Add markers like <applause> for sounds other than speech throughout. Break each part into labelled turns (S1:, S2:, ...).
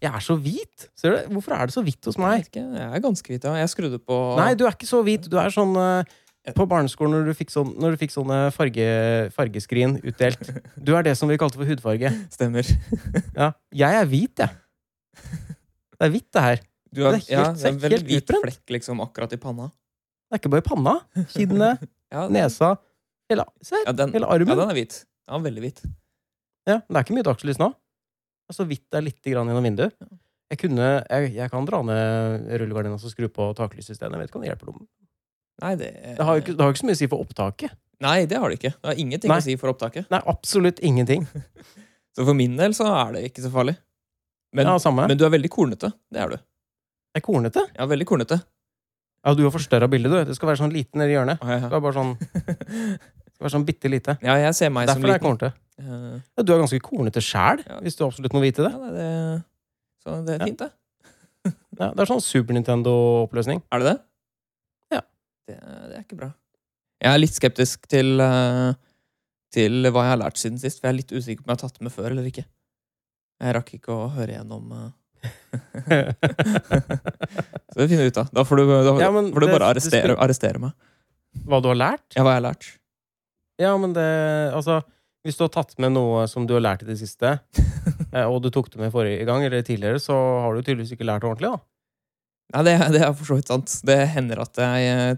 S1: Jeg er så hvit! Ser du? det? Hvorfor er det så hvitt hos
S2: Jeg
S1: meg?
S2: vet ikke, jeg er ganske hvit, ja. Jeg skrudde på
S1: Nei, du er ikke så hvit. Du er sånn eh, På barneskolen når du fikk, sånn, når du fikk sånne farge, fargeskrin utdelt. Du er det som vi kalte for hudfarge.
S2: Stemmer.
S1: <laughs> Ja. Jeg er hvit, jeg. Det er hvitt, det her.
S2: Du har,
S1: Det er
S2: ja,
S1: helt-
S2: det er en
S1: helt
S2: veldig hvit
S1: utbrent.
S2: flekk liksom akkurat i panna.
S1: Det er ikke bare panna. Kinnene,
S2: <laughs> Ja, den-
S1: nesa Hele, se her.
S2: ja, den,
S1: hele
S2: ja,
S1: armen.
S2: den er hvit. Ja, veldig hvit.
S1: Ja, det er ikke mye dagslys nå. Altså vidt det er litt grann gjennom vinduet. Jeg, kunne, jeg, jeg kan dra ned rullegardina og skru på taklyssystemet. Jeg vet ikke om det hjelper dem.
S2: Nei, det,
S1: Det har jo ikke, det har jo ikke så mye å si for opptaket.
S2: Nei, det har det ikke. Det har ingenting
S1: Nei.
S2: å si for opptaket.
S1: Nei, absolutt ingenting.
S2: Så for min del så er det ikke så farlig. Men,
S1: Ja, altså, samme.
S2: men du er veldig kornete. Det er du.
S1: Det er kornete.
S2: Ja, veldig kornete.
S1: Ja, du har forstørra bildet, du. Det skal være sånn liten nedi hjørnet.
S2: Ja,
S1: Det
S2: ja.
S1: skal være
S2: <laughs>
S1: sånn, det skal være sånn bitte lite.
S2: ja, jeg ser meg som
S1: Derfor er jeg
S2: sånn liten.
S1: kornete.
S2: Eh,
S1: Ja, du er ganske kornete sjæl,
S2: Ja.
S1: hvis du absolutt må vite det.
S2: Ja, det, det, så det er
S1: Ja.
S2: fint, det.
S1: Ja, det er sånn Super
S2: <laughs>
S1: Nintendo-oppløsning.
S2: Er det det?
S1: Ja.
S2: Det, det er ikke bra. Jeg er litt skeptisk til, eh, til hva jeg har lært siden sist, for jeg er litt usikker på om jeg har tatt det med før eller ikke. Jeg rakk ikke å høre gjennom eh, Så det finner vi ut av. Da får du, da,
S1: Ja, men
S2: får du
S1: det-
S2: bare
S1: det
S2: arrestere,
S1: spil-
S2: arrestere meg.
S1: Hva du har lært?
S2: Ja, hva jeg har lært.
S1: Ja, men det Altså, hvis du har tatt med noe som du har lært i det
S2: <laughs>
S1: siste, eh, og du tok det med forrige gang eller tidligere, så har du tydeligvis ikke lært ordentlig, da.
S2: Nei, det, det er for så vidt sant. Det hender at jeg eh,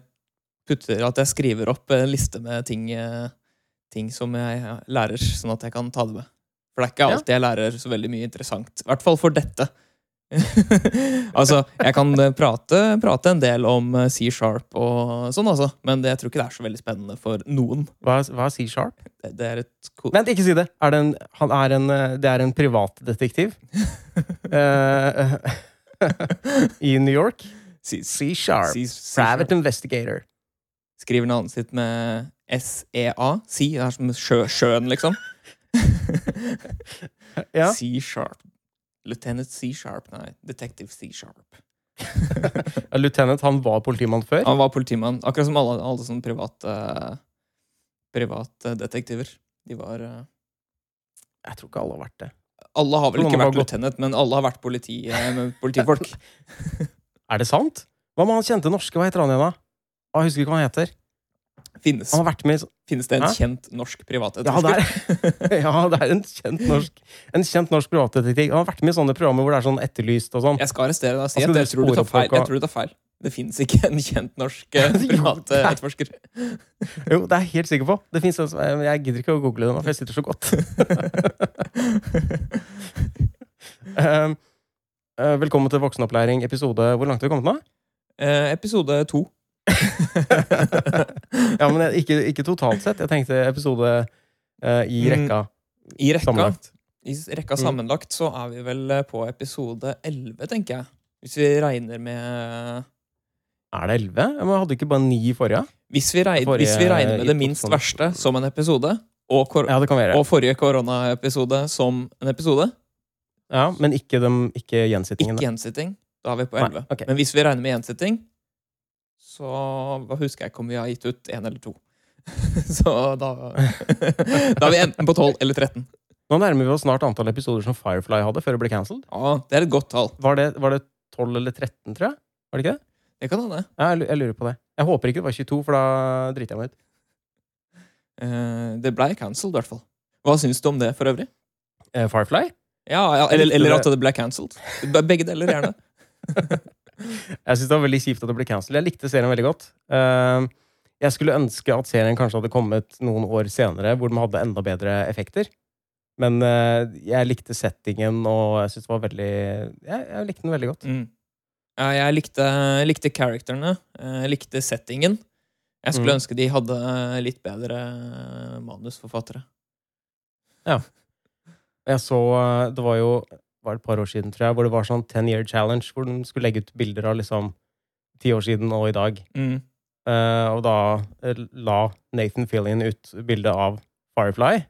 S2: putter At jeg skriver opp en liste med ting, eh, ting som jeg lærer, sånn at jeg kan ta det med. For det er ikke
S1: Ja.
S2: alltid jeg lærer så veldig mye interessant. I hvert fall for dette. <laughs> altså, jeg kan eh, prate, prate en del om eh, C-sharp og sånn, altså. Men det, jeg tror ikke det er så veldig spennende for noen.
S1: Hva er, hva er C-sharp?
S2: Det, det er et ko- <laughs>
S1: Vent, ikke si det! Er det, en, han er en, eh, det er en privatdetektiv eh, <laughs> i New York.
S2: Si- si-
S1: C-sharp.
S2: si- si-
S1: Private investigator.
S2: Skriver navnet sitt med SEA. Si, det er som sjø, sjøen, liksom.
S1: Ja.
S2: <laughs> C-sharp. Lieutenant C-sharp, nei. Detective C-sharp.
S1: Lieutenant, han var politimann før.
S2: <laughs> Han var politimann, akkurat som alle, alle sånne eh, private privatdetektiver. eh, De var eh,
S1: Jeg tror ikke alle har vært det.
S2: Alle har vel
S1: Noen
S2: ikke
S1: har
S2: vært
S1: gått-
S2: lieutenant, men alle har vært politi, eh, med politifolk.
S1: <laughs> Er det sant? Hva med han kjente norske? Hva heter han igjen, da? Ah, Jeg husker ikke hva han heter.
S2: Finnes,
S1: Han har vært med i så-
S2: finnes det en
S1: Hæ?
S2: kjent norsk
S1: Ja, det
S2: privatdetektiv?
S1: er, <laughs> ja, det er en kjent norsk En kjent norsk privatdetektiv. Han har vært med i sånne programmer hvor det er sånn etterlyst og sånn.
S2: <laughs> Jeg skal arrestere deg og si
S1: Altså,
S2: at
S1: du
S2: jeg tror du
S1: sporer
S2: tar feil.
S1: folk og-
S2: Jeg tror du tar feil. Det fins ikke en kjent
S1: <laughs>
S2: norsk eh,
S1: Jo,
S2: privat
S1: det
S2: eh,
S1: er-
S2: etterforsker.
S1: Jo, det er jeg helt sikker på. Det finnes en som, men jeg gidder ikke å google det nå, for jeg sitter så godt. <laughs> Um, eh, velkommen til voksenopplæring episode Hvor langt har vi kommet nå?
S2: <laughs> Eh, episode
S1: <laughs>
S2: to.
S1: Ja, men jeg, ikke, ikke totalt sett. Jeg tenkte episode eh, i
S2: Mm,
S1: rekka
S2: I rekka,
S1: sammenlagt.
S2: I s- rekka
S1: Mm.
S2: sammenlagt så er vi vel eh, på episode 11, tenker jeg. Hvis vi regner med
S1: Er det elleve? Ja, Men hadde ikke bare ni i forrige?
S2: Hvis vi, reg,
S1: Forrige-
S2: hvis vi regner med
S1: i
S2: det minst
S1: 2000.
S2: verste som en episode, og, kor
S1: Ja, det kan være.
S2: og forrige koronaepisode som en episode,
S1: Ja, men ikke, dem, ikke gjensittingene.
S2: ikke gjensitting, da er vi på
S1: Nei,
S2: 11.
S1: ok.
S2: Men hvis vi regner med gjensitting, så hva husker jeg ikke om vi har gitt ut én eller to. <laughs> så da
S1: <laughs>
S2: Da er vi enten på 12 eller 13.
S1: Nå nærmer vi oss snart antall episoder som Firefly hadde før det ble cancelled.
S2: Ja, det er et godt tall.
S1: Var det, var det 12 eller 13, tror jeg? Var det ikke det?
S2: Det kan hende.
S1: Ja, jeg lu- jeg lurer på det. Jeg håper ikke det var 22, for da driter jeg meg ut.
S2: Eh, det blei cancelled, i hvert fall. Hva syns du om det for øvrig?
S1: Eh, Firefly?
S2: Ja, ja
S1: Jeg
S2: eller,
S1: likte
S2: eller
S1: det.
S2: at det ble cancelled. Be- Begge deler,
S1: <laughs>
S2: gjerne.
S1: Jeg syns det var veldig kjipt at det ble cancelled. Jeg likte serien veldig godt. Eh, jeg skulle ønske at serien kanskje hadde kommet noen år senere, hvor de hadde enda bedre effekter. Men eh, jeg likte settingen, og jeg synes det var veldig jeg, jeg likte den veldig godt.
S2: Mm. Ja, jeg likte, likte characterne, eh, likte settingen. Jeg skulle
S1: Mm.
S2: ønske de hadde litt bedre eh, manusforfattere.
S1: Jeg så eh, Det var jo var det et par år siden, tror jeg, hvor det var sånn 10 Year Challenge, hvor de skulle legge ut bilder av liksom ti år siden og i dag.
S2: Mm.
S1: Eh, og da eh, la Nathan Fillion ut bildet av Firefly.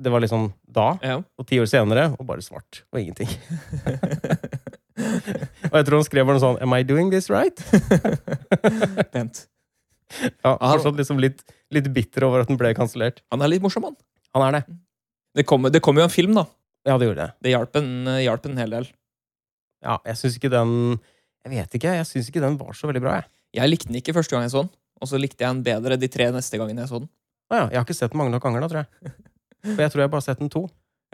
S1: Det var liksom da,
S2: Ja.
S1: <laughs> og ti år senere, og bare svart og ingenting. Og jeg tror han skrev bare noe sånn Am I doing this right?
S2: Pent.
S1: Ja,
S2: Ah.
S1: fortsatt liksom litt, litt bitter over at den ble kansellert.
S2: Han er litt morsom, han.
S1: Han er det.
S2: Det kommer det kom jo en film, da.
S1: Ja, det gjorde det.
S2: Det hjalp en, hjalp en hel del.
S1: Ja, jeg syns ikke den Jeg vet ikke, jeg syns ikke den var så veldig bra, jeg.
S2: Jeg likte den ikke første gang jeg så den, og så likte jeg den bedre de tre neste gangene jeg så den.
S1: Å ja, jeg har ikke sett den mange nok ganger, da, tror
S2: <laughs>
S1: jeg. For jeg tror jeg bare har sett den to.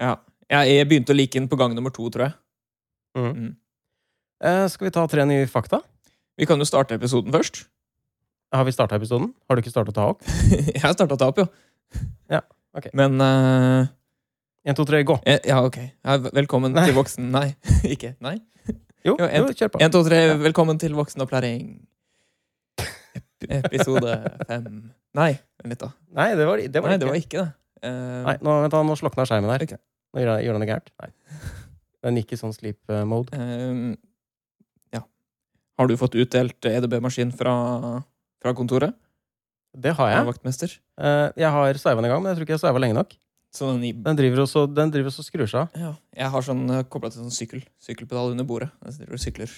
S2: Ja. Jeg, jeg begynte å like den på gang nummer to, tror jeg.
S1: Mhm.
S2: Mm.
S1: Eh, skal vi ta tre nye fakta?
S2: Vi kan jo starte episoden først. <laughs>
S1: Har vi starta episoden? Har du ikke starta å ta opp?
S2: jeg starta å ta opp, jo.
S1: Ja, ok.
S2: Men eh,
S1: Én, to, tre, gå.
S2: eh, Ja, ok. Ja, vel- velkommen
S1: Nei.
S2: til voksen... Nei, <laughs> ikke. Nei.
S1: Jo,
S2: Jo, en-
S1: jo kjør på.
S2: 1, 2, 3,
S1: Ja.
S2: velkommen til voksenopplæring. Ep- Episode fem. Nei, vent litt, da.
S1: Nei, det var, det var
S2: Nei,
S1: ikke.
S2: det var ikke det. Eh,
S1: Nei, nå, vent da, nå slokna skjermen her.
S2: Ok.
S1: Nå gjør, gjør den det gærent. Nei.
S2: <laughs>
S1: Den gikk i sånn sleep eh, mode.
S2: Ehm, ja. Har du fått utdelt EDB-maskin fra, fra kontoret?
S1: Det har
S2: Av
S1: jeg.
S2: vaktmester?
S1: Eh, jeg har sveiva den en gang, men jeg tror ikke jeg sveiva lenge nok.
S2: Så den, i-
S1: Den driver også, den driver også skrur seg av.
S2: ja. Jeg har sånn kobla til sånn sykkel, sykkelpedal under bordet. Jeg sitter og sykler.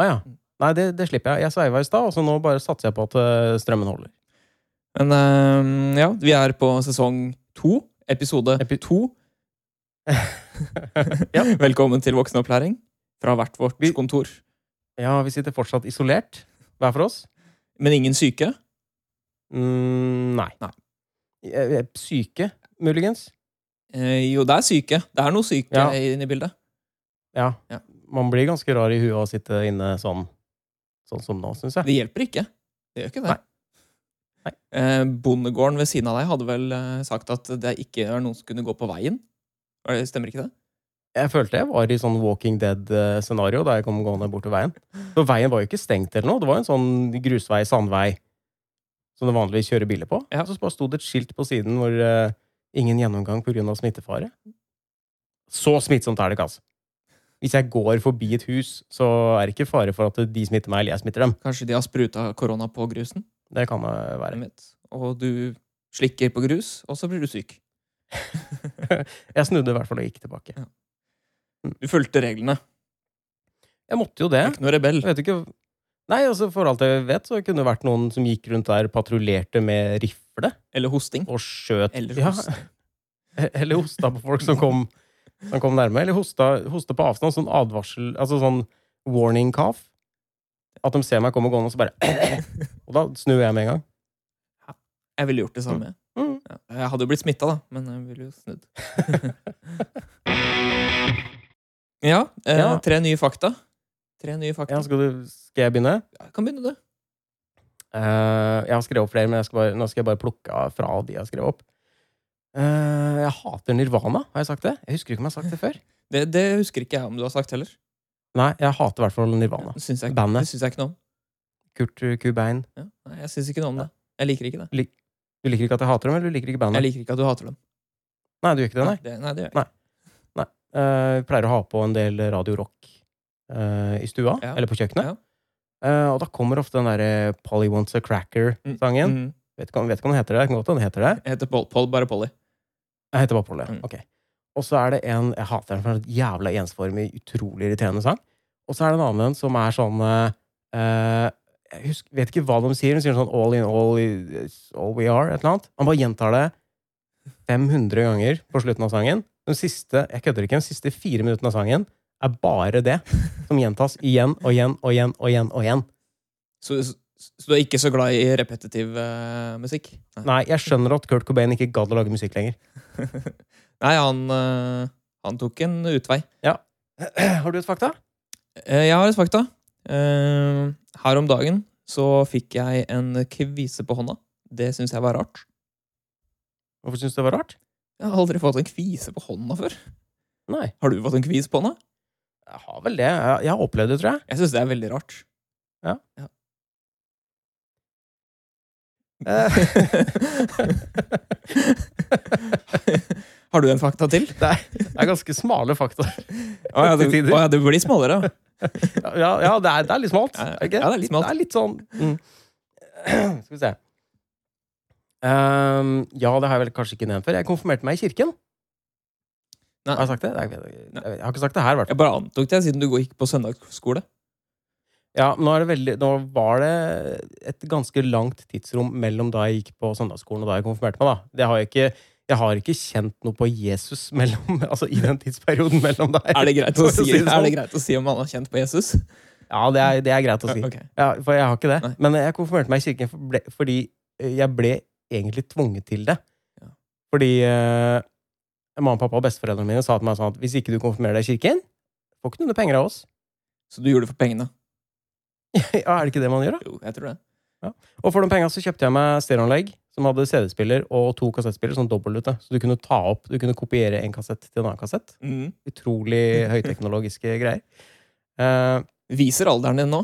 S1: Ah, ja. Nei, det, det slipper jeg. Jeg sveiva i stad, og så nå bare satser jeg på at eh, strømmen holder.
S2: Men ehm, ja, vi er på sesong to. Episode
S1: Epi-
S2: to.
S1: Ja.
S2: <laughs> Velkommen til voksenopplæring fra hvert vårt
S1: Vi-
S2: kontor.
S1: <laughs> Ja, vi sitter fortsatt isolert, hver for oss.
S2: Men ingen syke.
S1: Mm, nei.
S2: Nei.
S1: Eh, eh, Syke, muligens.
S2: Eh, jo, det er syke. Det er noe syke
S1: Ja.
S2: inne i bildet.
S1: Ja.
S2: Ja.
S1: Man blir ganske rar i huet av å sitte inne sånn, sånn som nå, syns jeg.
S2: Det hjelper ikke. Det gjør ikke det.
S1: Nei. Nei.
S2: Eh, bondegården ved siden av deg hadde vel eh, sagt at det ikke er noen som kunne gå på veien? Er det- Stemmer ikke det?
S1: Jeg følte jeg var i sånn Walking Dead-scenario da jeg kom gående bortover veien. For veien var jo ikke stengt eller noe. Det var en sånn grusvei, sandvei, som det vanligvis kjører biler på.
S2: Ja.
S1: Og Så bare sto det et skilt på siden hvor eh, 'ingen gjennomgang pga. smittefare'. Så smittsomt er det ikke, altså. Hvis jeg går forbi et hus, så er det ikke fare for at de smitter meg, eller jeg smitter dem.
S2: Kanskje de har spruta korona på grusen?
S1: Det kan det være.
S2: Hvem vet? Og du slikker på grus, og så blir du syk.
S1: Jeg snudde i hvert fall og gikk tilbake.
S2: Du fulgte reglene.
S1: Jeg måtte jo
S2: Du
S1: det.
S2: er ikke noe rebell.
S1: Jeg vet ikke Nei, altså For alt jeg vet, så kunne det vært noen som gikk rundt der, patruljerte med rifle
S2: Eller hosting.
S1: og skjøt
S2: Eller
S1: Ja,
S2: <laughs> hosting.
S1: <laughs> Eller hosta på folk som kom, som kom nærme. Eller hosta, hosta på avstand. Sånn advarsel Altså sånn warning cough. At de ser meg komme gående, og så bare Og da snur jeg med en gang.
S2: Jeg ville gjort det samme.
S1: Mm.
S2: Ja. Jeg hadde jo blitt smitta, da, men jeg ville jo snudd. ja, eh,
S1: Ja.
S2: Tre nye fakta. Tre nye fakta.
S1: Ja, skal, du, skal jeg begynne?
S2: Ja, kan begynne, du.
S1: Eh, jeg har skrevet opp flere, men jeg skal bare, nå skal jeg bare plukke av fra de jeg har skrevet opp. Eh, jeg hater nirvana, har jeg sagt det? Jeg husker ikke om jeg har sagt det før.
S2: Det, det husker ikke jeg om du har sagt heller.
S1: Nei, jeg hater i hvert fall nirvana.
S2: Det syns jeg,
S1: Bandet.
S2: det syns jeg ikke noe om.
S1: Kurt Kubein.
S2: Ja. Nei, jeg syns ikke noe om det. Jeg liker ikke det.
S1: Du liker ikke at jeg hater dem, eller du liker ikke bandet?
S2: Jeg liker ikke at du hater dem.
S1: Nei, du gjør ikke det, nei.
S2: det, nei, det gjør jeg.
S1: Eh, vi pleier å ha på en del Radio Rock eh, i stua,
S2: Ja.
S1: eller på kjøkkenet.
S2: Ja.
S1: Eh, og da kommer ofte den derre Polly Wants a
S2: Mm.
S1: Cracker-sangen.
S2: Mm.
S1: Vet ikke om vet ikke om den heter det. Kan godt hende den heter det.
S2: Jeg heter Pol, Pol, bare Polly.
S1: Jeg heter bare Polly.
S2: Mm.
S1: Ok. Og så er det en Jeg hater den for den er en jævla ensformig, utrolig irriterende sang. Og så er det en annen som er sånn eh, eh, Jeg husker, vet ikke hva de sier. De sier sånn All in all is all we are, et eller annet. Han bare gjentar det 500 ganger på slutten av sangen. De siste jeg kødder ikke, de siste fire minuttene av sangen er bare det som gjentas igjen og igjen og igjen og igjen. og igjen.
S2: Så, så, så du er ikke så glad i repetitiv eh, musikk? Nei.
S1: Nei, jeg skjønner at Kurt Cobain ikke gadd å lage musikk <clears throat> lenger.
S2: <laughs> Nei, han, eh, han tok en utvei.
S1: Har du et fakta?
S2: Eh, Jeg har et fakta. Eh, Her om dagen så fikk jeg en kvise på hånda. Det syns jeg var rart.
S1: Hvorfor syns du det var rart?
S2: Jeg har aldri fått en kvise på hånda før.
S1: Nei.
S2: Har du fått en kvise på hånda?
S1: Jeg har vel det. Jeg, jeg har opplevd det, tror jeg.
S2: Jeg syns det er veldig rart.
S1: Ja.
S2: <laughs> har du en fakta til?
S1: Det er ganske smale fakta.
S2: Å ja, det, å ja, det blir smalere. ja.
S1: Ja, ja det, er, det er litt smalt.
S2: Ja, ja.
S1: ikke?
S2: Ja, det er litt smalt.
S1: Det er litt sånn mm. <clears throat> Skal vi se. Ehm, ja, det har jeg vel kanskje ikke nevnt før. Jeg konfirmerte meg i kirken.
S2: Nei.
S1: Har jeg sagt det? Jeg, vet, jeg, vet- jeg har ikke sagt det her, i hvert fall.
S2: Jeg bare antok det, siden du gikk på søndagsskole.
S1: Ja, men nå, er det veldig, nå var det et ganske langt tidsrom mellom da jeg gikk på søndagsskolen og da jeg konfirmerte meg. da. Det har jeg ikke... Jeg Jeg har ikke kjent noe på Jesus mellom, <laughs> altså i den tidsperioden mellom der.
S2: <laughs> Er det greit å
S1: For
S2: si,
S1: sånn.
S2: er det greit å si om man har kjent på Jesus?
S1: Ja, det er, det er greit å si.
S2: <laughs> Ok.
S1: Ja, for jeg har ikke det.
S2: Nei.
S1: Men jeg konfirmerte meg i kirken for ble, fordi eh, jeg ble egentlig tvunget til det.
S2: Ja.
S1: Fordi eh, mamma, pappa og besteforeldrene mine sa til meg sånn at hvis ikke du konfirmerer deg i kirken, får ikke du noe penger av oss. <laughs>
S2: Så du gjorde det for pengene?
S1: ja, er det ikke det man gjør, da?
S2: Jo, jeg tror det.
S1: Og for de penga så kjøpte jeg meg stereoanlegg som hadde CD-spiller og to kassettspillere, sånn dobbeltlute. Så du kunne ta opp, du kunne kopiere en kassett til en annen kassett.
S2: Mm. <laughs>
S1: Utrolig høyteknologiske greier. Eh,
S2: Viser alderen din nå.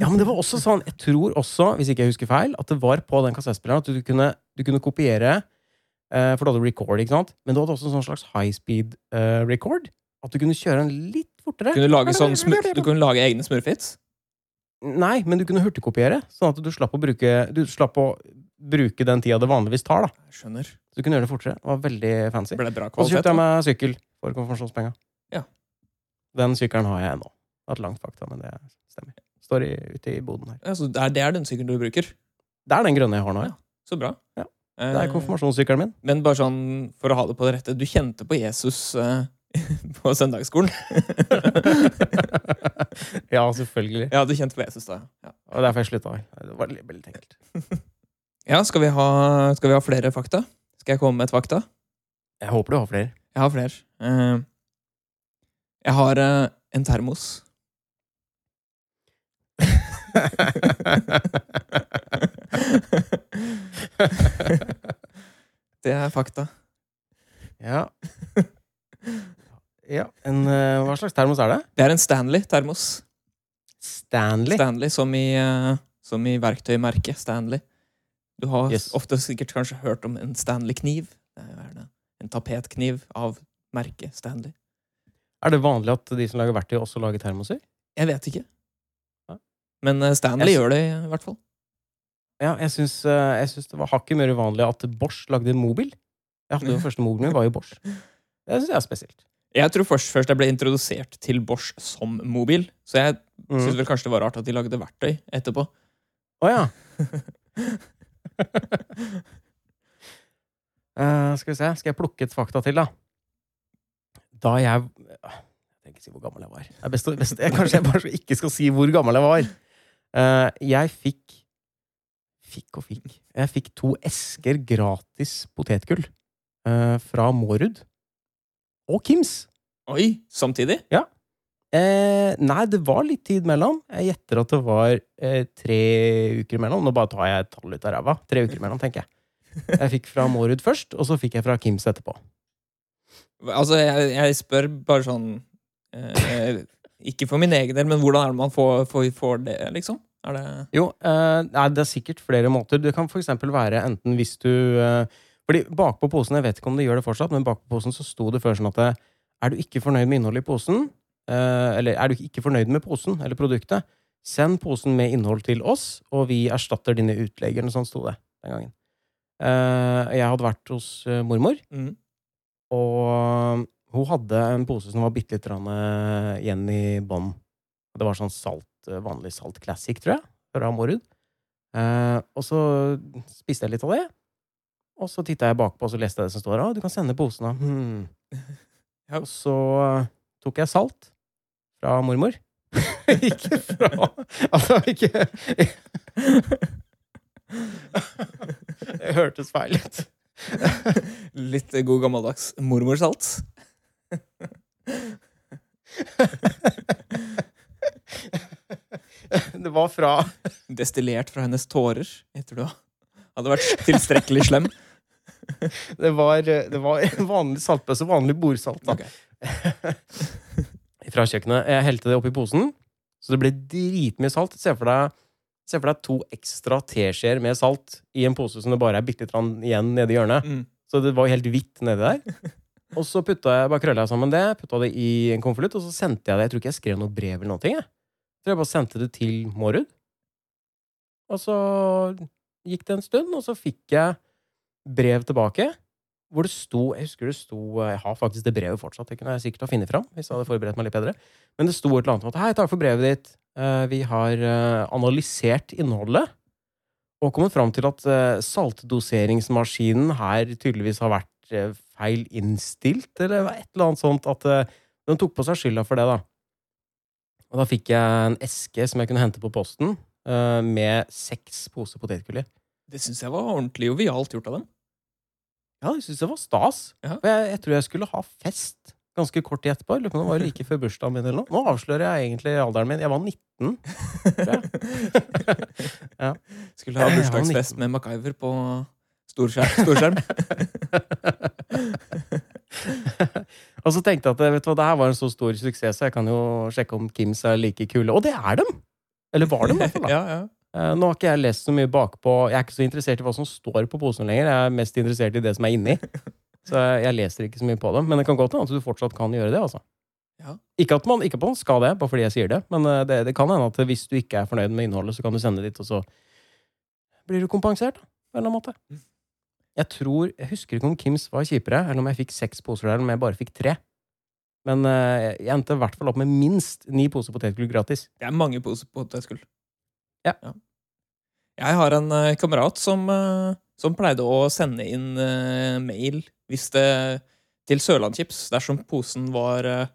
S1: Ja, men det var også sånn, jeg tror også, hvis ikke jeg husker feil, at det var på den kassettspilleren at du kunne, du kunne kopiere, eh, for da hadde du record, ikke sant? Men du hadde også en sånn slags high speed eh, record, at du kunne kjøre den litt fortere.
S2: Kunne du lage sånn smur, du kunne lage egne smurfits.
S1: Nei, men du kunne hurtigkopiere, sånn at du slapp å bruke, du slapp å bruke den tida det vanligvis tar, da.
S2: Jeg skjønner.
S1: Så du kunne gjøre det fortere. Det var veldig fancy.
S2: Ble det bra
S1: Og så
S2: kvalitet?
S1: kjøpte jeg
S2: da?
S1: meg sykkel for konfirmasjonspenga.
S2: Ja.
S1: Den sykkelen har jeg ennå. Det har vært langt fakta, men det stemmer. Står i, ute i boden her.
S2: Ja, så Altså, det er, det er den sykkelen du bruker.
S1: Det er den grønne jeg har nå, ja.
S2: Så bra.
S1: Ja.
S2: Eh,
S1: Det er konfirmasjonssykkelen min.
S2: Men bare sånn, for å ha det på det rette, du kjente på Jesus eh, <laughs> på søndagsskolen?
S1: <laughs> ja, selvfølgelig.
S2: ja, du kjente på Jesus da. Ja,
S1: Og derfor jeg slutta. Det var veldig veldig enkelt.
S2: ja skal, vi ha, skal vi ha flere fakta? Skal jeg komme med et fakta?
S1: Jeg håper du har flere.
S2: Jeg har flere. Eh, jeg har eh, en termos.
S1: <laughs>
S2: det er fakta.
S1: ja. ja. En, eh, hva slags termos er det?
S2: Det er en Stanley-termos.
S1: Stanley.
S2: Stanley som i, eh, som i verktøymerket Stanley. Du har
S1: Yes.
S2: ofte sikkert kanskje hørt om en Stanley-kniv. Det er jo gjerne En tapetkniv av merket Stanley.
S1: Er det vanlig at de som lager verktøy, også lager termoser?
S2: Jeg vet ikke.
S1: Nei.
S2: Men eh, Stanley
S1: Jeg s-
S2: gjør det, i hvert fall.
S1: Ja, jeg syns, eh, jeg syns det var hakket mer uvanlig at Bosch lagde en mobil. Jeg hadde jo første mobilen min var jo Bosch. Det syns jeg er spesielt.
S2: Jeg tror først, først jeg ble introdusert til Bosch som mobil. Så jeg
S1: Mm.
S2: syntes vel kanskje det var rart at de lagde verktøy etterpå.
S1: Å ja. <laughs> Eh, skal vi se. Skal jeg plukke et fakta til, da? Da jeg Jeg trenger ikke si hvor gammel jeg var. Det er best, å- best, jeg, kanskje jeg bare skal- ikke skal si hvor gammel jeg var. Eh, jeg fikk Fikk og fikk. Jeg fikk to esker gratis potetgull eh, fra Mårud. Og Kims.
S2: Oi! Samtidig?
S1: Eh, nei, det var litt tid mellom. Jeg gjetter at det var eh, tre uker imellom. Nå bare tar jeg et tall ut av ræva. Tre uker imellom, tenker jeg. Jeg fikk fra Mårud først, og så fikk jeg fra Kims etterpå.
S2: Altså, jeg, jeg spør bare sånn eh, Ikke for min egen del, men hvordan er det man får, får, får det, liksom? Er det
S1: Jo, eh, nei, det er sikkert flere måter. Det kan f.eks. være enten hvis du eh, Fordi bakpå posen, jeg vet ikke om de gjør det fortsatt, men bakpå posen så sto det før sånn at eh, er du ikke fornøyd med innholdet i posen, eh, eller er du ikke fornøyd med posen eller produktet, send posen med innhold til oss, og vi erstatter dine utlegg, eller noe sånt sto det den gangen. Eh, jeg hadde vært hos eh, mormor,
S2: mm.
S1: og hun hadde en pose som var bitte litt grann, eh, igjen i bånn. Og Det var sånn salt, eh, vanlig salt classic, tror jeg, fra Morud. Eh, og så spiste jeg litt av det. Og så titta jeg bakpå, og så leste jeg det som står. Å, du kan sende posen, da. Hmm.
S2: Ja.
S1: Og så eh, tok jeg salt fra mormor. <laughs> ikke fra <laughs> Altså, ikke Det hørtes feil ut.
S2: Litt god gammeldags mormorsalt?
S1: Det var fra
S2: Destillert fra hennes tårer, heter det da. Hadde vært tilstrekkelig slem.
S1: Det var, det var <laughs> vanlig saltbøsse, vanlig bordsalt. Da.
S2: Ok.
S1: <laughs> Fra kjøkkenet. Jeg helte det oppi posen, så det ble dritmye salt. Se for deg, se for deg to ekstra teskjeer med salt i en pose som det bare er bitte litt grann igjen nede i hjørnet.
S2: Mm.
S1: Så det var jo helt hvitt nedi der. Og så putta jeg, bare krølla jeg sammen det, putta det i en konvolutt, og så sendte jeg det. Jeg tror ikke jeg skrev noe brev eller noen ting. Jeg Jeg tror jeg bare sendte det til Mårud. Og så gikk det en stund, og så fikk jeg brev tilbake. Hvor det sto Jeg husker det sto Jeg har faktisk det brevet fortsatt. Det kunne jeg sikkert ha funnet fram. hvis jeg hadde forberedt meg litt bedre. Men det sto et eller annet om at Hei, takk for brevet ditt. Eh, Vi har eh, analysert innholdet og kommet fram til at eh, saltdoseringsmaskinen her tydeligvis har vært eh, feil innstilt, eller et eller annet sånt. At eh, hun tok på seg skylda for det, da. Og da fikk jeg en eske som jeg kunne hente på posten, eh, med seks poser potetgull i.
S2: Det syns jeg var ordentlig jovialt gjort av dem.
S1: Ja, jeg syntes det var stas.
S2: Ja.
S1: For jeg, jeg tror jeg skulle ha fest ganske kort tid etterpå. Jeg Lurer på om det var like før bursdagen min eller noe. Nå avslører jeg egentlig alderen min. Jeg var 19.
S2: <laughs>
S1: Ja.
S2: Skulle ha
S1: Jeg var
S2: bursdagsfest med MacGyver på storskjerm.
S1: <laughs>
S2: storskjerm.
S1: og så tenkte jeg at eh, vet du hva, det her var en så stor suksess, så jeg kan jo sjekke om Kims er like kule. Og det er dem! Eller var dem, i hvert fall. da.
S2: ja, ja.
S1: Eh, Nå har ikke jeg lest så mye bakpå. Jeg er ikke så interessert i hva som står på posen lenger. Jeg er mest interessert i det som er inni. Så jeg leser ikke så mye på det. Men det kan godt hende at du fortsatt kan gjøre det. altså.
S2: Ja.
S1: Ikke at man, ikke at man skal det, bare fordi jeg sier det. Men eh, det, det kan hende at hvis du ikke er fornøyd med innholdet, så kan du sende det dit, og så blir du kompensert. da, på en eller annen måte. Jeg tror, jeg husker ikke om Kims var kjipere, eller om jeg fikk seks poser der, eller om jeg bare fikk tre. Men eh, jeg endte i hvert fall opp med minst ni poser potetgull gratis.
S2: Det er mange poser potetgull.
S1: Ja.
S2: Jeg har en eh, kamerat som, eh, som pleide å sende inn eh, mail hvis det, til Sørlandschips dersom posen var eh,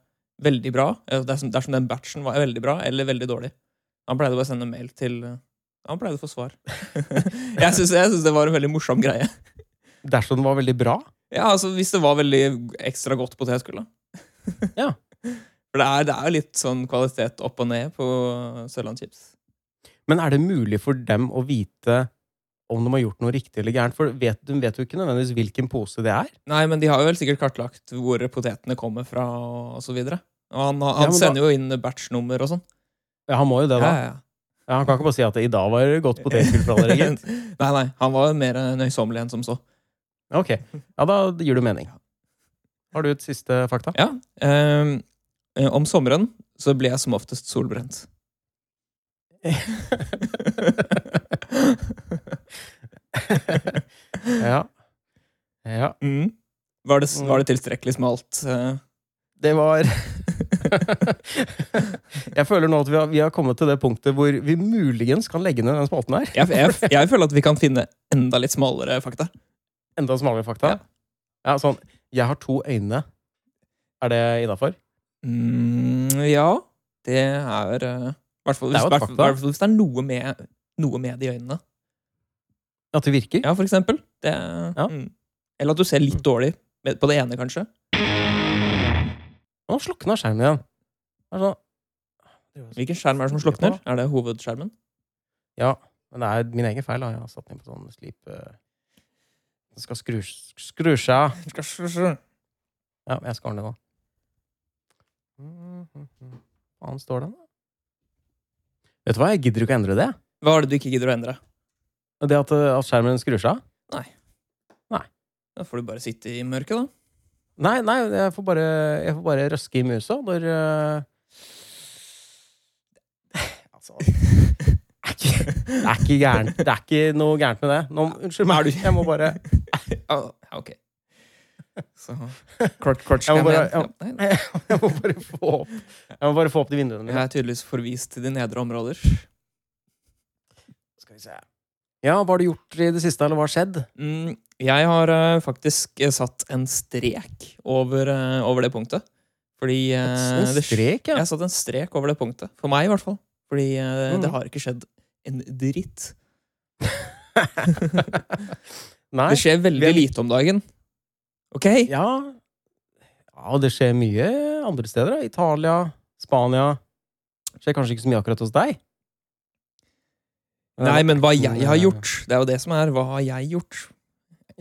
S2: veldig bra, eh, dersom, dersom den batchen var veldig bra eller veldig dårlig. Han pleide bare å sende mail til eh, Han pleide å få svar. <laughs> jeg syns jeg synes det var en veldig morsom greie.
S1: Dersom den var veldig bra,
S2: Ja, altså Hvis det var veldig ekstra godt potetgull, da.
S1: Ja.
S2: <laughs> For det er, det er jo litt sånn kvalitet opp og ned på Sørlandschips.
S1: Men er det mulig for dem å vite om de har gjort noe riktig eller gærent? For vet, de vet jo ikke nødvendigvis hvilken pose det er.
S2: Nei, men de har jo vel sikkert kartlagt hvor potetene kommer fra, og så videre. Og han, han
S1: Ja, men da-
S2: sender jo inn batchnummer og sånn.
S1: Ja, Han må jo det, da. Ja, han kan ikke bare si at 'i dag var det godt <laughs> potetgull fra dere', gitt.
S2: <laughs> nei, nei, han var mer nøysommelig enn som så.
S1: Ok, Ja, da gir du mening. Har du et siste <laughs> fakta?
S2: Ja, ehm, eh, Om sommeren så blir jeg som
S1: <laughs>
S2: oftest solbrent. <laughs>
S1: Ja. ja.
S2: Mm. Var, det, var det tilstrekkelig smalt? eh?
S1: Det <laughs> var Jeg føler nå at vi har, vi har kommet til det punktet hvor vi muligens kan legge ned den spalten her.
S2: Jeg, jeg, jeg føler at vi kan finne enda litt smalere fakta.
S1: Enda smalere fakta. Ja, sånn 'Jeg har to øyne'. Er det innafor?
S2: Mm, ja, det er eh, hvert fall
S1: Det er
S2: hvis,
S1: jo et
S2: hvert-
S1: fakta.
S2: hvert fall hvis det er noe med, noe med de øynene.
S1: At det virker?
S2: Ja, for eksempel. Det,
S1: Ja.
S2: mm. Eller at du ser litt dårlig med- på det ene, kanskje.
S1: Og nå slukna skjermen igjen. Det er sånn...
S2: Hvilken skjerm er det som slukner? Er det <laughs> hovedskjermen?
S1: Ja, men det er min egen feil. da. Jeg har satt den på sånn slip... eh, Den skal skru, skru seg av. Ja, jeg skal ordne det nå. Hva annet står den, da? Vet du hva, jeg gidder ikke å endre det.
S2: Hva er det du ikke gidder å endre?
S1: Det at, eh, at skjermen skrur seg av.
S2: Da får du bare sitte i mørket, da. <laughs>
S1: Nei, nei, jeg får bare, jeg får bare røske i musa når eh, Altså det er, ikke, det, er ikke gærent, det er ikke noe gærent med det. Nå, unnskyld meg, jeg må bare
S2: Ja, ja, ok. Så Crotch, crotch
S1: Jeg må
S2: cam
S1: bare-
S2: igjen.
S1: ja.
S2: Ja, nei, nei.
S1: Jeg må bare få opp Jeg må bare få opp de vinduene
S2: Jeg
S1: mine.
S2: er tydeligvis forvist til de nedre områder.
S1: Skal vi se. Ja, hva har du gjort i det siste, eller hva har skjedd?
S2: Mm, jeg har eh, faktisk eh, satt en strek over, eh, over det punktet. Fordi eh,
S1: En
S2: det-
S1: strek, ja.
S2: Jeg satte en strek over det punktet. For meg, i hvert fall. Fordi eh,
S1: Mhm.
S2: det har ikke skjedd en dritt.
S1: Nei.
S2: Det skjer
S1: vi
S2: veldig
S1: er litt-
S2: lite om dagen. Ok?
S1: Ja. ja, det skjer mye andre steder. da. Italia, Spania Skjer kanskje ikke så mye akkurat hos deg?
S2: Nei, men hva jeg har gjort, det er jo det som er. Hva har jeg gjort?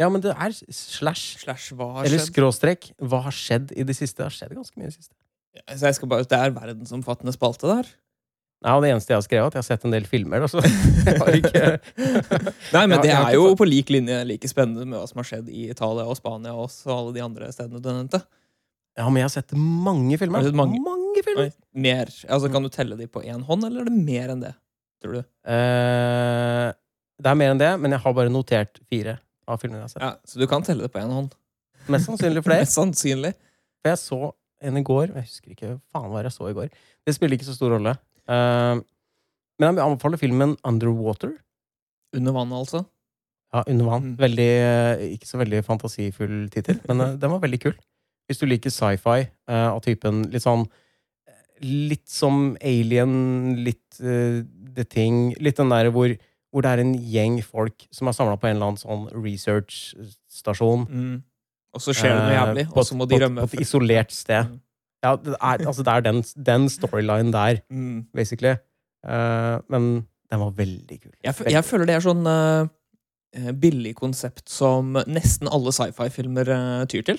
S1: Ja, men det er slash.
S2: Slash hva har
S1: Eller
S2: skjedd?
S1: skråstrek. Hva har skjedd i det siste? Det har skjedd ganske mye i det siste.
S2: Så jeg skal bare, det er verdensomfattende spalte der.
S1: Nei, og det eneste jeg har skrevet, er at jeg har sett en del filmer. da, så <laughs> jeg har
S2: <laughs>
S1: ikke...
S2: Nei, men
S1: Ja,
S2: det
S1: jeg har
S2: er
S1: ikke
S2: jo
S1: fått-
S2: på lik linje like spennende med hva som har skjedd i Italia og Spania og også alle de andre stedene du nevnte.
S1: Ja, men jeg har sett mange filmer.
S2: Har du sett mange?
S1: filmer.
S2: Oi, Mer, altså Kan du telle de på én hånd, eller er det mer enn det? Tror du?
S1: Eh, det er mer enn det, men jeg har bare notert fire av filmene jeg har sett.
S2: Ja, Så du kan telle det på én hånd?
S1: Mest sannsynlig flere.
S2: Mest sannsynlig.
S1: For jeg så en i går Jeg husker ikke faen hva jeg så i går. Det spiller ikke så stor rolle. Eh, men jeg anbefaler filmen Underwater.
S2: Under vannet, altså.
S1: Ja, Under vann.
S2: Mm.
S1: Veldig, eh, ikke så veldig fantasifull tittel, men eh, den var veldig kul. Hvis du liker sci-fi eh, av typen litt sånn Litt som Alien, litt eh, The Thing Litt den der hvor, hvor det er en gjeng folk som er samla på en eller annen sånn research-stasjon.
S2: Mm. Og så skjer det noe
S1: eh,
S2: jævlig,
S1: på
S2: og
S1: et-
S2: så må
S1: på
S2: de
S1: et-
S2: rømme.
S1: På et isolert sted.
S2: Mm.
S1: Ja, det er, altså det er den, den storylinen der,
S2: Mm.
S1: basically. Eh, men den var veldig kul.
S2: Jeg, fø- jeg føler det er sånn eh, billig konsept som nesten alle sci-fi-filmer eh, tyr til.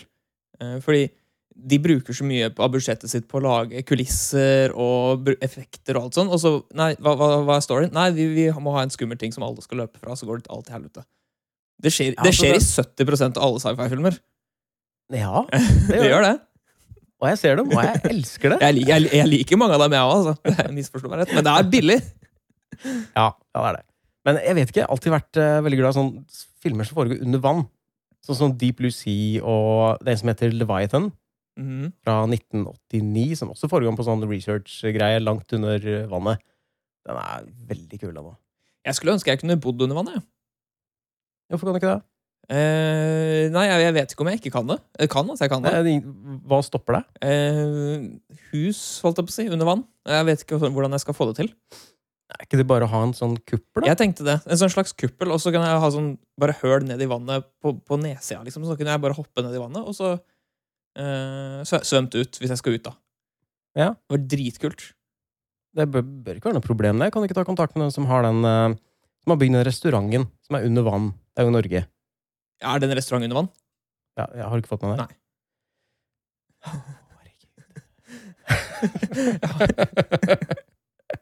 S2: Eh, fordi de bruker så mye av budsjettet sitt på å lage kulisser og bru- effekter og alt sånn, og så Nei, hva, hva, hva er storyen? Nei, vi, vi må ha en skummel ting som alle skal løpe fra, så går det alt til helvete. Det skjer,
S1: Ja,
S2: det
S1: altså,
S2: skjer
S1: det-
S2: i 70 av alle sci-fi-filmer. <laughs>
S1: Ja,
S2: Det gjør det.
S1: Og jeg ser dem, og jeg elsker det.
S2: Jeg, lik- jeg, jeg liker mange av dem, jeg òg, altså. <laughs> Misforstå meg rett. Men det er billig.
S1: Ja, ja, det er det. Men jeg vet ikke, jeg har alltid vært eh, veldig glad i sånne filmer som foregår under vann. Sånn som Deep Blue Sea og det som heter Leviathan
S2: Mhm.
S1: fra 1989, som også foregår på sånn research-greie langt under eh, vannet. Den er veldig kul, den òg.
S2: Jeg skulle ønske jeg kunne bodd under vannet. jeg.
S1: Hvorfor kan du ikke det?
S2: Eh, nei, jeg, jeg vet ikke om jeg ikke kan det. Jeg kan at jeg kan det.
S1: Eh, det- Hva stopper deg?
S2: Eh, hus, holdt jeg på å si, under vann. Jeg vet ikke hvordan jeg skal få det til.
S1: Er ikke det bare å ha en sånn kuppel? da?
S2: Jeg tenkte det. En sånn slags kuppel, og så kan jeg ha sånn bare høl ned i vannet på, på nedsida, liksom. Så kunne jeg bare hoppe ned i vannet, og så eh, svø- svømt ut, hvis jeg skal ut, da.
S1: Ja.
S2: Det var dritkult.
S1: Det bør, bør ikke være noe problem. det. Kan du ikke ta kontakt med den som har den eh, som har bygd den restauranten som er under vann? Det er jo Norge.
S2: Er det en restaurant under vann?
S1: Ja, jeg har ikke fått med det.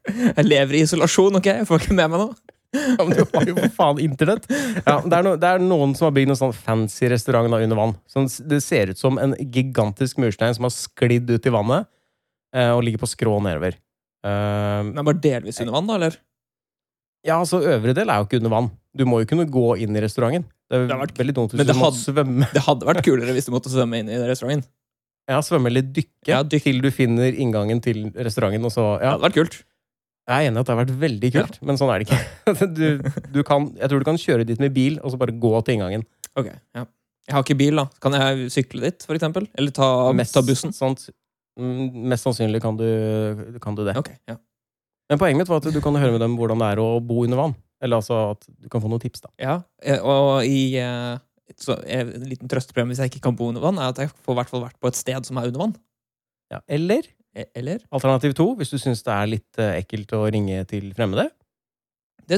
S2: Jeg lever i isolasjon, OK? Jeg får ikke med meg noe.
S1: <laughs> Ja, men du har jo for faen internett! Ja, men det, er no, det er noen som har bygd en sånn fancy restaurant da, under vann. Sånn, s- det ser ut som en gigantisk murstein som har sklidd ut i vannet eh, og ligger på skrå nedover. Eh,
S2: Men bare delvis under vann, da, eller?
S1: ja, altså, Øvre del er jo ikke under vann. Du må jo kunne gå inn i restauranten. Det er
S2: Det har vært-
S1: veldig dumt
S2: Men
S1: hvis du
S2: det
S1: må svømme,
S2: Det hadde vært kulere hvis du måtte svømme inn i restauranten.
S1: ja, svømme eller dykke
S2: Ja, dykk.
S1: til du finner inngangen til restauranten. Og så,
S2: Det
S1: ja.
S2: hadde vært kult.
S1: Jeg er enig i at det har vært veldig kult, men sånn er det ikke. <laughs> Du, du kan, jeg tror du kan kjøre dit med bil og så bare gå til inngangen.
S2: Ok, ja. Jeg har ikke bil, da. Kan jeg sykle dit, for eksempel? Eller ta, ta bussen?
S1: sant- mm, mest sannsynlig kan du, kan du det.
S2: Ok, ja.
S1: Men poenget mitt var at du kan høre med dem hvordan det er å bo under vann. Eller altså at du kan få noen tips, da.
S2: ja. eh, Og i eh, så eh, En liten trøstepremie hvis jeg ikke kan bo under vann, er at jeg får i hvert fall vært på et sted som er under vann.
S1: Ja. Eller
S2: Eh, Eller?
S1: alternativ to, hvis du syns det er litt eh, ekkelt å ringe til fremmede,
S2: Det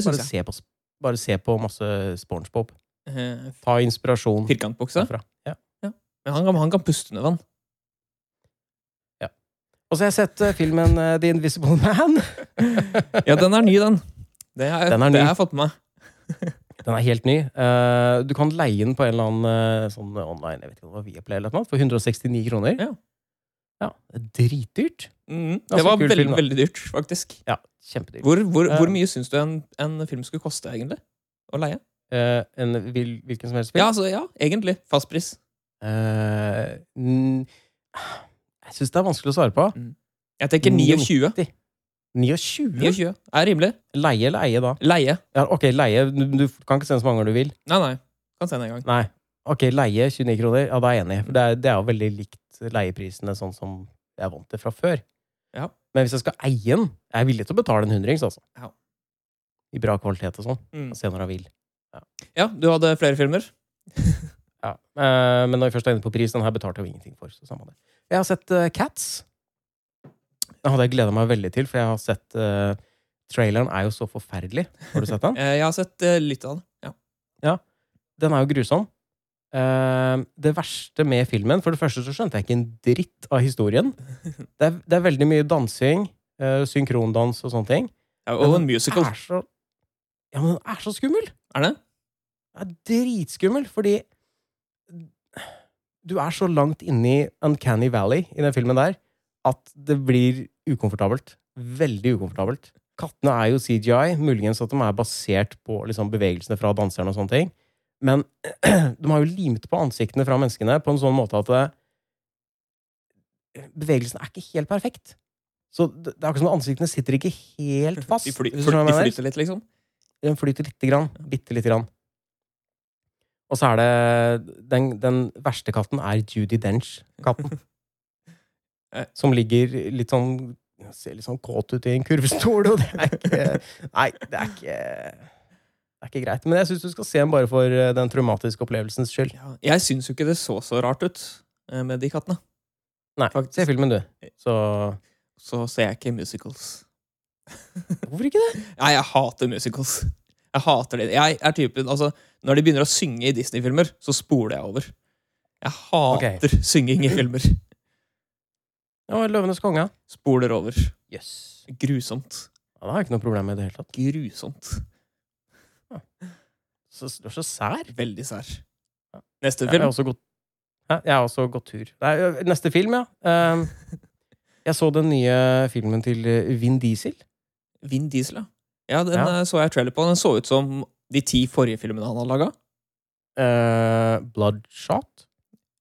S1: bare
S2: syns jeg.
S1: se, på, sp- bare se på masse SpongeBob.
S2: Eh,
S1: Ta inspirasjon
S2: Firkantbukse.
S1: derfra. Ja.
S2: Men han, kan- han kan puste under <laughs> vann.
S1: Og så har jeg sett eh, filmen eh, The Invisible Man. <laughs>
S2: Ja, den er ny, den. Det har jeg,
S1: Den er ny.
S2: det har jeg fått med meg.
S1: Den er helt ny. Eh, du kan leie den på en eller annen eh, sånn online jeg vet ikke om det var Viaplay eller noe, for 169 kroner.
S2: Ja.
S1: ja. det er Dritdyrt.
S2: Mhm.
S1: er
S2: Det
S1: så
S2: var
S1: kul
S2: veldig,
S1: film, da.
S2: veldig dyrt, faktisk.
S1: Ja, kjempedyrt.
S2: Hvor, hvor, hvor
S1: Eh.
S2: mye syns du en, en film skulle koste, egentlig? Å leie?
S1: Eh, en vil, hvilken som helst film?
S2: Ja, altså, ja, egentlig. Fastpris.
S1: Eh, n- jeg syns det er vanskelig å svare på.
S2: Jeg tenker 29.
S1: 29?
S2: 29 er rimelig.
S1: Leie eller eie, da?
S2: Leie.
S1: Ja, ok, leie. Du, du kan ikke sende så mange ganger du vil.
S2: Nei, nei. Kan sende en gang.
S1: Nei. Ok, leie 29 kroner. Ja, da er jeg enig. For det er, det er jo veldig likt leieprisene sånn som jeg er vant til fra før.
S2: Ja.
S1: Men hvis jeg skal eie den Jeg er villig til å betale en hundrings, altså.
S2: Ja.
S1: I bra kvalitet og sånn.
S2: Mm.
S1: Se når jeg vil.
S2: Ja, du hadde flere filmer.
S1: Ja. Eh, men når vi først er inne på pris, den her betalte jeg jo ingenting for. Så samme det. Jeg har sett eh, Cats. Den hadde jeg gleda meg veldig til, for jeg har sett eh, Traileren er jo så forferdelig. Har du sett den?
S2: Eh, Jeg har sett eh, litt av den. Ja.
S1: Den er jo grusom. Eh, det verste med filmen For det første så skjønte jeg ikke en dritt av historien. Det er, det er veldig mye dansing, eh, synkrondans og sånne ting.
S2: Ja,
S1: Men
S2: Og
S1: Ah.
S2: en
S1: den
S2: musical.
S1: Er så, ja, men den er så skummel!
S2: Er det?
S1: Den er dritskummel, fordi du er så langt inni Uncanny Valley i den filmen der at det blir ukomfortabelt. Veldig ukomfortabelt. Kattene er jo CGI, muligens at de er basert på liksom, bevegelsene fra danserne og sånne ting. Men <clears throat> de har jo limt på ansiktene fra menneskene på en sånn måte at eh, bevegelsen er ikke helt perfekt. Så det det er akkurat som om ansiktene sitter ikke helt fast.
S2: <laughs> De, fly,
S1: hvis du
S2: fly,
S1: skjønner hva
S2: de
S1: jeg mener.
S2: flyter litt, liksom.
S1: Den flyter lite grann. Bitte lite grann. Og så er det Den, den verste katten er Judy Dench-katten.
S2: <laughs> Eh.
S1: som ligger litt sånn Ser litt sånn kåt ut i en kurvstol, og det er ikke Nei, det er ikke det er ikke greit, men jeg syns du skal se den bare for eh, den traumatiske opplevelsens skyld.
S2: Ja, jeg syns jo ikke det så så rart ut eh, med de kattene.
S1: Nei,
S2: Faktisk. Eh.
S1: se filmen, du. Så
S2: Så ser jeg ikke musicals.
S1: Hvorfor ikke det?
S2: Nei, jeg hater musicals. Jeg hater det. Jeg er typen, altså, Når de begynner å synge i Disney-filmer, så spoler jeg over. Jeg hater synging i filmer.
S1: Ja, Løvenes konge.
S2: Spoler over.
S1: Jøs. Yes.
S2: Grusomt.
S1: Ja, det har jeg ikke noe problem med i det hele tatt.
S2: Grusomt.
S1: Så, du er så sær.
S2: Veldig sær. Neste
S1: Jeg har
S2: film?
S1: også gått, Hæ? jeg har også gått tur. Nei, ø, neste film, ja. Ehm,
S2: <laughs>
S1: jeg så den nye filmen til ø, Vin Diesel.
S2: Vin Diesel, ja. Ja, Den
S1: Ja.
S2: eh, så jeg trailer på. Den så ut som de ti forrige filmene han hadde laga.
S1: Eh, Bloodshot.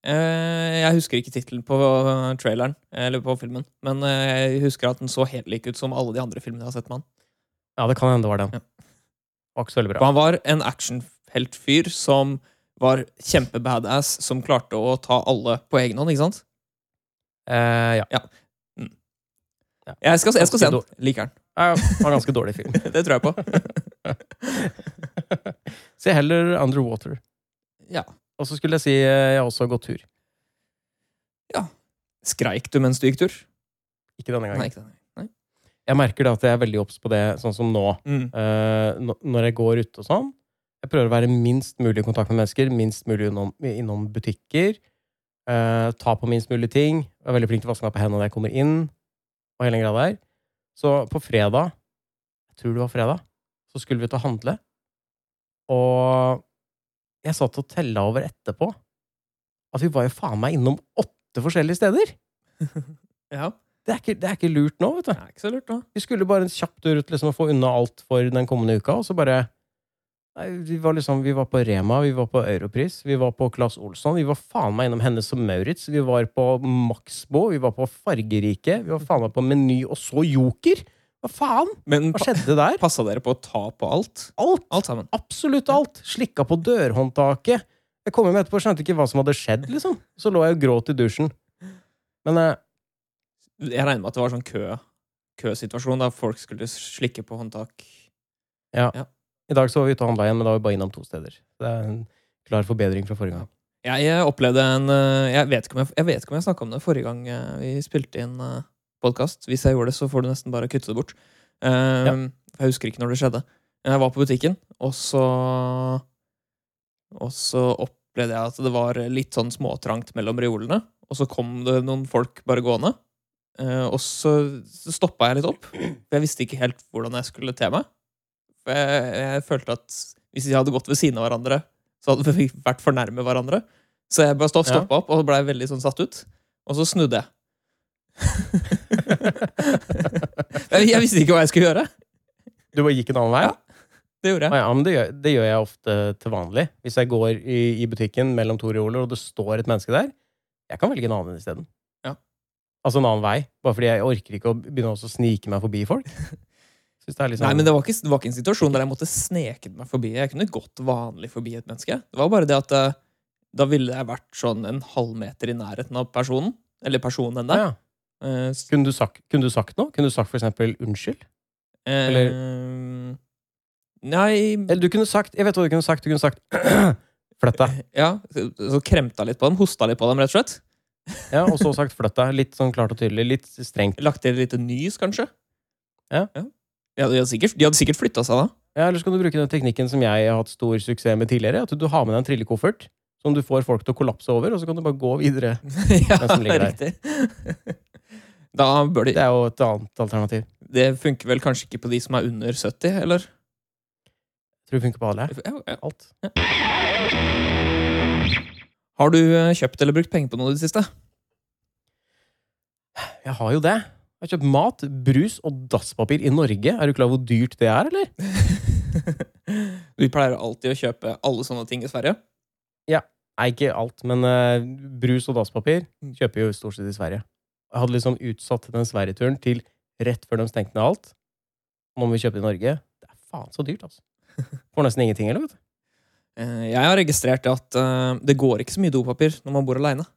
S2: Eh, Jeg husker ikke tittelen på eh, traileren, eller på filmen, men eh, jeg husker at den så helt lik ut som alle de andre filmene jeg har sett med han.
S1: Ja, det kan hende det var den.
S2: Ja.
S1: Var ikke så veldig
S2: For
S1: bra.
S2: han var en actionheltfyr som var kjempebadass, som klarte å ta alle på egen hånd, ikke sant?
S1: Eh, ja.
S2: Jeg skal, se- jeg skal se den. Liker den.
S1: Eh, var ganske dårlig film.
S2: <laughs> Det tror jeg på.
S1: <laughs>
S2: <laughs>
S1: Se heller Underwater.
S2: Ja.
S1: Og så skulle jeg si eh, jeg har også gått tur.
S2: Skreik du mens du gikk tur?
S1: Ikke denne gangen.
S2: Nei, ikke det. Nei.
S1: Jeg merker da at jeg er veldig obs på det, sånn som nå.
S2: Mm.
S1: Eh, nå- når jeg går ute og sånn. Jeg prøver å være minst mulig i kontakt med mennesker, minst mulig innom, innom butikker. eh, ta på minst mulig ting. Jeg er veldig flink til å vaske meg på hendene når jeg kommer inn. Og hele den greia der. Så på fredag, jeg tror det var fredag, så skulle vi ut og handle. Og jeg satt og tella over etterpå at vi var jo faen meg innom åtte forskjellige steder!
S2: <laughs> Ja.
S1: Det er ikke, det er ikke lurt nå, vet du.
S2: Det er ikke så lurt, da.
S1: Vi skulle bare en kjapp tur ut liksom, og få unna alt for den kommende uka, og så bare Nei, vi var liksom Vi var på Rema, vi var på Europris, vi var på Claes Olsson, vi var faen meg innom Hennes og Maurits, vi var på Maxbo, vi var på Fargerike, vi var faen meg på Meny, og så Joker! Hva faen?
S2: Men
S1: Hva
S2: pa
S1: skjedde der?
S2: passa dere på å ta på alt?
S1: Alt!
S2: Alt sammen.
S1: Absolutt alt! Slikka på dørhåndtaket. Jeg kom hjem etterpå og skjønte ikke hva som hadde skjedd, liksom. Så lå jeg og gråt i dusjen. Men eh,
S2: Jeg regner med at det var sånn kø køsituasjon, da folk skulle slikke på håndtak.
S1: i dag så var vi ute og handla igjen, men da var vi bare innom to steder. Det er en klar forbedring fra forrige gang.
S2: <laughs> Jeg eh, opplevde en eh, Jeg vet ikke om jeg, jeg, vet ikke om jeg snakka om det forrige gang eh, vi spilte inn podkast. Hvis jeg gjorde det, så får du nesten bare kutte det bort. Eh, Jeg husker ikke når det skjedde. Men Jeg var på butikken, og så Og så opplevde jeg at det var litt sånn småtrangt mellom reolene. Og så kom det noen folk bare gående. Eh, Og så stoppa jeg litt opp. For jeg visste ikke helt hvordan jeg skulle te meg. For jeg, jeg følte at hvis de hadde gått ved siden av hverandre, så hadde vi vært for nærme hverandre. Så jeg bare stopp,
S1: Ja.
S2: stoppa opp og blei veldig sånn satt ut. Og så snudde jeg. jeg. Jeg visste ikke hva jeg skulle gjøre.
S1: Du bare gikk en annen vei?
S2: Ja. Det gjorde
S1: Ah,
S2: jeg.
S1: ja, men det gjør, det gjør jeg ofte til vanlig. Hvis jeg går i, i butikken mellom to reoler, og det står et menneske der, jeg kan velge en annen isteden.
S2: Ja.
S1: Altså en annen vei. Bare fordi jeg orker ikke å begynne også å snike meg forbi
S2: <laughs>
S1: folk. Synes det er litt
S2: Nei,
S1: sånn-
S2: men det var, ikke, det var ikke en situasjon der jeg måtte sneke meg forbi. Jeg kunne gått vanlig forbi et menneske. Det var bare det at eh, da ville jeg vært sånn en halvmeter i nærheten av personen. Eller
S1: ja,
S2: personen der.
S1: ja.
S2: Eh, s-
S1: Kunne, du sagt, kunne du sagt noe? Kunne du sagt for eksempel unnskyld? Eller-
S2: eh, Nei
S1: Eller du kunne sagt Jeg vet hva du kunne sagt. Du kunne sagt <clears throat> Flytt
S2: <laughs>
S1: deg.
S2: Ja, så så kremta litt på dem. Hosta litt på dem, rett og slett.
S1: Ja, og så sagt flytt deg. Litt sånn klart og tydelig. Litt strengt.
S2: Lagt til et lite nys, kanskje.
S1: Ja.
S2: Ja, de hadde sikkert, de hadde sikkert flytta seg da.
S1: Ja, Eller så kan du bruke den teknikken som jeg har hatt stor suksess med tidligere. At du har med deg en trillekoffert som du får folk til å kollapse over, og så kan du bare gå videre.
S2: <laughs> ja,
S1: Den som
S2: det er
S1: ligger
S2: riktig. <laughs> da bør de
S1: Det er jo et annet alternativ.
S2: Det funker vel kanskje ikke på de som er under 70, eller?
S1: Tror det funker på alle.
S2: Ja, ja.
S1: Alt.
S2: Har du eh, kjøpt eller brukt penger på noe i det siste? <laughs>
S1: Jeg har jo det. Jeg har kjøpt mat, brus og dasspapir i Norge. Er du klar over hvor dyrt det er, eller?
S2: Vi pleier alltid å kjøpe alle sånne ting i Sverige.
S1: Nei, ikke alt, men eh, brus og dasspapir kjøper jeg jo stort sett i Sverige. Jeg hadde liksom utsatt den Sverige-turen til rett før de stengte ned alt. Nå må vi kjøpe det i Norge. Det er faen så dyrt, altså. Får nesten ingenting, eller, vet du.
S2: Eh, Jeg har registrert at eh, det går ikke så mye dopapir når man bor aleine.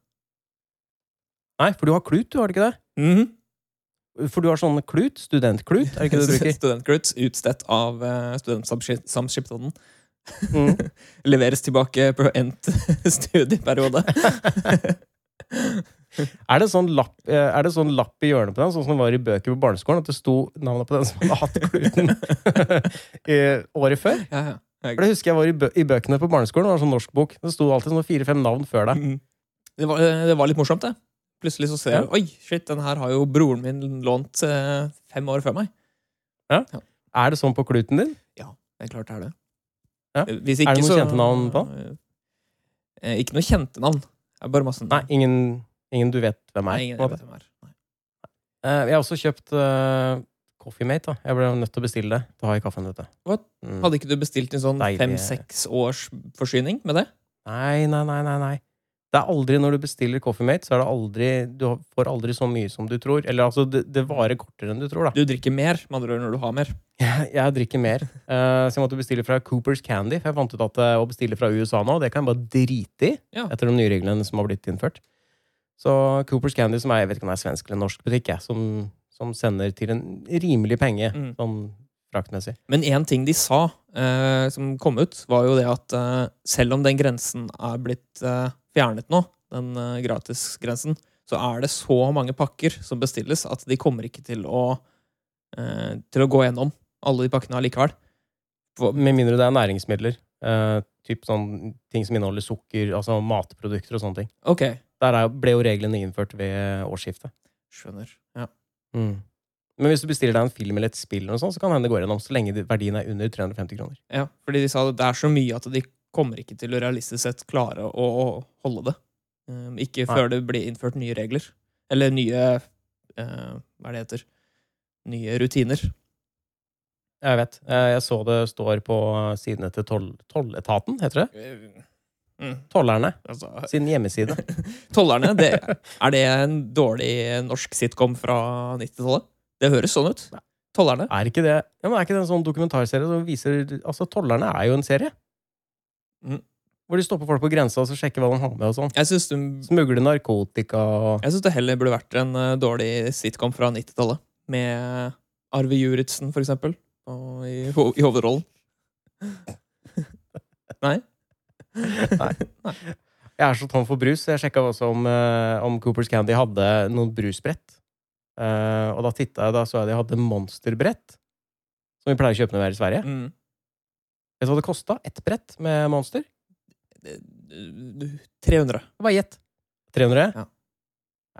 S1: Nei, for du har klut, du, har du ikke det?
S2: Mhm.
S1: For du har sånn klut, studentklut, er det
S2: <laughs>
S1: ikke det du bruker?
S2: Studentcruits utstedt av eh, Studentsamskipnaden
S1: Mm.
S2: leveres tilbake på endt <laughs> studieperiode.
S1: Er det, sånn lapp, eh, er det sånn lapp i hjørnet på den, sånn som det var i bøker på barneskolen, at det sto navnet på den som hadde hatt
S2: <laughs>
S1: kluten i året før?
S2: <laughs> Ja, ja. Jeg-
S1: For det husker jeg var i, bø i bøkene på barneskolen, det var sånn norskbok. Det sto alltid sånn fire-fem navn før deg.
S2: Mm. Det var, det var litt morsomt, det. Plutselig så ser jeg Oi, shit, den her har jo broren min lånt eh, fem år før meg.
S1: Er det sånn på kluten din?
S2: Det er klart det er det.
S1: Ja.
S2: Hvis
S1: Er det noen kjente navn på
S2: Eh, Ikke noe kjente navn. Det er bare masse
S1: Nei, ingen, ingen du vet hvem
S2: Nei,
S1: er.
S2: ingen
S1: på en
S2: vet
S1: måte.
S2: hvem er. Nei.
S1: Eh, Jeg har også kjøpt eh, Coffee Mate. da. Jeg ble nødt til å bestille det. Det har jeg i kaffen, vet du.
S2: What?
S1: Mm.
S2: Hadde ikke du bestilt en sånn
S1: Deilig.
S2: fem-seks års forsyning med det?
S1: Nei, nei, nei, nei, nei. Det er aldri når du bestiller Coffee Mate, så er det aldri Du har- får aldri så mye som du tror. Eller altså, det, det varer kortere enn du tror, da.
S2: Du drikker mer, med andre ord, når du har mer.
S1: Jeg, jeg drikker mer. Eh, så jeg måtte bestille fra Coopers Candy. For jeg fant ut at eh, å bestille fra USA nå, det kan jeg bare drite i.
S2: Ja.
S1: Etter de nye reglene som har blitt innført. Så Coopers Candy, som er jeg vet ikke om det er svensk eller norsk butikk, jeg, som, som sender til en rimelig penge
S2: Mm.
S1: sånn fraktmessig.
S2: Men én ting de sa, eh, som kom ut, var jo det at eh, selv om den grensen er blitt eh, fjernet nå, den eh, gratisgrensen, så er det så mange pakker som bestilles at de kommer ikke til å, eh, til å gå gjennom alle de pakkene allikevel.
S1: For- Med mindre det er næringsmidler. eh, typ sånn ting som inneholder sukker, altså matprodukter og sånne ting.
S2: Ok,
S1: Der er, ble jo reglene innført ved årsskiftet.
S2: skjønner. Ja.
S1: Mm. Men hvis du bestiller deg en film eller et spill, eller noe sånt, så kan det hende det går gjennom, så lenge det- verdien er under 350 kroner.
S2: ja, fordi de sa at det er så mye at de kommer ikke til å realistisk sett klare å, å holde det. Eh, ikke
S1: Nei.
S2: før det blir innført nye regler. Eller nye eh, Hva er det heter? Nye rutiner.
S1: Jeg vet. Eh, Jeg så det står på sidene til toll, tolletaten, heter det? Eh.
S2: Mm,
S1: Tollerne
S2: altså,
S1: sin hjemmeside.
S2: Tollerne, det, er det en dårlig norsk sitcom fra 90-tallet? Det høres sånn ut. Tollerne.
S1: <laughs> Er ikke det ja, men er ikke det en sånn dokumentarserie som viser Altså, Tollerne er jo en serie.
S2: Mm.
S1: Hvor de stopper folk på grensa og så sjekker hva de har med og sånn.
S2: Jeg syns det,
S1: Smugle narkotika og
S2: jeg synes det heller burde vært en eh, dårlig sitcom fra 90-tallet. Med Arve Juritzen, for eksempel, og i, ho i hovedrollen. <laughs> Nei?
S1: Nei. Jeg er så tom for brus, så jeg sjekka også om, eh, om Coopers Candy hadde noen brusbrett. Eh, og da titta jeg, da så jeg de hadde monsterbrett. Som vi pleier å kjøpe når vi er i Sverige.
S2: Mm.
S1: Vet du hva det kosta? Ett brett med monster?
S2: Eh, 300.
S1: Det var gjett. 300?
S2: Ja.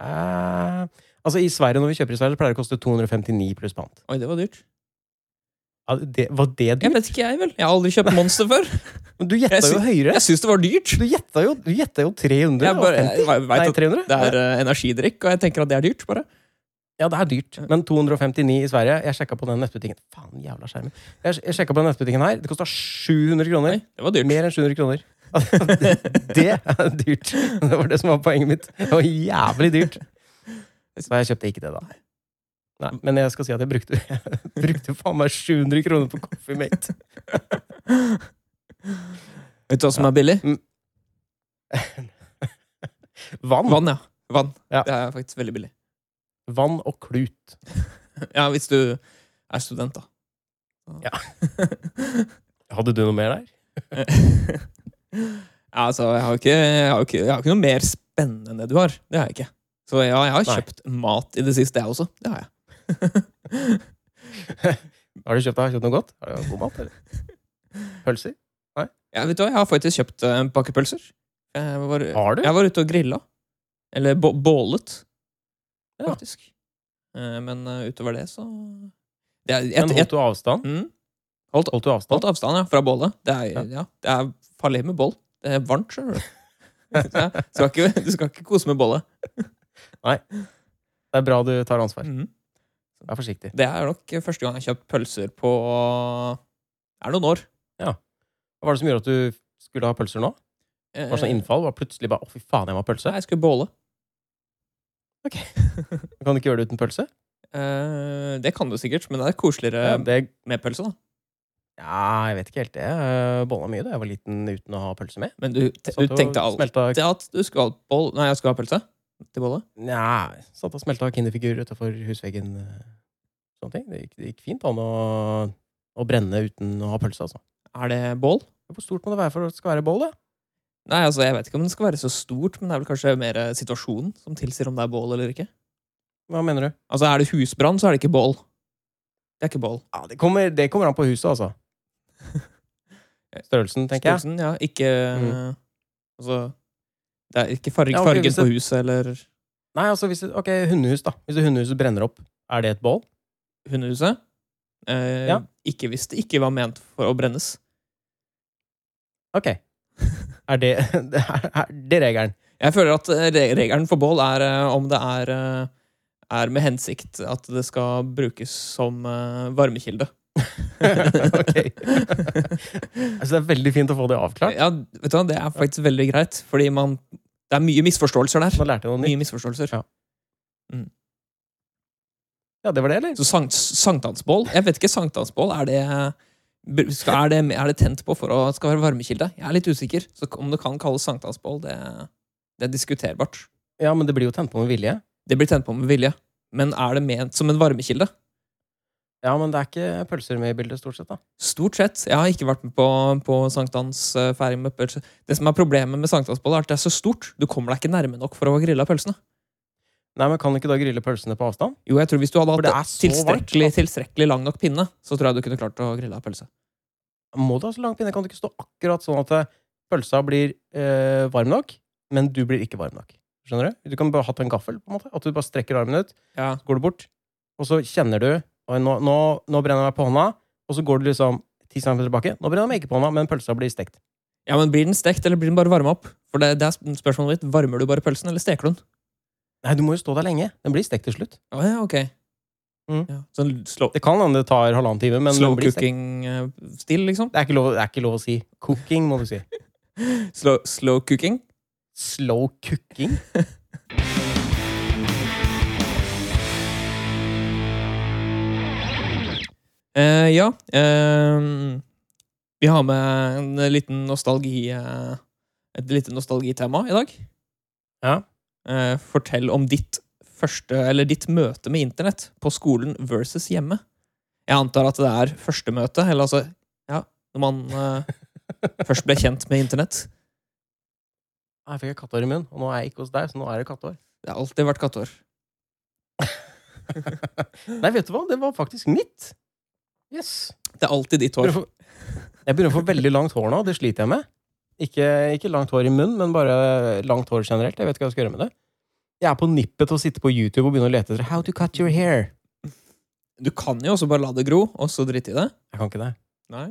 S1: Eh, altså I Sverige, når vi kjøper i Sverige, så pleier det å koste 259 pluss pant.
S2: Oi, det var dyrt.
S1: Ja, det, var det
S2: Jeg
S1: dyrt?
S2: vet ikke, jeg vel. Jeg har aldri kjøpt Monster før.
S1: Men du gjetta
S2: Jeg
S1: jo høyere!
S2: Jeg syns det var dyrt.
S1: Du gjetta jo, du gjetta jo 300.
S2: Jeg bare, jeg, jeg vet
S1: Nei,
S2: at
S1: 300?
S2: det er eh, energidrikk, og jeg tenker at det er dyrt, bare.
S1: Ja, det er dyrt. Men 259 i Sverige. Jeg sjekka på den nettbutikken. Faen, jævla skjermen. Jeg, jeg sjekket på den nettbutikken her. Det kosta 700 kroner.
S2: Nei, det var dyrt.
S1: Mer enn 700 kroner. <laughs> det er dyrt. Det var det som var poenget mitt. Det var jævlig dyrt. Så jeg kjøpte ikke det, da. Nei, men jeg skal si at jeg brukte, <laughs> jeg brukte faen meg 700 kroner på Coffee Mate.
S2: Vet du hva som er billig?
S1: Vann.
S2: Vann, ja. Vann.
S1: Ja.
S2: Det er faktisk veldig billig.
S1: Vann og klut.
S2: Ja, hvis du er student, da.
S1: Hadde du noe mer der?
S2: <laughs> Ja, altså, jeg har, ikke, jeg, har ikke, jeg har ikke noe mer spennende enn det du har. Det har jeg ikke. Så ja, jeg har
S1: Nei.
S2: kjøpt mat i det siste, jeg også. Det har jeg.
S1: Har du kjøpt, har du kjøpt noe godt? Har du god mat, eller? <laughs> Pølser?
S2: <laughs> Ja, vet du hva, jeg har faktisk kjøpt eh, en pakke pølser. Eh, Jeg var,
S1: Har du?
S2: jeg var ute og grilla. Eller bå- bålet,
S1: Ja.
S2: faktisk. Eh, Men eh, utover det, så det er,
S1: Men
S2: et,
S1: holdt du avstand?
S2: mm,
S1: Holdt du avstand?
S2: Holdt avstand ja, fra bålet. Det er,
S1: Ja.
S2: ja. det er farlig med bål. Det er varmt, skjønner du. Så jeg skal ikke, du skal ikke kose med bålet.
S1: Det er bra du tar ansvar.
S2: Mhm.
S1: Vær forsiktig.
S2: Det er nok første gang jeg har kjøpt pølser på Er det noen år.
S1: Hva var det som gjorde at du skulle ha pølser nå?
S2: Eh,
S1: Var det sånn innfall? Var det plutselig bare 'Å, fy faen, jeg må ha pølse'?
S2: Nei, jeg skulle båle.
S1: Kan du ikke gjøre det uten pølse?
S2: Eh, det kan du sikkert, men det er koseligere
S1: Ja, det,
S2: med pølse, da.
S1: Ja, jeg vet ikke helt det. Jeg bolla mye da jeg var liten uten å ha pølse med.
S2: Men du, te,
S1: Satt
S2: du
S1: og
S2: tenkte alltid
S1: smelta,
S2: at du skulle ha boll... Nei, jeg skulle ha pølse til bolle.
S1: Nja, satt og smelta kinderfigurer utafor husveggen. eh, Sånne ting. Det gikk, det gikk fint an å, å brenne uten å ha pølse, altså.
S2: Er det bål?
S1: Hvor stort må det være for at det skal være bål, da?
S2: Nei, altså, jeg vet ikke om det skal være så stort, men det er vel kanskje mer eh, situasjonen som tilsier om det er bål eller ikke.
S1: Hva mener du?
S2: Altså, er det husbrann, så er det ikke bål. Det er ikke bål.
S1: Ja, det, kommer, det kommer an på huset,
S2: <laughs>
S1: altså. Størrelsen, tenker jeg.
S2: Størrelsen, ja. Ikke
S1: Mm.
S2: Altså Det er ikke farg,
S1: Ja, ok,
S2: fargen
S1: hvis det-
S2: på huset eller
S1: Nei, altså, hvis det, ok, hundehus, da. Hvis det hundehuset brenner opp, er det et bål?
S2: hundehuset. Eh,
S1: Ja.
S2: Ikke hvis det ikke var ment for å brennes.
S1: Ok. Er det <laughs> det er, er det regelen? <laughs>
S2: Jeg føler at eh, re- regelen for bål er eh, om det er, eh, er med hensikt at det skal brukes som eh, varmekilde. <laughs>
S1: ok. altså, det er veldig fint å få det avklart.
S2: Ja, vet du hva, det er faktisk veldig greit, fordi man Det er mye misforståelser der.
S1: Nå lærte jeg noe nytt.
S2: Mye misforståelser.
S1: Ja. Ja, det var det, eller?
S2: Så sankt, sankthansbål Jeg vet ikke, sankthansbål, er det br- skal- er det, er det tent på for å skal være varmekilde? Jeg er litt usikker. Så om det kan kalles sankthansbål, det, det er diskuterbart.
S1: Ja, men det blir jo tent på med vilje.
S2: Det blir tent på med vilje. Men er det ment som en varmekilde?
S1: Ja, men det er ikke pølser med i bildet, stort sett. da.
S2: Stort sett. Jeg har ikke vært med på, på sankthansfeiring med pølse. Det som er problemet med sankthansbål, er at det er så stort. Du kommer deg ikke nærme nok for å grille pølsene.
S1: Nei, men Kan du ikke da grille pølsene på avstand?
S2: Jo, jeg tror hvis du hadde
S1: For det
S2: hatt
S1: er så
S2: tilstrekkelig,
S1: varmt,
S2: tilstrekkelig lang nok pinne, så tror jeg du kunne klart å grille av pølse.
S1: Må du ha så lang pinne? Kan du ikke stå akkurat sånn at eh, pølsa blir eh, varm nok, men du blir ikke varm nok? Skjønner Du Du kan bare ha hatt en gaffel. på en måte. At du bare strekker armen ut,
S2: Ja.
S1: så går du bort, og så kjenner du Oi, nå, nå, nå brenner jeg meg på hånda, og så går du liksom 10 cm tilbake. Nå brenner jeg meg ikke på hånda, men pølsa blir stekt.
S2: Ja, men Blir den stekt, eller blir den bare varma opp? For det, det er sp- spørsmålet mitt. Varmer du bare pølsen, eller steker du den?
S1: Nei, du må jo stå der lenge. Den blir stekt til slutt.
S2: Å ja, ok.
S1: Mm.
S2: Ja, sånn slow,
S1: Det kan hende det tar halvannen time, men
S2: slow
S1: den blir stekt.
S2: cooking-stil, liksom?
S1: Det er, ikke lov, det er ikke lov å si. Cooking, må du si.
S2: Slow, slow cooking?
S1: Slow cooking?
S2: Eh, ja. Eh, vi har med en liten nostalgi eh, et lite nostalgitema i dag.
S1: Ja.
S2: Eh, fortell om ditt første, eller ditt møte med internett på skolen versus hjemme. Jeg antar at det er første møte, eller altså Ja, når man eh, først ble kjent med internett.
S1: Her fikk jeg kattehår i munnen, og nå er jeg ikke hos deg, så nå er det kattehår.
S2: Det har alltid vært kattehår.
S1: <laughs> Nei, vet du hva? Det var faktisk mitt. Yes.
S2: Det er alltid ditt
S1: Jeg begynner å
S2: hår.
S1: få, jeg begynner å få veldig langt hår nå, det sliter jeg med. Ikke, ikke langt hår i munnen, men bare langt hår generelt. Jeg vet ikke hva jeg skal gjøre med det. Jeg er på nippet til å sitte på YouTube og begynne å lete etter How to cut your hair.
S2: Du kan jo også bare la det gro, og så drite i det.
S1: Jeg kan ikke det.
S2: Nei.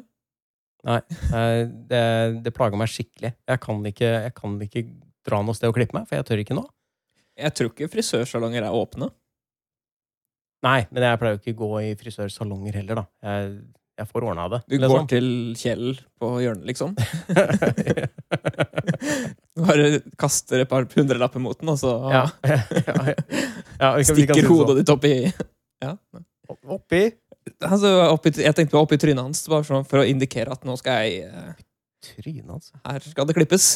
S1: Eh, Det, det plager meg skikkelig. Jeg kan, ikke, jeg kan ikke dra noe sted og klippe meg, for jeg tør ikke nå.
S2: Jeg tror ikke frisørsalonger er åpne.
S1: Nei, men jeg pleier jo ikke å gå i frisørsalonger heller, da. Jeg, jeg får ordna det. liksom.
S2: Du går til Kjell på hjørnet, liksom. <laughs> Bare kaster et par hundrelapper mot den, og så
S1: <laughs>
S2: <laughs>
S1: ja. ja, ja, ja, vi kan- vi kan si
S2: stikker
S1: det sånn.
S2: hodet ditt opp i ja.
S1: oppi
S2: altså, opp i- Jeg tenkte opp i trynet hans, bare sånn for å indikere at nå skal jeg eh,
S1: trynet hans.
S2: Her skal det klippes.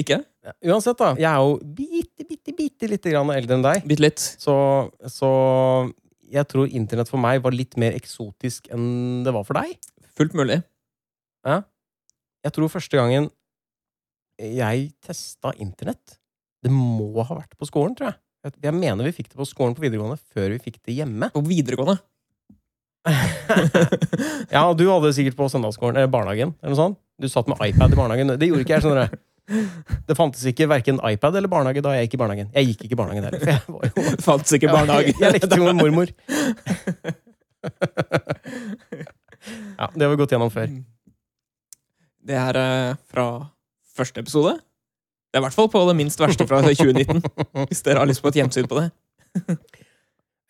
S2: Ikke?
S1: Ja. Uansett, da. Jeg er jo bitte, bitte, bitte lite grann eldre enn deg.
S2: Bitte litt.
S1: Så, så jeg tror internett for meg var litt mer eksotisk enn det var for deg.
S2: Fullt mulig.
S1: Jeg tror første gangen jeg testa internett Det må ha vært på skolen, tror jeg. Jeg- Jeg mener vi fikk det på skolen på videregående før vi fikk det hjemme. <laughs>
S2: På videregående.
S1: Ja, og du hadde det sikkert på søndagsskolen, eh, barnehagen, eller noe sånt. Du satt med iPad i barnehagen. Det gjorde ikke jeg, skjønner du. Det fantes ikke verken iPad eller barnehage da jeg gikk i barnehagen. Jeg gikk ikke i barnehagen heller, for jeg var jo
S2: Fantes ikke barnehage.
S1: Jeg, <laughs> jeg lekte jo med
S2: <laughs>
S1: mormor. <laughs> Ja, det har vi gått gjennom før.
S2: Det er eh, fra første episode. Det er i hvert fall på det minst verste fra
S1: <laughs>
S2: 2019. Hvis dere har lyst på et hjemsyn på det.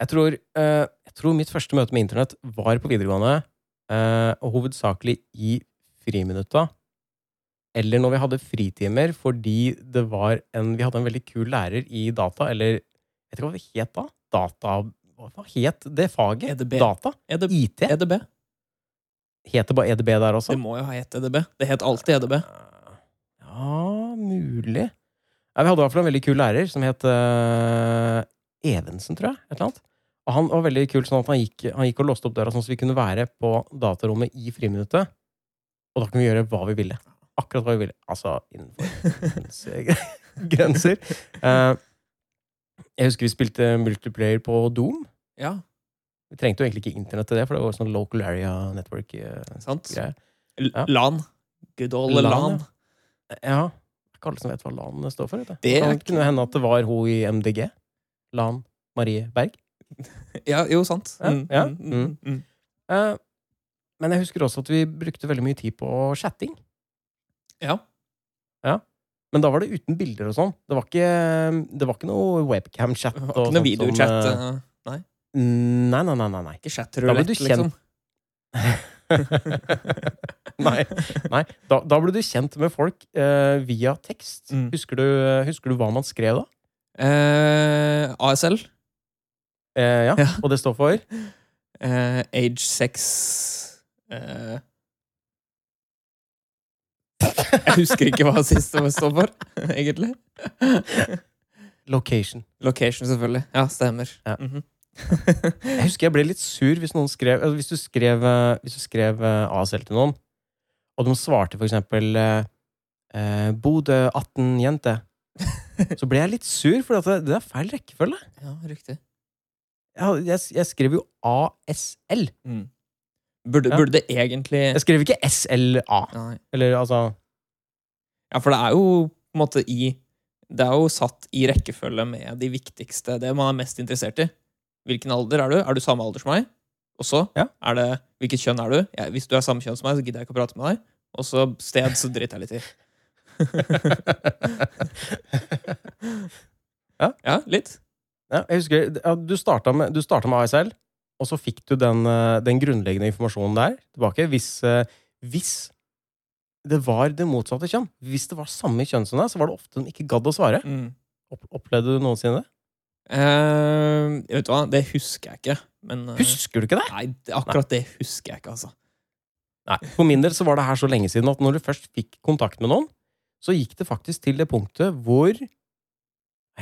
S1: Jeg tror, eh, jeg tror mitt første møte med internett var på videregående, eh, og hovedsakelig i friminutta. Eller når vi hadde fritimer, fordi det var en, vi hadde en veldig kul lærer i data, eller jeg vet ikke hva det het da?
S2: E
S1: Data Hva het det faget?
S2: EDB.
S1: Data?
S2: EDB.
S1: IT?
S2: EDB.
S1: Het det bare EDB der også?
S2: E Det må jo ha hett EDB. Det het alltid E EDB.
S1: Ja, mulig. Ja, vi hadde i hvert fall en veldig kul lærer som het eh, Evensen, tror jeg. Et eller annet. Og han var veldig kul sånn at han gikk, han gikk og låste opp døra sånn at vi kunne være på datarommet i friminuttet. Og da kunne vi gjøre hva vi ville. Akkurat hva vi ville. Altså innenfor ens grenser. Eh, jeg husker vi spilte multiplayer på Doom.
S2: Ja,
S1: Vi trengte jo egentlig ikke internett til det, for det var sånn local area network. eh,
S2: sant?
S1: Greier.
S2: L-
S1: Ja.
S2: LAN. Good old
S1: LAN,
S2: LAN.
S1: ja. Ja. Det er ikke alle som vet hva LAN står for. Vet du.
S2: Det er
S1: kan kunne hende at det var hun i MDG. LAN Marie Berg.
S2: Ja, jo, sant.
S1: Ja, ja. Mm.
S2: mm.
S1: Eh, men jeg husker også at vi brukte veldig mye tid på chatting.
S2: Ja.
S1: Men da var det uten bilder og sånn. Det var ikke, det var ikke noe webcam-chat.
S2: Det
S1: og
S2: var Ikke
S1: sånt
S2: noe videochat.
S1: som, eh,
S2: eh,
S1: Nei, nei, nei. nei,
S2: <laughs>
S1: nei.
S2: Ikke
S1: Da ble
S2: chatrulett,
S1: du
S2: liksom.
S1: kjent. <laughs> nei. nei. Da, da ble du kjent med folk eh, via tekst.
S2: Mm.
S1: Husker, du, husker du hva man skrev da?
S2: <laughs> Eh, ASL.
S1: Eh, ja.
S2: Ja.
S1: Og det står for
S2: Eh, age sex eh. <laughs> Jeg husker ikke hva siste var står for, <laughs> egentlig.
S1: location.
S2: Location, selvfølgelig. Ja, stemmer.
S1: Ja.
S2: Mhm. <laughs>
S1: Jeg husker jeg ble litt sur hvis noen skrev altså, Hvis du skrev, eh, hvis du skrev eh, ASL til noen, og de svarte for eksempel eh, eh, Bodø 18 jente, så ble jeg litt sur, for det, det er feil rekkefølge.
S2: ja, riktig.
S1: Jeg, jeg, jeg skrev jo ASL.
S2: Mm. Burde,
S1: Ja.
S2: burde det egentlig
S1: Jeg skrev ikke SLA.
S2: Nei.
S1: Eller altså
S2: Ja, for det er jo på en måte i Det er jo satt i rekkefølge med de viktigste Det man er mest interessert i. Hvilken alder er du? Er du samme alder som meg? Og så
S1: Ja.
S2: er det Hvilket kjønn er du? Ja, hvis du er samme kjønn som meg, så gidder jeg ikke å prate med deg. Og så sted, så driter jeg litt i. Ja, litt.
S1: ja, Jeg husker ja, Du starta med, du starta med ASL, og så fikk du den, eh, den grunnleggende informasjonen der tilbake. Hvis, eh, hvis det var det motsatte kjønn, hvis det var samme kjønn som deg, så var det ofte de ikke gadd å svare.
S2: Mm.
S1: Opp, opplevde du noensinne det?
S2: Eh, vet du hva, det husker jeg ikke. Men eh,
S1: Husker du ikke det?
S2: Nei, det- akkurat det husker jeg ikke, altså.
S1: Nei, For min del så var det her så lenge siden at når du først fikk kontakt med noen, så gikk det faktisk til det punktet hvor Nei,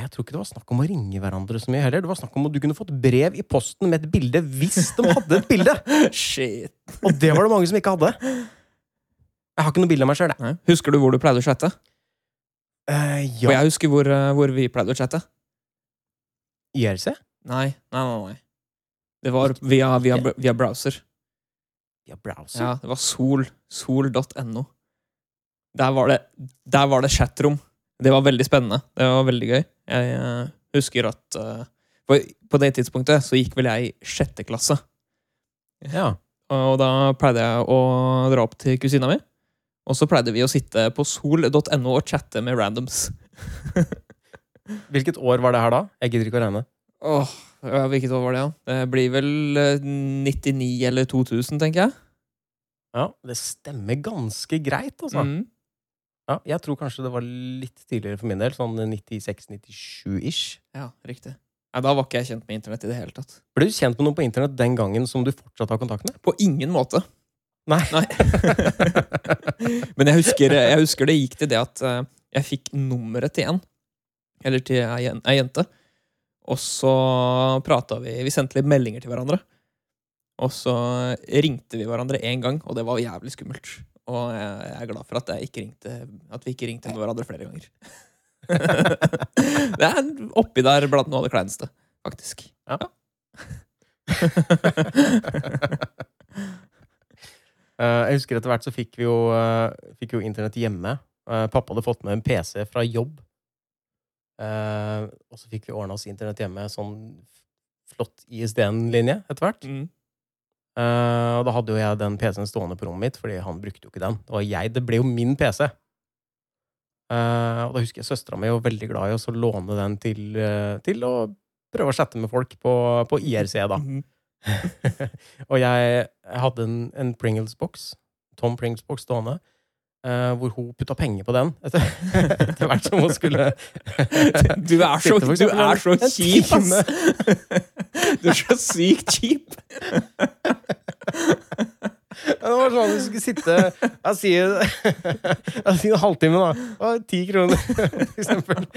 S1: Jeg tror ikke det var snakk om å ringe hverandre så mye heller. Det var snakk om at du kunne fått brev i posten med et bilde hvis de hadde et bilde!
S2: Shit.
S1: Og det var det mange som ikke hadde. Jeg har ikke noe bilde av meg sjøl, jeg.
S2: Nei. Husker du hvor du pleide å chatte?
S1: Eh,
S2: For
S1: ja.
S2: jeg husker hvor, eh, hvor vi pleide å chatte.
S1: IRC?
S2: Nei, nei, nei. nei. Det var via, via,
S1: Ja.
S2: via browser.
S1: Ja, browser.
S2: Ja, det var sol. Sol.no. Der var det, der var det chatrom. Det var veldig spennende. Det var veldig gøy. Jeg eh, husker at eh, på, på det tidspunktet så gikk vel jeg i sjette klasse.
S1: Ja.
S2: Og da pleide jeg å dra opp til kusina mi. Og så pleide vi å sitte på sol.no og chatte med randoms.
S1: Hvilket år var det her da? Jeg gidder ikke å regne.
S2: Åh, ja, Hvilket år var det, da? Det blir vel eh, 99 eller 2000, tenker jeg.
S1: Ja, Det stemmer ganske greit, altså.
S2: Mm.
S1: Ja, jeg tror kanskje det var litt tidligere for min del. Sånn 96-97-ish.
S2: Ja, riktig. Nei, da var ikke jeg kjent med internett i det hele tatt.
S1: Ble du kjent med noen på internett den gangen som du fortsatt har kontakt med?
S2: På ingen måte.
S1: Nei.
S2: Men jeg husker, jeg husker det gikk til det at eh, jeg fikk nummeret til en. Eller til ei jen- ei jente. Og så prata vi Vi sendte litt meldinger til hverandre. Og så ringte vi hverandre én gang, og det var jævlig skummelt. Og jeg jeg er glad for at, jeg ikke ringte, at vi ikke ringte med hverandre flere ganger. det er oppi der blant noe av det kleineste, faktisk.
S1: Ja. Eh, jeg husker etter hvert så fikk vi jo, eh, fikk jo internett hjemme. Eh, pappa hadde fått med en PC fra jobb. Eh, og så fikk vi ordna oss internett hjemme, sånn flott ISDN-linje etter hvert.
S2: Mm.
S1: Eh, og da hadde jo jeg den PC-en stående på rommet mitt, fordi han brukte jo ikke den. Det var jeg, det ble jo min PC. Eh, og da husker jeg søstera mi var veldig glad i å så låne den til, eh, til å prøve å chatte med folk på, på IRC, da.
S2: Mhm.
S1: <laughs> og jeg, jeg hadde en, en Pringles-boks, Tom Pringles-boks stående, eh, hvor hun putta penger på den <laughs> etter, etter hvert som hun
S2: <laughs>
S1: skulle
S2: Du er så,
S1: Sitte for
S2: du
S1: eksempel
S2: er så
S1: en- en
S2: kjip,
S1: time. <laughs>
S2: ass! Du er så sykt kjip!
S1: <laughs> Det var sånn at du skulle sitte Jeg sier, jeg sier en halvtime, <laughs> da. Å, Ti kroner, <laughs> for eksempel. <laughs>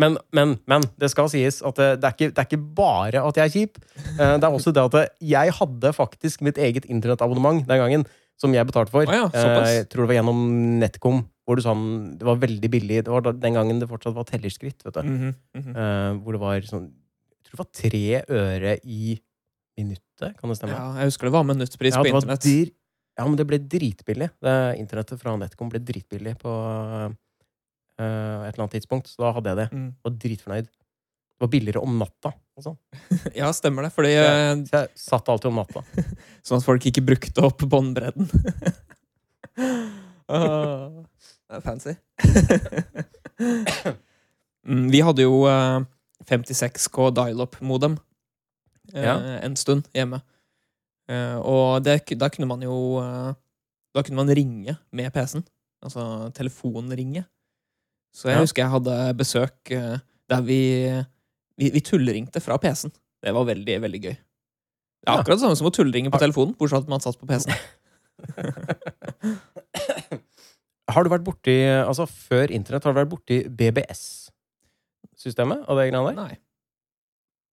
S1: Men, men, men det skal sies at det, det, er ikke, det er ikke bare at jeg er kjip. Eh, Det er også det at jeg hadde faktisk mitt eget internettabonnement den gangen. Som jeg betalte for.
S2: Å ja,
S1: Eh,
S2: såpass.
S1: jeg tror det var gjennom Netcom. Hvor du sånn, det var veldig billig. Det var da- den gangen det fortsatt var tellerskritt. vet du.
S2: Mhm, mhm.
S1: Eh, hvor det var sånn Jeg tror det var tre øre i minuttet, kan det stemme?
S2: Ja, jeg husker det var minuttpris
S1: Ja,
S2: på
S1: det var
S2: internett.
S1: dyr- ja, men det ble dritbillig. Det, internettet fra Netcom ble dritbillig på eh, et eller annet tidspunkt. Så da hadde jeg det.
S2: Mm.
S1: Var dritfornøyd. Det var billigere om natta. Og sånn.
S2: Ja, stemmer det. Fordi,
S1: Ja.
S2: eh,
S1: så jeg satt alltid om
S2: <laughs>
S1: natta.
S2: Sånn at folk ikke brukte opp båndbredden. Ah, det er fancy. <coughs> Mm, Vi hadde jo eh, 56K dial-up-modem eh,
S1: Ja.
S2: en stund hjemme. Eh, Og det, ku- da kunne man jo eh, Da kunne man ringe med PC-en. Altså telefonringe. Så jeg
S1: Ja.
S2: husker jeg hadde besøk eh, der vi, vi, vi tulleringte fra PC-en. Det var veldig, veldig gøy. Det
S1: Ja.
S2: er akkurat det samme som å tullringe på
S1: Har-
S2: telefonen, bortsett fra at man satt på PC-en.
S1: Har du vært borti Altså, før internett, har du vært borti BBS-systemet og det greiene der?
S2: Nei.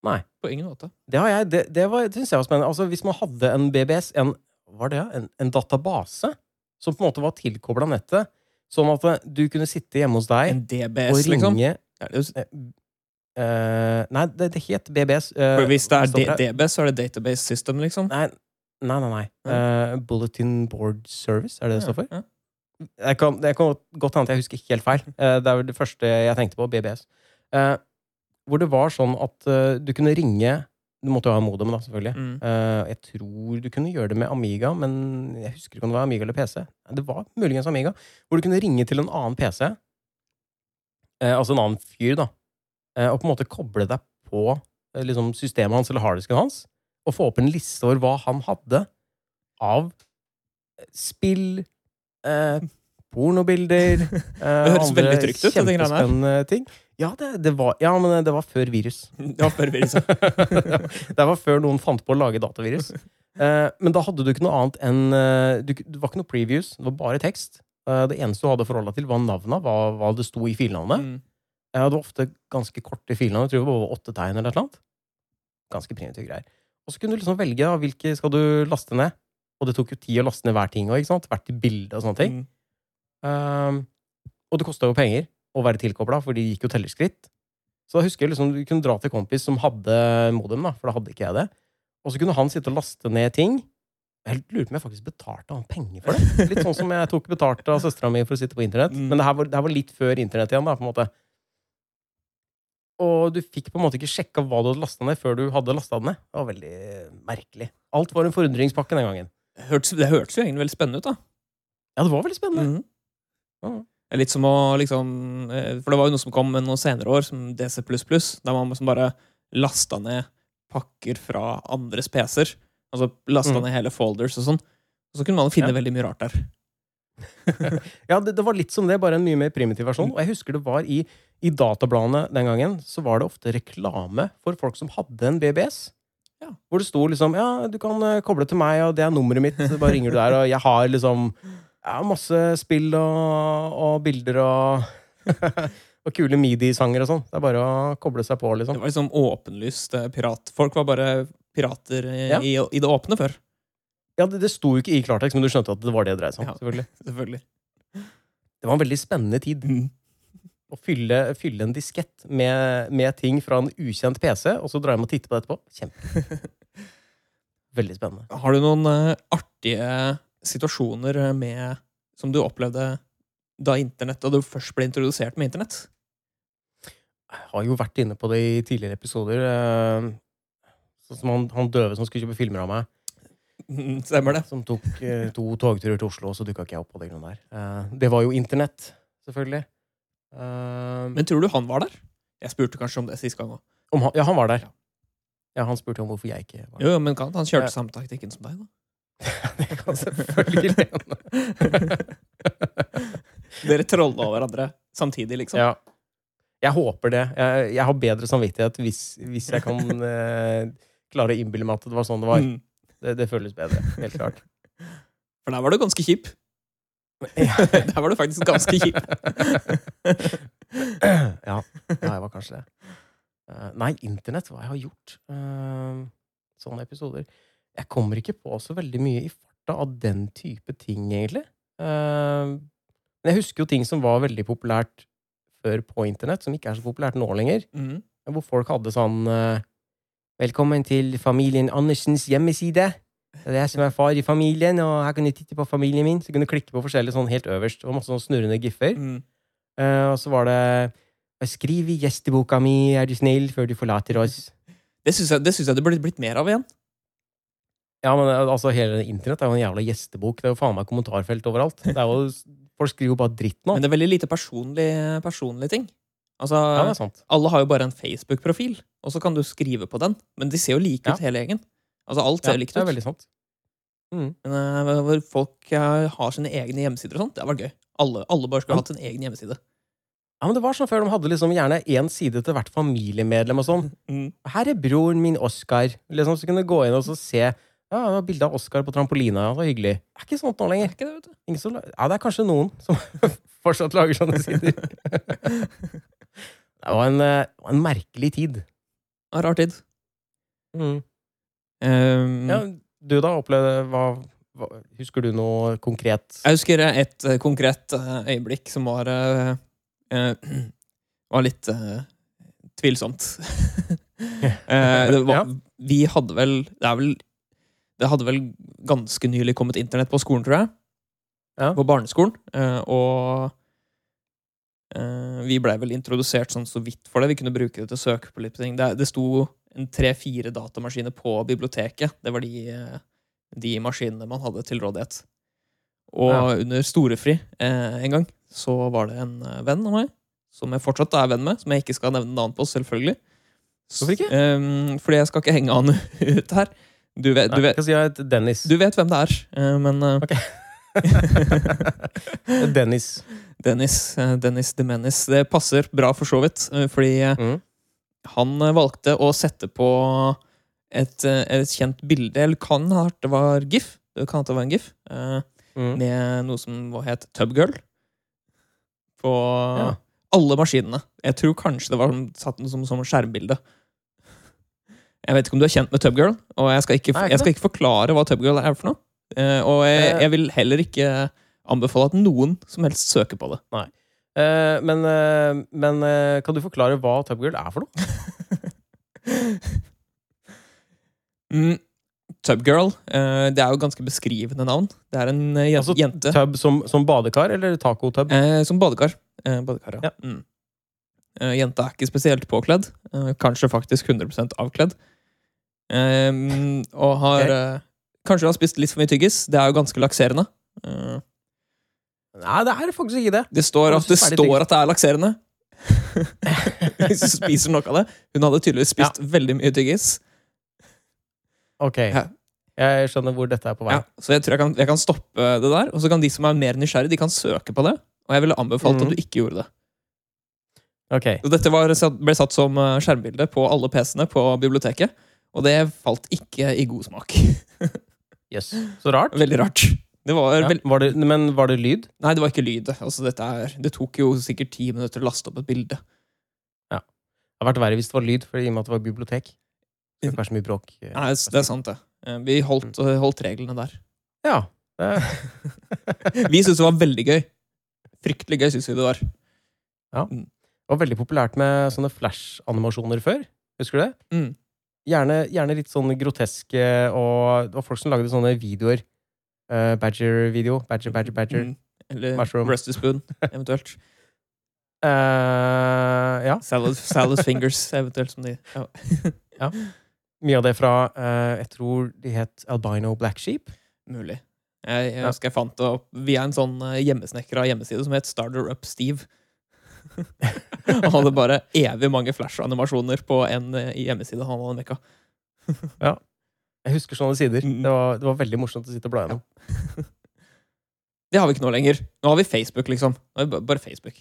S1: Nei.
S2: På ingen måte.
S1: Det har jeg, det, det, var, det synes jeg var spennende. Altså, hvis man hadde en BBS, en, hva var det, ja? en, en database, som på en måte var tilkobla nettet, sånn at eh, du kunne sitte hjemme hos deg
S2: En
S1: og
S2: DBS,
S1: ringe
S2: liksom. Ja, det er jo-
S1: eh, eh, Nei, det, det het BBS. eh,
S2: For hvis det
S1: hva står
S2: er
S1: det?
S2: D- DBS, så er det Database System, liksom.
S1: Nei, nei, nei. nei. Eh, Bulletin Board Service, er det det står for?
S2: Ja, ja.
S1: Jeg kan, det kan godt hende at jeg husker ikke helt feil. Eh, det er vel det første jeg tenkte på, BBS. Eh, hvor det var sånn at eh, du kunne ringe Du måtte jo ha modem, da, selvfølgelig.
S2: Mm.
S1: Eh, jeg tror du kunne gjøre det med Amiga, men jeg husker ikke om det var Amiga eller PC. Nei, Det var muligens Amiga, hvor du kunne ringe til en annen PC, eh, altså en annen fyr, da, eh, og på en måte koble deg på eh, liksom systemet hans eller harddisken hans, og få opp en liste over hva han hadde av eh, spill, eh, pornobilder eh,
S2: Det høres veldig trygt ut, det greiene her.
S1: Kjempespennende ting. Ja, det, det var, ja, men eh, det var før virus.
S2: <laughs> Ja, bare vi, liksom.
S1: det var før noen fant på å lage datavirus. Eh, men da hadde du ikke noe annet enn eh, du, Det var ikke noe previews, det var bare tekst. Eh, det eneste du hadde forholda til, var navna, hva, hva det sto i filnavnet.
S2: Mm.
S1: Eh, det var ofte ganske korte filnavn, jeg tror det var åtte tegn eller et eller annet. Ganske primitive greier. Og så kunne du liksom velge da, hvilke skal du laste ned. Og det tok jo tid å laste ned hver ting òg, hvert bilde og sånne ting.
S2: Mm.
S1: Um, og det kosta jo penger å være tilkobla, for de gikk jo tellerskritt. Så da husker jeg liksom, du kunne dra til kompis som hadde modem, da, for da hadde ikke jeg det. Og så kunne han sitte og laste ned ting. Jeg lurer på om jeg faktisk betalte han penger for det. Litt sånn som jeg tok betalt av søstera mi for å sitte på internett.
S2: Mm.
S1: Men det her, var, det her var litt før internett igjen, da, på en måte. Og du fikk på en måte ikke sjekka hva du hadde lasta ned, før du hadde lasta den ned. Det var veldig merkelig. Alt var en forundringspakke den gangen.
S2: Hørtes, det hørtes jo egentlig veldig spennende ut, da.
S1: Ja, det var veldig spennende.
S2: Mhm.
S1: Ja.
S2: Det er Litt som å liksom eh, For det var jo noe som kom noen senere år, som DC++, der man liksom bare lasta ned pakker fra andres PC-er. Altså lasta
S1: Mm.
S2: ned hele folders og sånn. Og så kunne man finne
S1: Ja.
S2: veldig mye rart der.
S1: Ja, det, det var litt som det, bare en mye mer primitiv versjon. Og jeg husker det var i, i databladene den gangen, så var det ofte reklame for folk som hadde en BBS.
S2: Ja.
S1: Hvor det sto liksom Ja, du kan eh, koble til meg, og det er nummeret mitt. Så bare ringer du der, og jeg har liksom ja, masse spill og, og bilder og <laughs> Og kule mediesanger og sånn. Det er bare å koble seg på,
S2: Det
S1: liksom.
S2: var liksom åpenlyst eh, pirat. Folk var bare pirater eh,
S1: Ja.
S2: i, i det åpne før,
S1: Ja, det, det sto jo ikke i klartekst, men du skjønte at det var det det dreide seg om.
S2: Ja.
S1: selvfølgelig.
S2: selvfølgelig.
S1: Det var en veldig spennende tid.
S2: Mm.
S1: å fylle, fylle en diskett med, med ting fra en ukjent PC, og så dra hjem og titte på det etterpå. Kjempe. Veldig spennende.
S2: Har du noen eh, artige situasjoner eh, med som du opplevde da internett, da du først ble introdusert med internett?
S1: Jeg har jo vært inne på det i tidligere episoder. eh, Sånn som han, han døve som skulle kjøpe filmer av meg.
S2: Mm, Stemmer det?
S1: Som tok eh, to togturer til Oslo, og så dukka ikke jeg opp på det grunnet der. Eh, det var jo internett, selvfølgelig. Eh,
S2: Men tror du han var der? Jeg spurte kanskje om det sist gang òg.
S1: om han, ja, han var der. Ja, han spurte om hvorfor jeg ikke var der. <laughs>
S2: Jo, jo, men kan, han
S1: Ja.
S2: kjørte samme taktikken som deg, da.
S1: Det kan selvfølgelig hende.
S2: <laughs> Dere trolla hverandre samtidig, liksom.
S1: Ja. Jeg håper det. Jeg, jeg har bedre samvittighet hvis, hvis jeg kan eh, klare å innbille meg at det var sånn det var.
S2: Mm.
S1: Det, det føles bedre. Helt klart.
S2: For der var du ganske kjip. <laughs> der var du faktisk ganske kjip. <laughs>
S1: ja. ja, jeg var kanskje det. Eh, nei, internett, hva jeg har gjort. Eh, sånne episoder. Jeg kommer ikke på så veldig mye i farta av den type ting, egentlig. Eh, men jeg husker jo ting som var veldig populært før på internett, som ikke er så populært nå lenger.
S2: Mm.
S1: Hvor folk hadde sånn eh, Velkommen til familien Andersens hjemmeside. Det er jeg som er far i familien, og her kan du titte på familien min. Så kunne du klikke på forskjellig sånn helt øverst. Det var masse sånn snurrende giffer.
S2: Mm.
S1: Eh, og så var det Skriv i gjesteboka mi, er du snill, før du forlater oss.
S2: Det syns jeg, det synes jeg det burde blitt mer av igjen.
S1: Ja, men eh, altså, hele internett er jo en jævla gjestebok. Det er jo faen meg kommentarfelt overalt. Det er jo, folk skriver jo bare dritt nå.
S2: Men det er veldig lite personlig, personlig ting. Altså,
S1: Ja, det er sant.
S2: Alle har jo bare en Facebook-profil, og så kan du skrive på den. Men de ser jo like ut, hele gjengen. Altså, alt
S1: Ja,
S2: ser jo likt
S1: det er
S2: ut.
S1: veldig sant.
S2: Men eh, hvor folk eh, har sine egne hjemmesider og sånt, det hadde vært gøy. Alle, alle bare skulle hatt sin egen hjemmeside.
S1: Ja, men det var sånn før de hadde liksom gjerne én side til hvert familiemedlem og sånn. Og Her er broren min Oskar. Liksom, så kunne du gå inn og så se ja, det var bilde av Oskar på trampolina. Ja, det var hyggelig. Det er ikke sånt nå
S2: Det
S1: lenger.
S2: er ikke det, vet du.
S1: Ingen som, la- ja, det er kanskje noen som <laughs> fortsatt lager sånne sider. Det var en, eh, det var en merkelig tid.
S2: Ja, Rar tid. Mm. Ehm,
S1: Ja, Mm. du da opplevde hva, hva, Husker du noe konkret?
S2: Jeg husker et eh, konkret eh, øyeblikk som var eh, eh, <clears throat> var litt eh, tvilsomt.
S1: <laughs>
S2: Eh, det var,
S1: Ja.
S2: Vi hadde vel det, er vel det hadde vel ganske nylig kommet internett på skolen, tror jeg.
S1: Ja.
S2: På barneskolen. eh, og eh, vi blei vel introdusert sånn så vidt for det. Vi kunne bruke det til å søke på litt ting. Det, det sto en tre-fire datamaskiner på biblioteket. Det var de, eh, de maskinene man hadde til rådighet. Og
S1: Ja.
S2: under storefri eh, en gang så var det en eh, venn av meg, som jeg fortsatt er venn med, som jeg ikke skal nevne navn på, selvfølgelig.
S1: Hvorfor ikke?
S2: Ehm, fordi jeg skal ikke henge han <laughs> ut her. Du vet, du
S1: Nei,
S2: vet,
S1: Jeg kan si jeg heter Dennis.
S2: du vet hvem det er, eh, men eh,
S1: Dennis.
S2: <laughs> Dennis, eh, Dennis de Menace. Det passer bra, for så vidt. eh, Fordi eh,
S1: Mm.
S2: han eh, valgte å sette på et, eh, et kjent bilde, eller kan ha vært det var GIF. Det kan ha vært det var en GIF. eh,
S1: Mm.
S2: Med noe som hva het Tubgirl. På
S1: Ja.
S2: alle maskinene. Jeg tror kanskje det var satt som, som skjermbilde. Jeg vet ikke om du er kjent med Tubgirl, og jeg skal ikke,
S1: Nei, jeg er ikke
S2: jeg skal ikke forklare hva Tubgirl er for noe. Eh, og jeg,
S1: Eh.
S2: jeg vil heller ikke anbefale at noen som helst søker på det.
S1: Eh, men eh, men eh, kan du forklare hva Tubgirl er for noe?
S2: Mm. Tubgirl. eh, det er jo ganske beskrivende navn. Det er en eh, jen-
S1: Altså,
S2: jente
S1: Tub som, som badekar, eller taco-tub?
S2: eh, som badekar. Eh, badekar, ja.
S1: Ja.
S2: Mm. Eh, jenta er ikke spesielt påkledd. Eh, kanskje faktisk 100 avkledd. Eh, og har
S1: Ok.
S2: eh, Kanskje har spist litt for mye tyggis. Det er jo ganske lakserende. Eh,
S1: Nei, det er faktisk ikke det.
S2: det står,
S1: Har du
S2: at, det
S1: spist ferdig
S2: står
S1: tyggis?
S2: at det er lakserende.
S1: <laughs>
S2: <laughs> Hvis du spiser nok av det. Hun hadde tydeligvis spist veldig mye tyggis.
S1: Ok,
S2: Ja.
S1: jeg skjønner hvor dette er på vei.
S2: Ja, så jeg tror jeg kan, jeg kan stoppe det der. Og så kan de som er mer nysgjerrige, de kan søke på det. Og jeg ville anbefalt
S1: Mhm.
S2: at du ikke gjorde det.
S1: Ok,
S2: Og dette var, satt- ble satt som eh, skjermbilde på alle PC-ene på biblioteket. Og det falt ikke i god smak. <laughs>
S1: jøss. Så rart.
S2: Veldig rart. Det var
S1: Ja.
S2: vel-
S1: Var det, men var det lyd?
S2: Nei, det var ikke lyd. Altså, dette er, det tok jo sikkert ti minutter å laste opp et bilde.
S1: Det hadde vært verre hvis det var lyd, for i og med at det var bibliotek. Det skulle ikke være så mye bråk. eh.
S2: Nei, det er sant, det. Eh, Vi holdt, holdt reglene der.
S1: Ja. Det,
S2: Vi syntes det var veldig gøy. Fryktelig gøy syntes vi det var.
S1: <laughs> Det var veldig populært med sånne flash-animasjoner før. Husker du det?
S2: Mm.
S1: Gjerne, gjerne litt sånn groteske og Det var folk som lagde sånne videoer. Eh, Badger-video. Badger, badger, badger.
S2: Mm. Eller
S1: Mushroom.
S2: Rusty Spoon,
S1: <laughs>
S2: eventuelt.
S1: Eh, ja.
S2: Salad, salad Fingers, eventuelt, som de ja.
S1: Mye av det fra eh, Jeg tror de het Albino Black Sheep.
S2: Mulig. Jeg, jeg
S1: Ja.
S2: husker jeg fant det opp via en sånn eh, hjemmesnekra hjemmeside som het Starter Up Steve. <laughs> han hadde bare evig mange flash-animasjoner på en eh, hjemmeside han hadde mekka.
S1: Jeg husker sånne sider.
S2: Mm.
S1: Det, var, det var veldig morsomt å sitte og bla gjennom.
S2: Det har vi ikke nå lenger. Nå har vi Facebook, liksom. Nå har vi ba- bare Facebook.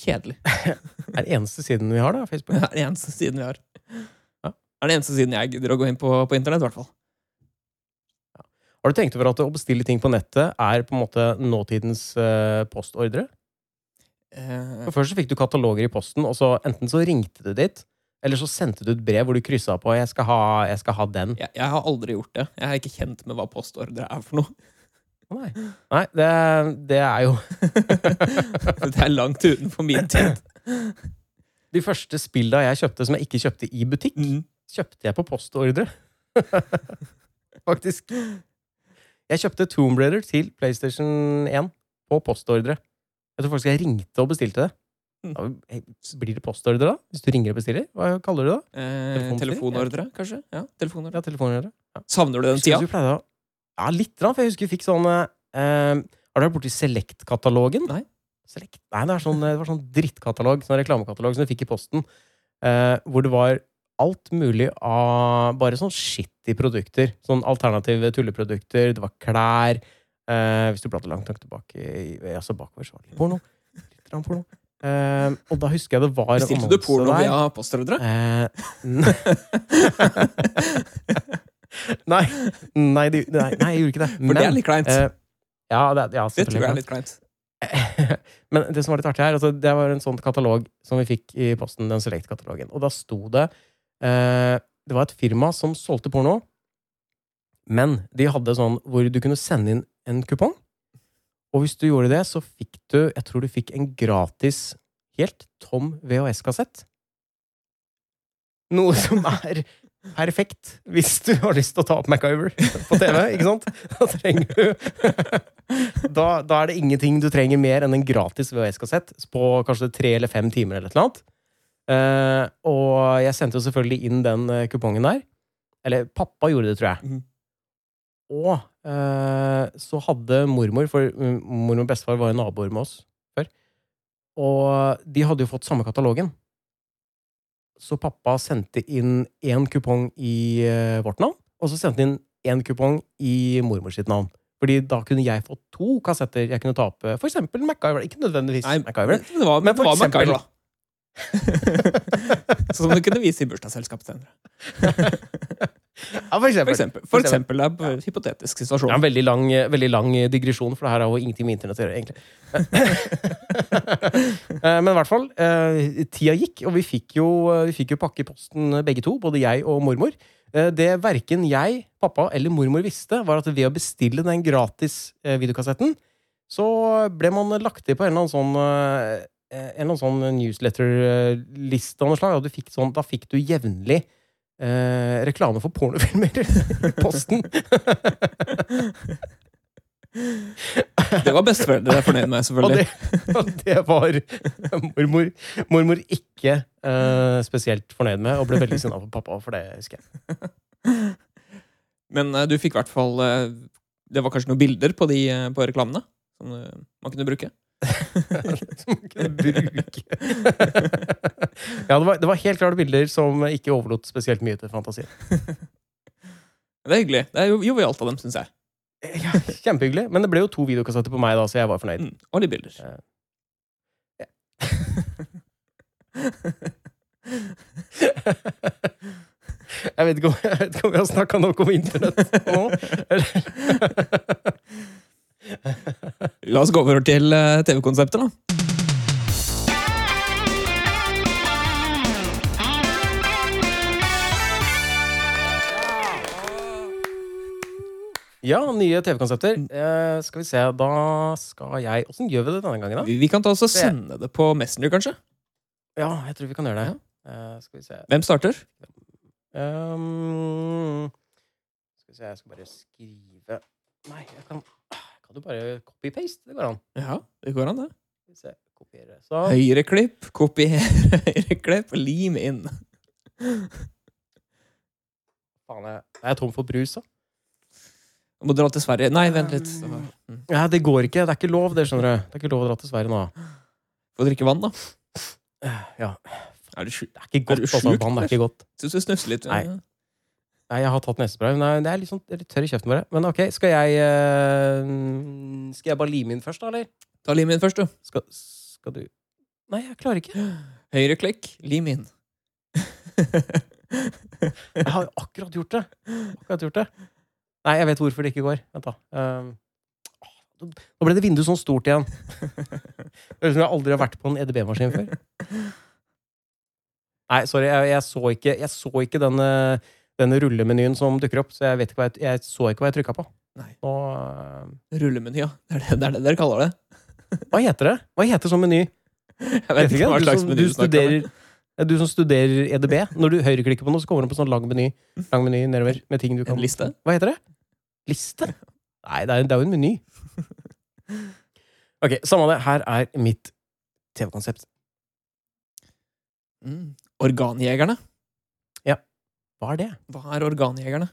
S2: Kjedelig. <laughs>
S1: Det er den eneste siden vi har, da. Facebook.
S2: Det er den eneste siden vi har.
S1: Ja.
S2: Det er den eneste siden jeg gidder å gå inn på, på internett, i hvert fall.
S1: Har du tenkt over at å bestille ting på nettet er på en måte nåtidens eh, postordre?
S2: Eh,
S1: For Først så fikk du kataloger i posten, og så enten så ringte du dit, eller så sendte du et brev hvor du kryssa på 'jeg skal ha, jeg skal ha den'.
S2: jeg, jeg har aldri gjort det. Jeg er ikke kjent med hva postordre er for noe. <laughs>
S1: Å, Nei, Nei det, det er jo
S2: det er langt utenfor min tid.
S1: De første spilla jeg kjøpte som jeg ikke kjøpte i butikk, kjøpte jeg på postordre. <laughs> Faktisk. Jeg kjøpte Tomb Raider til PlayStation 1 på postordre. Jeg tror faktisk jeg ringte og bestilte det. Da blir det postordre, da? Hvis du ringer og bestiller? Hva kaller du det? da?
S2: Eh,
S1: Telefonstyring?
S2: telefonordre, kanskje? Ja, telefonordre.
S1: Ja, telefonordre.
S2: Savner du den
S1: Husker
S2: tida?
S1: du pleide å- Ja, litt, grann, for jeg husker vi fikk sånn eh, eh, Har du vært borti Select-katalogen?
S2: Nei.
S1: Select? Nei, det, er sånn, det var sånn drittkatalog, sånn reklamekatalog som du fikk i posten, eh, hvor det var alt mulig av bare sånn skittige produkter. Sånn alternative tulleprodukter, det var klær eh, Hvis du bladde langt nok tilbake, i- ja, så bakover, så var det litt porno. Litt grann porno. Eh, og da husker jeg det var en
S2: Bestilte du
S1: annonse
S2: porno
S1: der.
S2: via postordre?
S1: Eh, <laughs> n- nei, nei, de- nei, nei, jeg gjorde ikke det.
S2: For det er litt kleint.
S1: eh, ja, det, er- ja,
S2: det tror jeg er
S1: selvfølgelig.
S2: litt kleint.
S1: Men det som var litt artig her, altså, det var en sånn katalog som vi fikk i posten, den Select-katalogen. Og da sto det eh, Det var et firma som solgte porno, men de hadde sånn hvor du kunne sende inn en kupong. Og hvis du gjorde det, så fikk du Jeg tror du fikk en gratis, helt tom VHS-kassett. Noe som er perfekt hvis du har lyst til å ta opp MacGyver på TV, ikke sant? Da trenger du Da, da er det ingenting du trenger mer enn en gratis VHS-kassett på kanskje tre eller fem timer eller et eller annet. Eh, og jeg sendte jo selvfølgelig inn den eh, kupongen der. Eller pappa gjorde det, tror jeg.
S2: Mhm.
S1: Og eh, så hadde mormor For mm, mormor og bestefar var jo naboer med oss før. Og de hadde jo fått samme katalogen. Så pappa sendte inn én kupong i eh, vårt navn, og så sendte han inn én kupong i mormors sitt navn. Fordi da kunne jeg få to kassetter jeg kunne ta opp. eh, For eksempel MacGyver. Ikke nødvendigvis
S2: Nei,
S1: MacGyver. <laughs>
S2: <laughs> Det var,
S1: Men
S2: men
S1: for
S2: det var
S1: eksempel-
S2: MacGyver, da. Som du kunne vise i bursdagsselskapet senere.
S1: Ja, for
S2: For
S1: eksempel.
S2: eksempel. For eksempel det er bare en hypotetisk
S1: Det er en
S2: situasjon.
S1: veldig lang, eh, veldig lang digresjon, for det her har jo ingenting med internett å gjøre, egentlig. <laughs> Eh, Men i hvert fall, eh, tida gikk, og vi fikk jo, eh, vi fikk jo pakke i posten eh, begge to, både jeg og mormor. Eh, Det verken jeg, pappa eller mormor visste, var at ved å bestille den gratis eh, videokassetten, så ble man lagt til på en eller annen sånn eh, en eller annen sånn newsletter-liste av noe slag. Og du fikk sånn, da fikk du jevnlig eh, reklame for pornofilmer <laughs> i posten.
S2: <laughs> Det var besteforeldre fornøyd med,
S1: Og
S2: selvfølgelig.
S1: det, <laughs> og det var mormor, mormor ikke eh, spesielt fornøyd med, og ble veldig sinna på pappa for det, husker jeg.
S2: Men eh, du fikk i hvert fall eh, Det var kanskje noen bilder på, de, eh, på reklamene som eh, man kunne
S1: <laughs>
S2: bruke? <laughs>
S1: Som man kunne bruke. <laughs> ja, det var, det var helt klart bilder som ikke overlot spesielt mye til fantasien.
S2: Det er hyggelig. Det er jo jovialt av dem, syns jeg.
S1: Ja, kjempehyggelig. Men det ble jo to videokassetter på meg, da, så jeg var fornøyd. <laughs>
S2: Mm. Og litt bilder.
S1: Jeg vet ikke om, jeg vet ikke om vi har snakka nok om internett nå. <laughs>
S2: La oss gå over til eh, TV-konseptet, da.
S1: Ja, nye TV-konsepter. Eh, skal vi se, da skal jeg Åssen gjør vi det denne gangen, da?
S2: Vi, vi kan ta oss og
S1: Det-
S2: sende det på Messenger, kanskje.
S1: Ja, jeg tror vi kan gjøre det. Eh, skal vi se
S2: Hvem starter?
S1: Ehm, Skal vi se, jeg skal bare skrive Nei, jeg kan Kan du bare copy-paste? Det går an.
S2: Ja, det går an, det.
S1: Skal vi se, kopiere sånn.
S2: Høyreklipp, kopier, <laughs> høyreklipp, lim inn.
S1: Faen, jeg jeg er tom for brus, da.
S2: Må dra til Sverige. Nei, vent litt. Mm.
S1: Ja, det går ikke. Det er ikke lov, det, skjønner du. Det er ikke lov å dra til Sverige nå.
S2: Få drikke vann, da.
S1: Eh, Ja,
S2: Er du sjuk?
S1: Det er ikke godt,
S2: Er du
S1: altså.
S2: sjuk,
S1: Vann er ikke godt.
S2: Syns du snufser litt?
S1: Nei. Nei, jeg har tatt nesespray. Nei, det er litt, sånn, det er litt tørr i kjeften bare. Men ok, skal jeg eh, Skal jeg bare lime inn først, da, eller?
S2: Ta lim inn først, du.
S1: Skal, skal du Nei, jeg klarer
S2: <laughs>
S1: ikke.
S2: Høyreklikk, lim inn. <laughs>
S1: Jeg har akkurat gjort det. Akkurat gjort det. Nei, jeg vet hvorfor det ikke går. Vent, da. Ehm, åh, nå ble det vinduet sånn stort
S2: <laughs>
S1: igjen. Det høres ut som jeg aldri har vært på en EDB-maskin før. Nei, sorry. Jeg, jeg, så, ikke, jeg så ikke denne, denne rullemenyen som dukker opp, så jeg, vet ikke hva jeg, jeg så ikke hva jeg trykka på.
S2: Nei.
S1: Nå, ehm,
S2: Rullemeny, ja. Det er det, det er det dere kaller det.
S1: hva heter det? Hva heter sånn meny?
S2: Jeg vet ikke hva
S1: du
S2: slags
S1: som,
S2: meny
S1: du
S2: du snakker om.
S1: studerer, ja, du som studerer EDB, når du høyreklikker på noe, så kommer det på sånn lang meny, lang meny nedover med ting du kan
S2: En liste?
S1: Hva heter det? Liste? Nei, det er, det er jo en meny. Ok, samme det. Her er mitt TV-konsept.
S2: Mm. Organjegerne.
S1: Hva er det?
S2: Hva er organjegerne?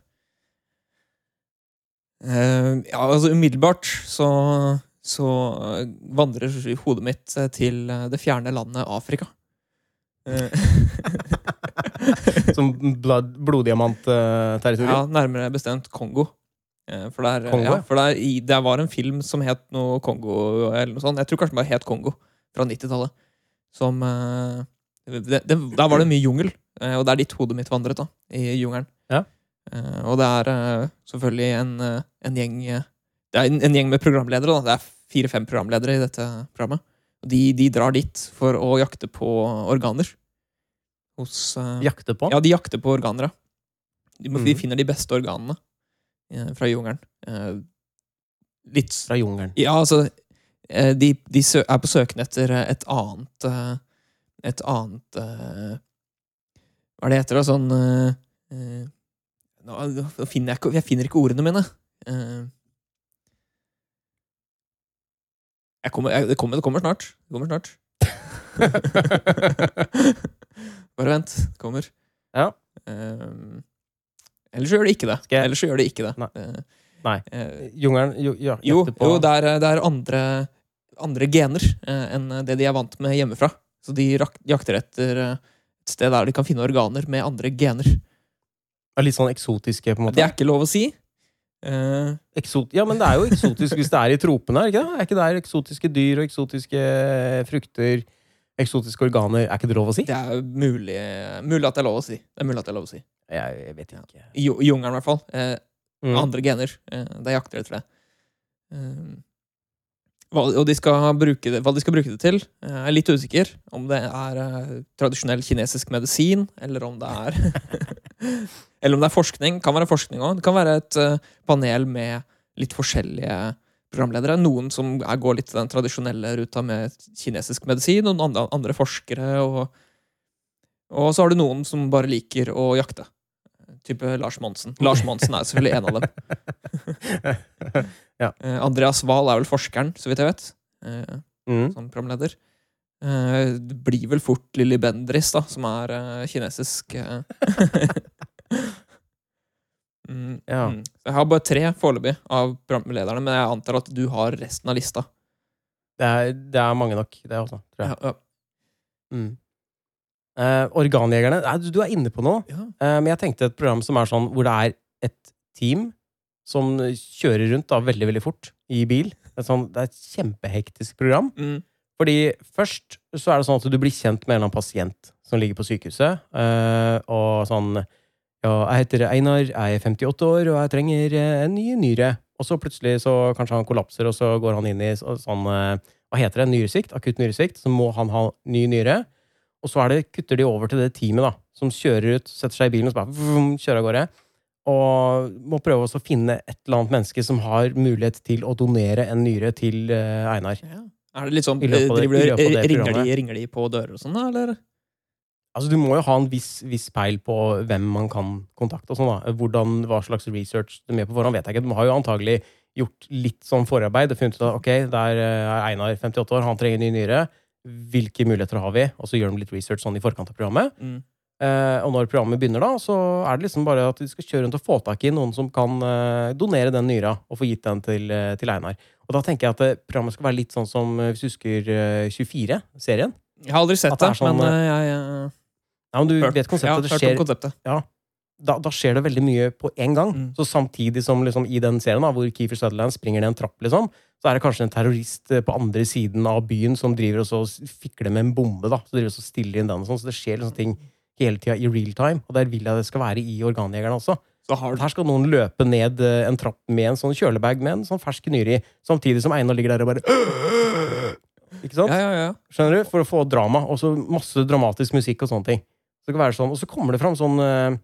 S2: Eh, ja, altså umiddelbart så, så eh, vandrer hodet mitt eh, til eh, det fjerne landet Afrika. Eh, <laughs>
S1: Som blad, eh, bloddiamant-territorium?
S2: ja, nærmere bestemt Kongo. Eh, for der, eh,
S1: Kongo,
S2: ja,
S1: ja.
S2: for der, i, det var en film som het noe Kongo eh, eller noe sånt. Jeg tror kanskje den bare het Kongo, fra 90-tallet. Som eh, det, det, Der var det mye jungel, eh, og det er dit hodet mitt vandret, da. I jungelen.
S1: Ja.
S2: Eh, og det er eh, selvfølgelig en, eh, en gjeng eh, Det er en, en gjeng med programledere, da. Det er fire-fem programledere i dette programmet. Og de, de drar dit for å jakte på organer. Hos eh,
S1: Jakte på?
S2: ja, de jakter på organer, ja. De, de
S1: Mhm.
S2: finner de beste organene eh, fra jungelen. Eh, litt s-
S1: Fra jungelen.
S2: Ja, altså eh, De, de sø er på søken etter eh, et annet eh, Et annet eh, Hva er det heter, da? Sånn eh, eh, nå, nå finner jeg, ikke, jeg finner ikke ordene mine. Eh, jeg kommer, jeg, det, kommer, det kommer snart. Det kommer
S1: <laughs>
S2: snart. Bare vent. Det kommer.
S1: Ja.
S2: Ehm, ellers så gjør det ikke det.
S1: Skal jeg-
S2: Ellers så gjør det ikke det.
S1: Nei.
S2: Eh,
S1: Nei.
S2: eh,
S1: Jungelen jo, ja,
S2: jo,
S1: jakte på
S2: jo det, er, det er andre, andre gener eh, enn det de er vant med hjemmefra. Så de rak- jakter etter eh, et sted der de kan finne organer med andre gener.
S1: er Litt sånn eksotiske, på en måte?
S2: Det er ikke lov å si. Eh,
S1: Eksot ja, men det er jo eksotisk hvis det er i tropene, er det ikke det? Er ikke det eksotiske dyr og eksotiske frukter, eksotiske organer Er ikke det lov å si?
S2: det er mulig, mulig at det er lov å si. Det er mulig at det er lov å si.
S1: Jeg, jeg vet ikke.
S2: I ju- i jungelen, i hvert fall. Eh,
S1: Mm.
S2: andre gener. Eh, de jakter etter det. Eh, hva, og de skal bruke det, hva de skal bruke det til, eh, jeg er litt usikker. Om det er eh, tradisjonell kinesisk medisin, eller om det er <laughs> Eller om det er forskning. Kan være forskning òg. Det kan være et eh, panel med litt forskjellige programledere. Noen som er, går litt den tradisjonelle ruta med kinesisk medisin, og noen andre, andre forskere. Og, og så har du noen som bare liker å jakte. Type Lars Monsen. Lars Monsen er selvfølgelig en av dem. Eh, Andreas Wahl er vel forskeren, så vidt jeg vet, eh,
S1: Mm.
S2: som programleder. Eh, det blir vel fort Lilly Bendriss, da, som er eh, kinesisk eh. <laughs> mm,
S1: Ja.
S2: mm. Jeg har bare tre foreløpig av programlederne, men jeg antar at du har resten av lista.
S1: Det, er, det er mange nok, det også, tror jeg.
S2: Ja, ja.
S1: Mm. Eh, organjegerne Nei, du, du er inne på noe.
S2: Ja.
S1: Eh, men jeg tenkte et program som er sånn hvor det er et team som kjører rundt da, veldig veldig fort i bil. Det er, sånn, det er et kjempehektisk program.
S2: Mm.
S1: Fordi først så er det sånn at du blir kjent med en eller annen pasient som ligger på sykehuset. eh, og sånn Ja, jeg heter Einar, jeg er 58 år, og jeg trenger eh, en ny nyre. Og så plutselig så kanskje han kollapser, og så går han inn i så- sånn eh, Hva heter det? Nyresvikt? Akutt nyresvikt. Så må han ha ny nyre. Og så er det, kutter de over til det teamet da, som kjører ut, setter seg i bilen og så bare vroom, kjører av gårde. Og må prøve også å finne et eller annet menneske som har mulighet til å donere en nyre til eh, Einar.
S2: Ja. Er det litt sånn,
S1: I løpet av det-
S2: driver,
S1: i løpet av det
S2: ringer, de,
S1: programmet.
S2: ringer de på dører og sånn, da, eller?
S1: Altså, du må jo ha en viss, viss peil på hvem man kan kontakte. og sånn da. Hvordan, Hva slags research du er med på forhånd, vet jeg ikke. Du har jo antagelig gjort litt sånn forarbeid og funnet ut at ok, der eh, er Einar 58 år, han trenger ny nyre. Hvilke muligheter har vi? Og så gjør de litt research sånn i forkant av programmet.
S2: Mm.
S1: Eh, og når programmet begynner, da, så er det liksom bare at de skal kjøre rundt og få tak i noen som kan eh, donere den nyra, og få gitt den til, eh, til Einar. Og da tenker jeg at eh, programmet skal være litt sånn som, eh, hvis du husker eh, 24-serien.
S2: Jeg har aldri sett
S1: At det
S2: det,
S1: er sånn,
S2: men eh, jeg eh,
S1: Ja, men du
S2: hørt-
S1: vet
S2: ja,
S1: konseptet. det
S2: hørt om
S1: skjer
S2: konseptet.
S1: da, da skjer det veldig mye på én gang.
S2: Mm.
S1: Så samtidig som liksom, i den serien da, hvor Keefer Sutherland springer ned en trapp, liksom, så er det kanskje en terrorist eh, på andre siden av byen som driver og så s- fikler med en bombe. da, Så driver og så stiller inn den og sånn, så det skjer liksom ting hele tida i real time. Og der vil jeg det skal være i Organjegerne også.
S2: Så har du
S1: Her skal noen løpe ned eh, en trapp med en sånn kjølebag med en sånn fersk nyre i, samtidig som Einar ligger der og bare <gasps> Ikke sant?
S2: Ja, ja, ja.
S1: Skjønner du? For å få drama. Og så masse dramatisk musikk og sånne ting. Så det kan være sånn, Og så kommer det fram sånn eh,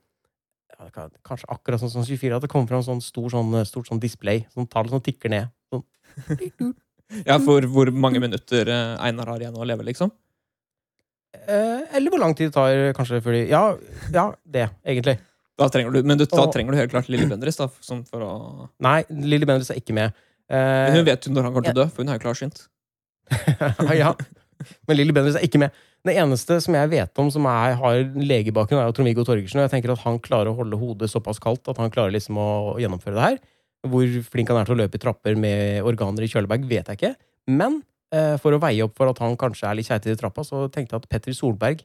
S1: ja, det kan- Kanskje akkurat sånn som 24, at det kommer fram sånn stor, sånn, eh, stort sånn display. Sånn tall som tikker ned. Sånn.
S2: ja, for hvor mange minutter eh, Einar har igjen å leve, liksom.
S1: Eh, eller hvor lang tid det tar, kanskje, før de Ja, ja det, egentlig.
S2: Da trenger du, men du, da
S1: Og-
S2: trenger du helt klart Lille Bendriss, da, sånn for å
S1: Nei, Lilly Bendriss er ikke med. Eh,
S2: Men hun vet jo når han kommer til å dø, for hun er jo klarsynt.
S1: ja. Men Lilly Bendriss er ikke med. Det eneste som jeg vet om som er, har legebakgrunn, er jo Trond-Viggo Torgersen. Og jeg tenker at han klarer å holde hodet såpass kaldt at han klarer liksom å å gjennomføre det her. Hvor flink han er til å løpe i trapper med organer i kjølebag, vet jeg ikke. Men eh, for å veie opp for at han kanskje er litt keitet i trappa, så tenkte jeg at Petter Solberg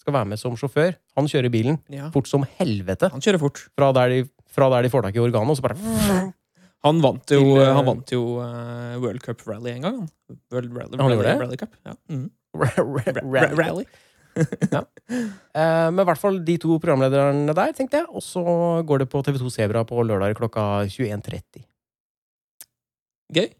S1: skal være med som sjåfør. Han kjører bilen
S2: Ja.
S1: fort som helvete
S2: Han kjører fort.
S1: fra der de, fra der de får tak i organet, og så bare
S2: Han vant jo,
S1: Til, eh,
S2: han vant jo eh, World Cup Rally en gang, han. World Rally,
S1: Han
S2: rally,
S1: gjorde det?
S2: rally Cup. Ja. Mm. Ra- ra-
S1: Rally.
S2: Rally.
S1: Eh, Men i hvert fall de to programlederne der, tenkte jeg. Og så går det på TV2 Sebra på lørdag klokka 21.30.
S2: Gøy.
S1: Det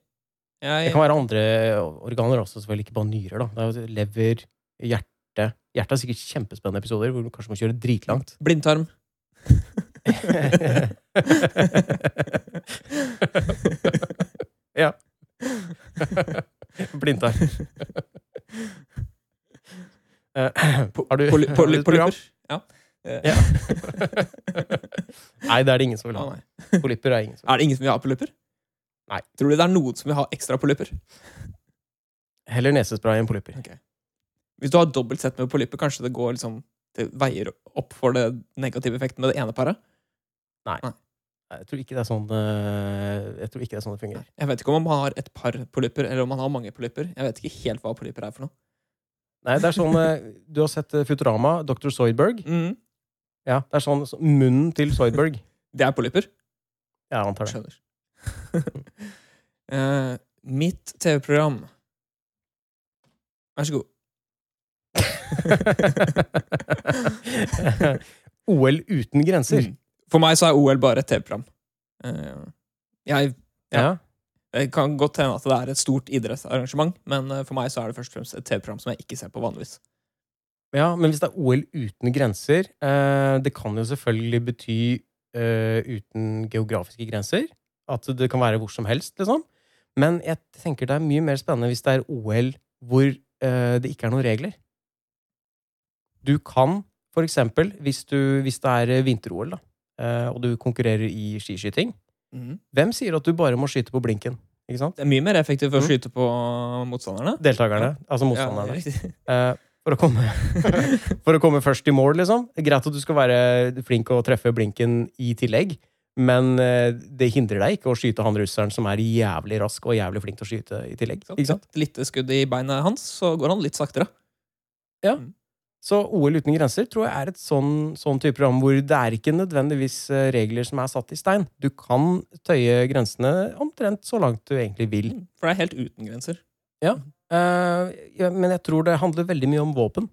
S2: Jeg,
S1: kan være andre organer også, selvfølgelig ikke bare nyrer. da. Det er jo lever, hjerte Hjertet er sikkert kjempespennende episoder hvor du kanskje må kjøre dritlangt. <laughs>
S2: blindtarm.
S1: ja. Blindtarm. Eh, <clears throat> Har du
S2: Poly-
S1: har du
S2: poly-
S1: et program?
S2: Polypper. Ja. Eh, <laughs>
S1: Ja. Nei, det er det ingen som vil ha.
S2: ah, nei.
S1: Polypper er ingen som vil ha.
S2: Er det ingen som vil ha polypper?
S1: Nei.
S2: Tror du det er noen som vil ha ekstra polypper?
S1: Heller nesespray enn polypper.
S2: Hvis du har dobbelt sett med polypper, kanskje det går liksom Det veier opp for det negative effekten med det ene paret?
S1: Nei, Jeg tror ikke det er sånn, eh, jeg tror ikke det, er sånn det fungerer.
S2: Jeg vet ikke om man har et par polypper, eller om man har mange polypper. Jeg vet ikke helt hva polypper er for noe.
S1: Nei, det er sånn, eh, Du har sett eh, Futurama, Dr. Soydberg.
S2: Mm.
S1: Ja, det er sånn så- munnen til Soydberg.
S2: Det er polypper.
S1: Ja, jeg antar det.
S2: Skjønner. <laughs> Eh, mitt TV-program Vær så god.
S1: <laughs> OL uten grenser.
S2: Mm. For meg så er OL bare et TV-program. Eh, jeg Ja.
S1: Ja.
S2: Det kan godt hende at det er et stort idrettsarrangement, men eh, for meg så er det først og fremst et TV-program som jeg ikke ser på vanligvis.
S1: ja, Men hvis det er OL uten grenser, eh, det kan jo selvfølgelig bety eh, uten geografiske grenser. At det kan være hvor som helst, liksom. Men jeg tenker det er mye mer spennende hvis det er OL hvor eh, det ikke er noen regler. Du kan for eksempel, hvis, du, hvis det er eh, vinter-OL, da, eh, og du konkurrerer i skiskyting Hvem sier at du bare må skyte på blinken? Ikke sant?
S2: Det er mye mer effektivt å
S1: Mm.
S2: skyte på motstanderne.
S1: Deltakerne, altså
S2: Ja,
S1: motstanderne.
S2: riktig.
S1: Eh, for, å komme, for å komme <laughs> først i mål, liksom. Det er Greit at du skal være flink og treffe blinken i tillegg, men eh, det hindrer deg ikke å skyte han russeren som er jævlig rask og jævlig flink til å skyte i tillegg. Ikke sant?
S2: Et lite skudd i beinet hans, så går han litt saktere.
S1: Så OL uten grenser tror jeg er et sånn, sånn type program hvor det er ikke nødvendigvis eh, regler som er satt i stein. Du kan tøye grensene omtrent så langt du egentlig vil.
S2: For det er helt uten grenser. <laughs>
S1: Eh, ja, men jeg tror det handler veldig mye om våpen.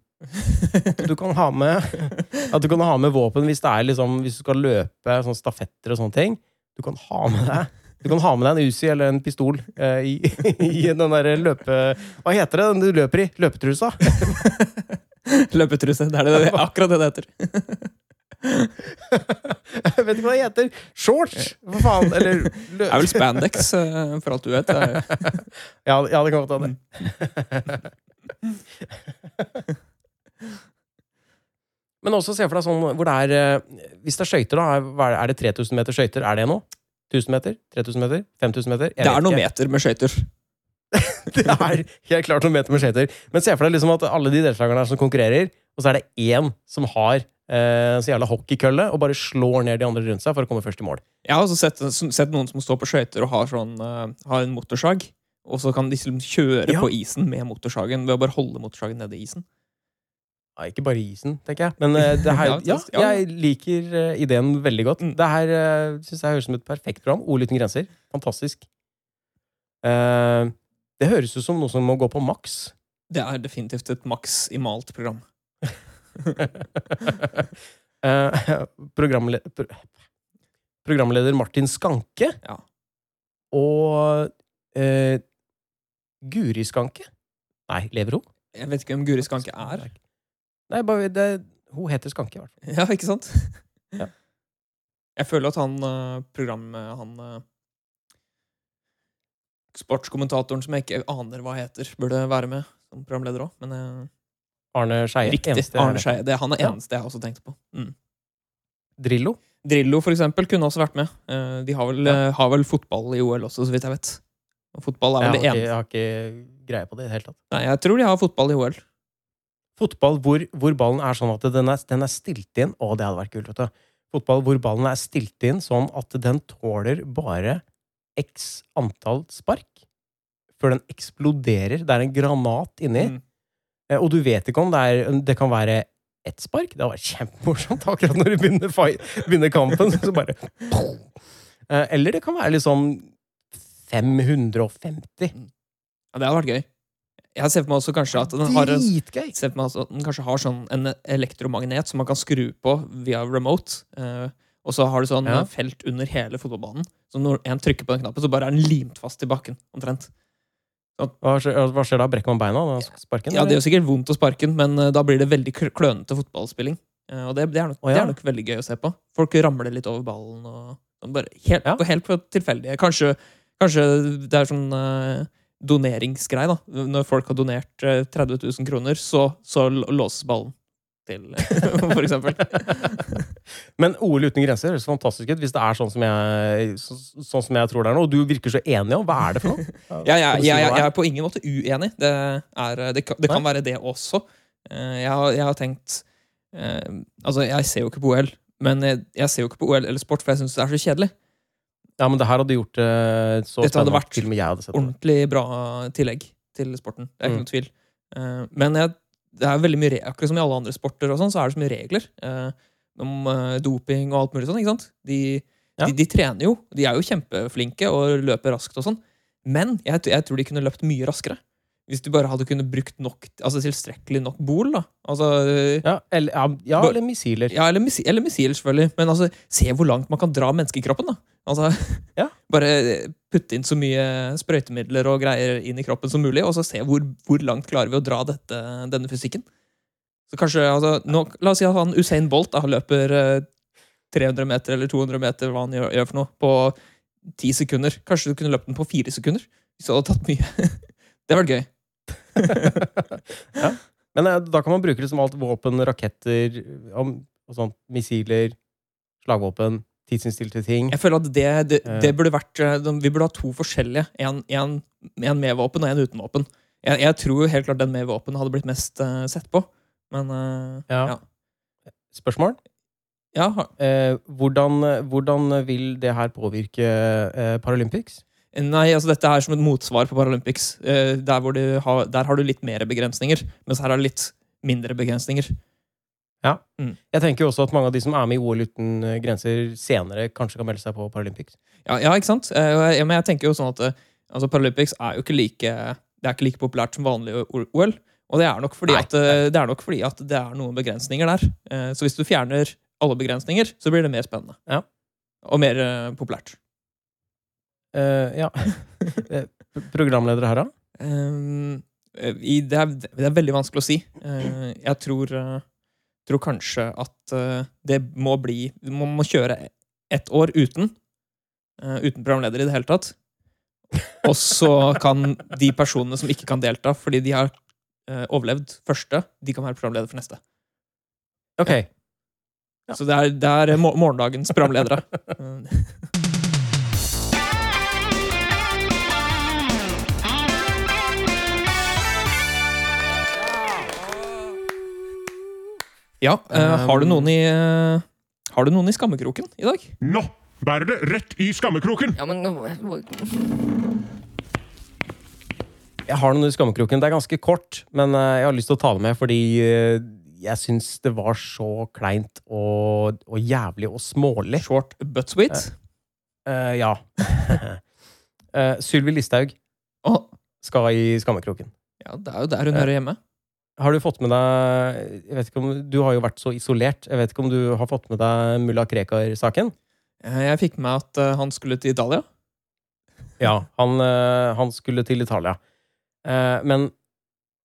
S1: At du kan ha med At du kan ha med våpen hvis, det er liksom, hvis du skal løpe sånn stafetter og sånne ting. Du kan ha med deg Du kan ha med deg en Uzi eller en pistol eh, i, i den derre løpe... Hva heter det den du løper i? Løpetrusa?
S2: Løpetruse. Det er det, det er akkurat det det heter.
S1: <laughs> Jeg vet ikke hva det heter. Shorts! For faen. Eller lø
S2: Det er vel spandex, eh, for alt du <laughs> vet. Det er-
S1: ja, ja, det kan godt hende. <laughs> Men også se for deg sånn hvor det er eh, Hvis det er skøyter, da. er- hva Er det- er det 3000 meter skøyter? Er det nå? 1000 meter? 3000 meter? 5000 meter? Jeg
S2: Det
S1: vet
S2: er noen
S1: ikke.
S2: meter med skøyter.
S1: <laughs> Det er helt klart noen meter med skøyter. Men se for deg liksom at alle de deltakerne her som konkurrerer, og så er det én som har eh, så jævla hockeykølle og bare slår ned de andre rundt seg for å komme først i mål.
S2: Jeg har også sett, sånn, sett noen som står på skøyter og har, sånn, eh, har en motorsag. Og så kan de liksom kjøre
S1: Ja.
S2: på isen med motorsagen ved å bare holde motorsagen nede i isen.
S1: Ja, ikke bare isen, tenker jeg. Men eh,
S2: <laughs>
S1: det her, ja,
S2: Ja, ja.
S1: jeg liker eh, ideen veldig godt.
S2: Mm.
S1: Det her uh, syns jeg høres ut som et perfekt program. Ord uten grenser. Fantastisk. Eh, det høres ut som noe som må gå på maks.
S2: <laughs>
S1: <laughs>
S2: Det er definitivt et maks i malt program.
S1: Eh, programle pro programleder Martin Skanke
S2: Ja.
S1: og eh, Guri Skanke Nei, lever hun?
S2: Jeg vet ikke hvem Guri Skanke er.
S1: Nei, bare, det, hun heter Skanke, i hvert fall.
S2: <laughs> Ja, ikke sant?
S1: <laughs> Ja.
S2: Jeg føler at han eh, program... eh, Han eh, sportskommentatoren som jeg ikke aner hva heter, burde være med som programleder òg. Men eh,
S1: Arne Skeie.
S2: riktig.
S1: Eneste er
S2: Arne
S1: det.
S2: Scheie. Det er han er
S1: Ja.
S2: eneste jeg også tenkte på. Mm.
S1: Drillo.
S2: Drillo for eksempel, kunne også vært med. Eh, De har vel,
S1: Ja.
S2: eh, har vel fotball i OL også, så vidt jeg vet. Og fotball er
S1: Jeg
S2: vel
S1: har,
S2: det
S1: ikke,
S2: ene
S1: jeg har ikke greie på det i det hele tatt.
S2: Nei, jeg tror de har fotball i OL.
S1: Fotball hvor, hvor ballen er sånn at den er, den er stilt inn. Å, det hadde vært kult, vet du. Fotball hvor ballen er stilt inn sånn at den tåler bare x antall spark før den eksploderer. Det er en granat inni,
S2: Mm.
S1: Eh, og du vet ikke om det er om Det kan være ett spark. Det hadde vært kjempemorsomt <laughs> akkurat når du begynner, fight, begynner kampen. Så bare Eh, Eller det kan være liksom 550.
S2: Ja, det hadde vært gøy. Jeg ser for meg også kanskje at den har en,
S1: Dritgøy!
S2: ser for meg altså at den kanskje har sånn en elektromagnet som man kan skru på via remote. eh, og så har du sånn
S1: Ja.
S2: eh, felt under hele fotballbanen. Så når en trykker på den knappen, så bare er den limt fast i bakken. omtrent.
S1: Hva skjer, hva skjer da? Brekker man beina? Da? Sparken?
S2: Ja, Det
S1: eller? <laughs>
S2: gjør sikkert vondt å sparke den, men eh, da blir det veldig kl- klønete fotballspilling. Eh, og det, det, er nok,
S1: Å, ja.
S2: det er nok veldig gøy å se på. Folk ramler litt over ballen. og og bare Helt,
S1: Ja.
S2: på, helt på tilfeldige. Kanskje, kanskje det er sånn eh, doneringsgreie, da. Når folk har donert eh, 30 000 kroner, så, så l- låses ballen til, <laughs> for eksempel.
S1: Men OL uten grenser høres fantastisk ut hvis det er sånn som jeg, så, sånn som jeg tror det er nå. Og du virker så enig om hva er det for noe?
S2: <laughs> Ja,
S1: Kan du
S2: jeg, jeg,
S1: si
S2: jeg,
S1: hva det
S2: jeg
S1: er?
S2: er på ingen måte uenig. Det, er, eh, det, kan, det kan være det også. Eh, Jeg har, jeg har tenkt eh, Altså, jeg ser jo ikke på OL, men jeg, jeg ser jo ikke på OL eller sport, for jeg syns det er så kjedelig.
S1: Ja, men det her hadde gjort det så
S2: Dette hadde
S1: spennende
S2: vært
S1: at til og med jeg hadde sett det.
S2: Ordentlig bra tillegg til sporten. Det er ikke
S1: Mm.
S2: noen tvil. Eh, Men jeg, det er veldig mye re- akkurat som i alle andre sporter, og sånn, så er det så mye regler eh, om eh, doping og alt mulig sånn. ikke sant? De,
S1: Ja.
S2: de, de trener jo, de er jo kjempeflinke og løper raskt og sånn, men jeg, t- jeg tror de kunne løpt mye raskere. Hvis du bare hadde kunnet brukt nok, altså tilstrekkelig nok bol. da. Altså, eh,
S1: Ja, eller, ja, ja,
S2: Bare-
S1: eller missiler.
S2: ja, eller, missi- eller missiler, selvfølgelig. Men altså, se hvor langt man kan dra menneskekroppen, da. Altså,
S1: <laughs> Ja.
S2: Bare eh, putte inn så mye sprøytemidler og greier inn i kroppen som mulig, og så se hvor, hvor langt klarer vi å dra dette, denne fysikken. Så kanskje, altså, nå, La oss si at han Usain Bolt da, løper eh, 300 meter eller 200 meter, hva han gjør, gjør for noe, på 10 sekunder. Kanskje du kunne løpt den på 4 sekunder? Hvis du hadde tatt mye. <laughs> det hadde vært gøy.
S1: <laughs> ja. Men eh, da kan man bruke liksom alt våpen, raketter om, og sånt. Missiler, slagvåpen, tidsinnstilte ting.
S2: Jeg føler at det, det,
S1: Eh.
S2: det burde vært eh, de- Vi burde ha to forskjellige. En, en, en med våpen og en uten våpen. Jeg, jeg tror jo helt klart den med våpen hadde blitt mest eh, sett på. Men eh,
S1: Ja.
S2: Ja.
S1: Spørsmål?
S2: ja, har-
S1: Eh, hvordan, hvordan vil det her påvirke eh, Paralympics?
S2: Nei, altså dette er som et motsvar på Paralympics. Eh, der, hvor du har, der har du litt mer begrensninger, mens her er det litt mindre begrensninger.
S1: Jeg tenker jo også at mange av de som er med i OL uten eh, grenser senere, kanskje kan melde seg på Paralympics.
S2: Ja, ja ikke sant? Eh, og jeg- ja, men jeg tenker jo sånn at eh, altså Paralympics er jo ikke like Det er ikke like populært som vanlig OL. Og det er nok fordi,
S1: Nei.
S2: at, eh, det er nok fordi at det er noen begrensninger der. Eh, Så hvis du fjerner alle begrensninger, så blir det mer spennende.
S1: Ja.
S2: Og mer eh, populært. <laughs>
S1: Eh, ja. Eh, p- Programledere her, da?
S2: Eh, i, det, er, det er veldig vanskelig å si. Eh, jeg tror, eh, tror kanskje at eh, det må bli Man må kjøre ett år uten. eh, uten programleder i det hele tatt. Og så kan de personene som ikke kan delta fordi de har eh, overlevd første, de kan være programleder for neste.
S1: Ok. Ja.
S2: Så det er, det er mor- morgendagens programledere. Eh, ja, eh, har du noen i eh, Har du noen i skammekroken i dag?
S3: Nå bærer det rett i skammekroken!
S4: Ja, men nå- jeg må-
S1: Jeg har noen i skammekroken. Det er ganske kort, men eh, jeg har lyst til å ta det med fordi eh, jeg syns det var så kleint og, og jævlig og smålig.
S2: Short but sweet.
S1: Eh, ja. <laughs> uh, Sylvi Listhaug
S2: Å,
S1: skal i skammekroken.
S2: ja, det er jo der hun
S1: Ja.
S2: hører hjemme.
S1: Har du fått med deg jeg vet ikke om, Du har jo vært så isolert. Jeg vet ikke om du har fått med deg mulla Krekar-saken?
S2: Eh, Jeg fikk med meg at eh, han skulle til Italia.
S1: Ja, han, eh, han skulle til Italia. Eh, Men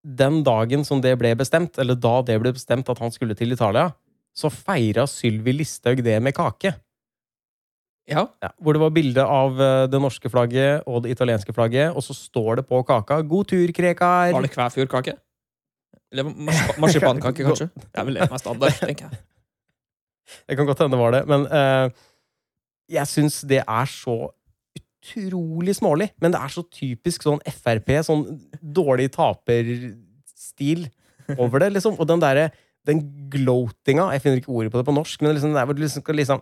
S1: den dagen som det ble bestemt, eller da det ble bestemt at han skulle til Italia, så feira Sylvi Listhaug det med kake.
S2: Ja,
S1: Ja, hvor det var bilde av eh, det norske flagget og det italienske flagget, og så står det på kaka 'God tur, Krekar'!
S2: Var det kvæfjordkake? Eller
S1: <laughs>
S2: mars- marsipankake, kanskje? Det er vel det som er standard, tenker jeg.
S1: Det kan godt hende det var det, men eh, jeg syns det er så utrolig smålig. Men det er så typisk sånn Frp, sånn dårlig taperstil over det, liksom. Og den derre den gloatinga Jeg finner ikke ordet på det på norsk, men liksom, det er hvor du liksom skal liksom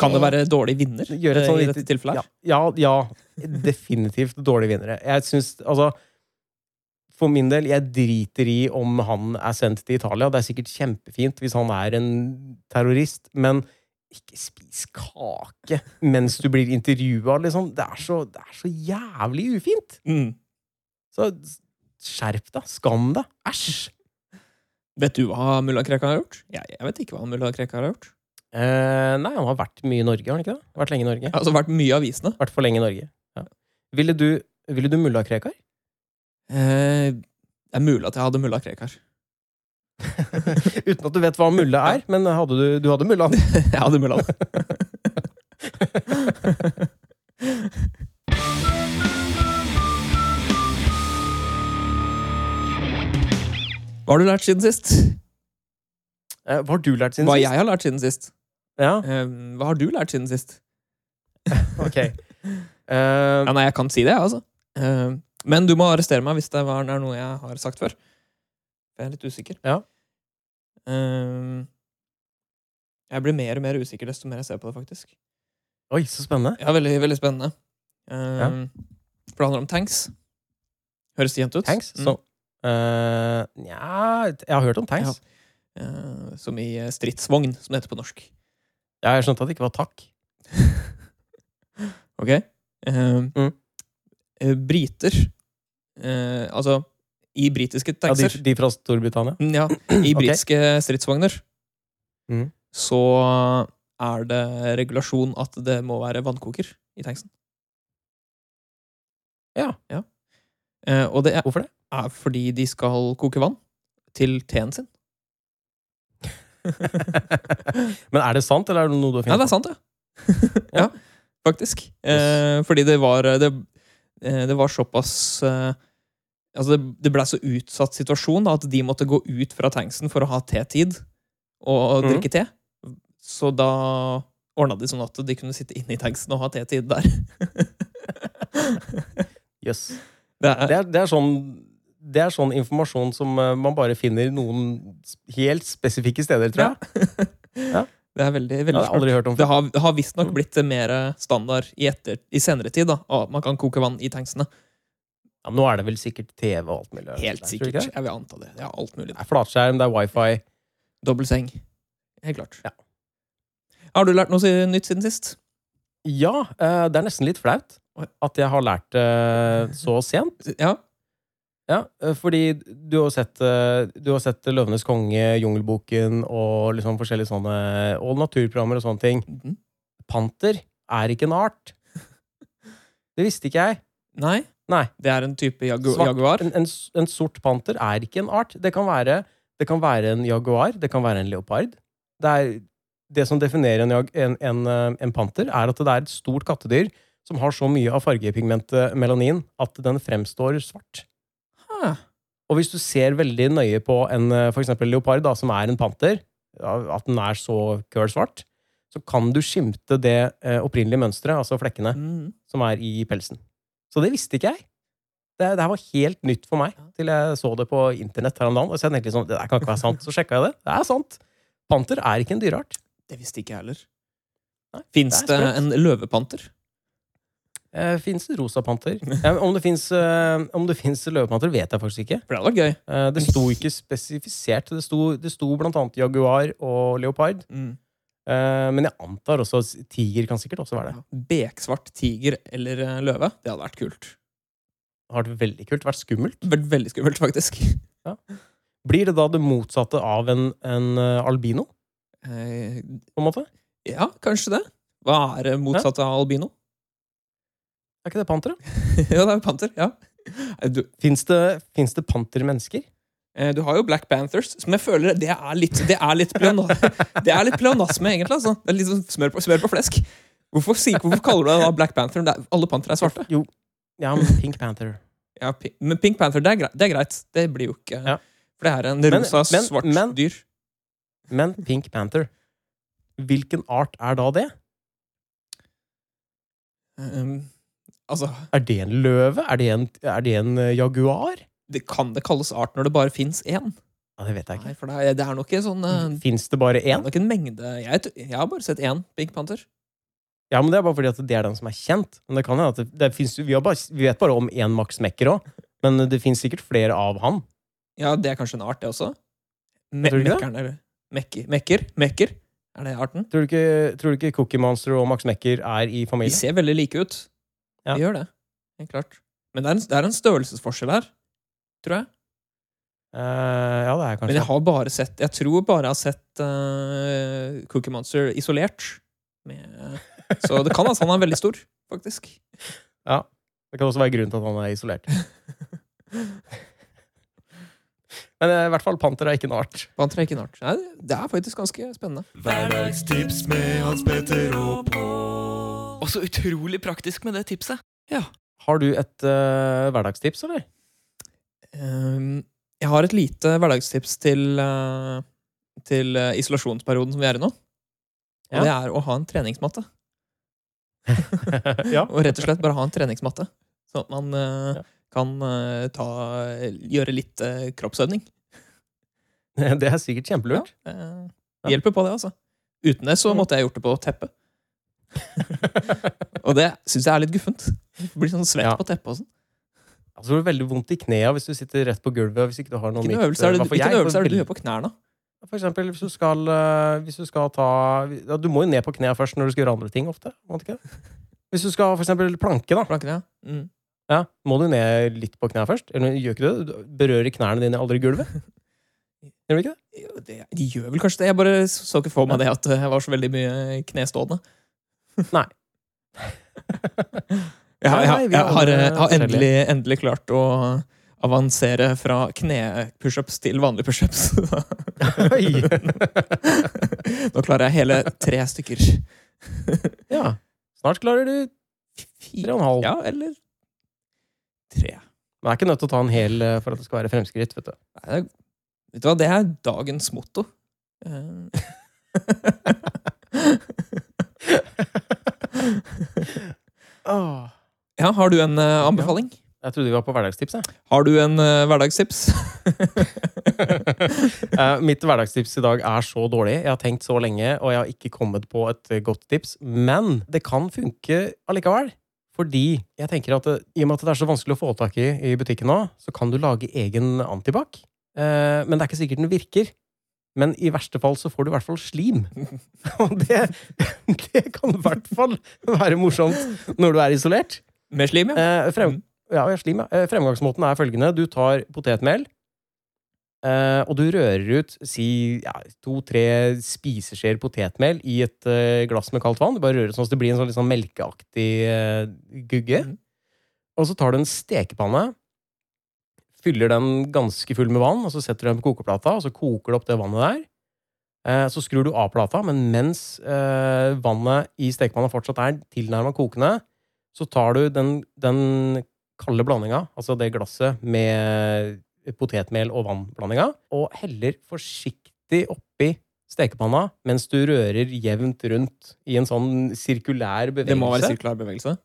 S2: Kan det være dårlig vinner
S1: Gjøre et
S2: eh,
S1: sånn
S2: i
S1: lite-
S2: dette tilfellet?
S1: ja,
S2: her?
S1: ja, ja, definitivt dårlige vinnere. Jeg syns altså For min del, jeg driter i om han er sendt til Italia. Det er sikkert kjempefint hvis han er en terrorist, men ikke spis kake mens du blir intervjua, liksom. Det er, så, det er så jævlig ufint!
S2: Mm.
S1: Så skjerp deg! Skam deg! Æsj!
S2: Vet du hva mulla Krekar har gjort? Jeg, jeg vet ikke hva mulla Krekar har gjort.
S1: Eh, nei, han har vært mye i Norge, har han ikke det? Vært lenge i Norge.
S2: Jeg har altså vært mye i avisene.
S1: Vært for lenge i Norge. Ja. Ville du, ville du mulla Krekar?
S2: Eh, det er mulig at jeg hadde mulla Krekar. <laughs>
S1: Uten at du vet hva mulle er, men eh, hadde du, du hadde
S2: <laughs>
S1: mulla.
S2: jeg hadde mulla. Hva har du lært siden sist?
S1: Eh, Hva har du lært siden
S2: Hva
S1: sist?
S2: jeg har lært siden sist?
S1: Ja,
S2: Eh, hva har du lært siden sist?
S1: ok. Eh,
S2: Ja, nei, jeg kan si det, jeg, altså. Eh, men du må arrestere meg hvis det var- er noe jeg har sagt før. Jeg er litt usikker.
S1: Ja.
S2: Eh, jeg blir mer og mer usikker desto mer jeg ser på det, faktisk.
S1: oi, så spennende.
S2: Ja, veldig, veldig spennende. Eh, For det handler om tanks. Høres det jevnt ut?
S1: Tanks?
S2: Mm.
S1: Så, eh, nja, jeg har hørt om tanks.
S2: Eh, som i eh, stridsvogn, som det heter på norsk.
S1: Ja. Jeg skjønte at det ikke var takk.
S2: Ok? Eh,
S1: Mm.
S2: eh, briter eh, Altså, i britiske
S1: Ja, de,
S2: tankser
S1: de fra
S2: <laughs>
S1: Storbritannia.
S2: Mm, Ja, i
S1: Ok.
S2: britiske stridsvogner
S1: Mhm.
S2: så er det regulasjon at det må være vannkoker i tanksen.
S1: Ja.
S2: Eh, og det er,
S1: Hvorfor det?
S2: er fordi de skal koke vann til teen sin.
S1: men er det sant, eller er det noe du har
S2: Ja,
S1: funnet
S2: det er sant, det. ja, <laughs> faktisk. Eh, fordi det var det, eh, det var såpass eh, Altså, det, det blei så utsatt situasjon da, at de måtte gå ut fra tanksen for å ha tetid og
S1: Mhm.
S2: drikke te. Så da ordna de sånn at de kunne sitte inne i tanksen og ha tetid der. <laughs>
S1: Yes.
S2: det er,
S1: Det, er, det, er sånn, det er sånn informasjon som eh, man bare finner noen s- helt spesifikke steder, tror jeg.
S2: det er veldig,
S1: Det
S2: veldig
S1: har jeg aldri hørt om
S2: Det
S1: før.
S2: har, det har visstnok
S1: Mm.
S2: blitt mer standard i, etter, i senere tid. da, at Man kan koke vann i tanksene.
S1: Ja, men nå er det vel sikkert TV og alt mulig.
S2: Helt
S1: Tror du ikke
S2: sikkert.
S1: det?
S2: Jeg vil anta det. Det er alt mulig.
S1: Det er flatskjerm, det er wifi.
S2: Dobbel seng. Helt klart.
S1: Ja.
S2: Har du lært noe si- nytt siden sist?
S1: Ja, eh, det er nesten litt flaut
S2: Oi.
S1: at jeg har lært det så sent.
S2: Ja.
S1: Ja, eh, fordi du har sett, eh, du har sett Løvenes konge, Jungelboken og liksom forskjellige sånne Og naturprogrammer og sånne ting.
S2: Mhm.
S1: Panter er ikke en art. Det visste ikke jeg.
S2: Nei?
S1: Nei.
S2: Det er en type jagu
S1: Svart-
S2: jaguar?
S1: En, en, s- en sort panter er ikke en art. Det kan være, det kan være en jaguar, det kan være en leopard. Det, er, det som definerer en, jag- en, en, eh, en panter, er at det er et stort kattedyr som har så mye av fargepigmentet melanin at den fremstår svart.
S2: Ah,
S1: Og hvis du ser veldig nøye på en eh, for eksempel leopard, da, som er en panter, ja, at den er så køl svart, så kan du skimte det eh, opprinnelige mønsteret, altså flekkene
S2: mm.
S1: som er i pelsen. Så det visste ikke jeg. Det, det her var helt nytt for meg til jeg så det på internett her om dagen. Og så jeg tenkte liksom, det der kan ikke være sant. Så sjekka jeg det. Det er sant. Panter er ikke en dyreart.
S2: Det visste ikke jeg heller.
S1: Nei,
S2: Fins
S1: det
S2: det
S1: er sprøtt.
S2: en løvepanter?
S1: Eh, fins det rosa panter? Eh, om det fins uh, løvepanter, vet jeg faktisk ikke.
S2: For det hadde vært gøy.
S1: Eh, det sto ikke spesifisert. Det sto, det sto blant annet jaguar og leopard.
S2: Mm.
S1: Eh, men jeg antar også at tiger kan sikkert også være det.
S2: Beksvart tiger eller eh, løve. Det hadde vært kult.
S1: Det har vært veldig kult. Vært skummelt.
S2: Vært veldig skummelt, faktisk.
S1: Blir det da det motsatte av en, en eh, albino,
S2: Eh,
S1: på en måte?
S2: ja, kanskje det. Hva er det motsatt av albino? <laughs>
S1: Er ikke det panter, da?
S2: ja, det er jo panter. ja. Eh, Du,
S1: Fins det, fins det pantermennesker?
S2: eh, du har jo Black Panthers, som jeg føler det er litt Det er litt, pleona,
S1: <laughs>
S2: det er litt pleonasme, egentlig. altså. Det er litt sånn smør på, smør på flesk. Hvorfor, sier- hvorfor kaller du deg da Black Panther? Det er, alle pantere er svarte.
S1: Jo. Ja, men Pink Panther.
S2: Ja, pi- men Pink Panther, det er, greit, det er greit. Det blir jo ikke
S1: Ja.
S2: For det her er en
S1: Men-
S2: rosa,
S1: men-
S2: svart
S1: men-
S2: dyr.
S1: Men Pink Panther Hvilken art er da det?
S2: Um, altså,
S1: Er det en løve? Er det en, er det en eh, jaguar?
S2: det kan det kalles art når det bare fins én?
S1: Ja, Det vet jeg
S2: Nei, for det er, det er nok ikke sånn eh,
S1: ikke. Fins det bare
S2: Det er
S1: én?
S2: nok en mengde jeg, t- jeg har bare sett én Pink Panther.
S1: Ja, men Det er bare fordi at det er den som er kjent. Men det kan hende at det, det finnes, vi, har bare, vi vet bare om én Max Mekker òg, men det fins sikkert flere av han.
S2: Ja, det er kanskje en art, det også? Me
S1: Tror du ikke det?
S2: mekkerne, eller mekker, mekker? Mekker? Er det arten?
S1: Tror du ikke, tror du ikke Cookie Monster og Max Mekker er i
S2: De
S1: familie?
S2: ser veldig like ut.
S1: Ja.
S2: De gjør det. Helt klart. Men det er, en, det er en størrelsesforskjell her, tror jeg.
S1: Eh, ja, det er
S2: Men
S1: kanskje
S2: jeg har bare sett Jeg tror bare jeg har sett eh, Cookie Monster isolert. Med, eh, så det kan altså han er veldig stor, faktisk.
S1: Det kan også være grunnen til at han er isolert. men eh, i hvert fall panter er ikke en art.
S2: Panter er ikke en art. Nei, det er faktisk ganske spennende.
S4: Hverdagstips med Hans Petter og Pål.
S5: Og så utrolig praktisk med det tipset.
S1: Har du et eh, hverdagstips,
S2: <laughs>
S1: eller?
S2: Ehm, jeg har et lite hverdagstips til, eh, til eh, isolasjonsperioden som vi er i nå. Og
S1: Ja.
S2: det er å ha en treningsmatte.
S1: ja.
S2: Og rett og slett bare ha en treningsmatte. Sånn at man eh,
S1: Ja.
S2: kan eh, ta, gjøre litt eh, kroppsøvning.
S1: <laughs> Det er sikkert kjempelurt.
S2: Ja, eh, det hjelper på det, altså. Uten det så
S1: Mm.
S2: måtte jeg gjort det på
S1: <laughs>
S2: teppet. Og det syns jeg er litt guffent. Blir sånn svett
S1: Ja.
S2: på teppet og sånn.
S1: Altså, det er veldig vondt i knea hvis du sitter rett på gulvet. Hvis ikke du har noe
S2: Hvilken
S1: mykt,
S2: øvelse er det,
S1: eh, i
S2: du-
S1: hvert fall
S2: hvilken
S1: jeg får
S2: øvelse er det du
S1: veldig-
S2: gjør på knærne?
S1: For eksempel hvis du skal, øh, hvis du skal ta ja, Du må jo ned på knea først når du skal gjøre andre ting ofte. Må du ikke? det? Hvis du skal for eksempel planke, da,
S2: Plankene, ja. Mm.
S1: ja, må du ned litt på knea først. Eller gjør ikke du det? Du berører knærne dine aldri gulvet. Gjør du
S2: <laughs>
S1: ikke det?
S2: Jo, det, de gjør vel kanskje det. Jeg bare så ikke for meg det at eh, jeg var så veldig mye knestående.
S1: Nei.
S2: <laughs> Jeg, har- jeg,
S1: Nei, nei,
S2: har-
S1: vi er
S2: jeg har,
S1: alle
S2: jeg har endelig, endelig klart å avansere fra knepushups til vanlige pushups. <laughs>
S1: <laughs>
S2: Nå klarer jeg hele tre stykker.
S1: ja. Snart klarer du tre og en halv.
S2: Ja, eller tre.
S1: Men jeg er ikke nødt til å ta en hel øh, for at det skal være fremskritt. vet du.
S2: Nei, det er, vet du hva, det er dagens motto. Eh, <laughs> Ja, har du en eh, anbefaling?
S1: Jeg trodde vi var på hverdagstips. Jeg.
S2: Har du en eh, hverdagstips? <laughs>
S1: <laughs> Eh, mitt hverdagstips i dag er så dårlig. Jeg har tenkt så lenge, og jeg har ikke kommet på et eh, godt tips. Men det kan funke allikevel. Fordi jeg tenker at eh, i og med at det er så vanskelig å få tak i i butikken nå, så kan du lage egen antibac. Eh, men det er ikke sikkert den virker. Men i verste fall så får du i hvert fall slim. <laughs> Og det, <laughs> det kan i hvert fall være morsomt når du er isolert.
S2: Med slim, ja.
S1: Eh, frem,
S2: Mm.
S1: ja, ja, slim, ja. Eh, fremgangsmåten er følgende. Du tar potetmel, eh, og du rører ut si ja, to-tre spiseskjeer potetmel i et eh, glass med kaldt vann. Du bare rører ut sånn at det blir en sånn litt sånn melkeaktig eh, gugge.
S2: Mhm.
S1: Og så tar du en stekepanne, fyller den ganske full med vann, og så setter du den på kokeplata, og så koker du opp det vannet der. Eh, Så skrur du av plata, men mens eh, vannet i stekepanna fortsatt er tilnærma kokende, så tar du den, den kalde blandinga, altså det glasset med potetmel og vannblandinga, og heller forsiktig oppi stekepanna mens du rører jevnt rundt i en sånn sirkulær bevegelse.
S2: Det må være sirkulær bevegelse.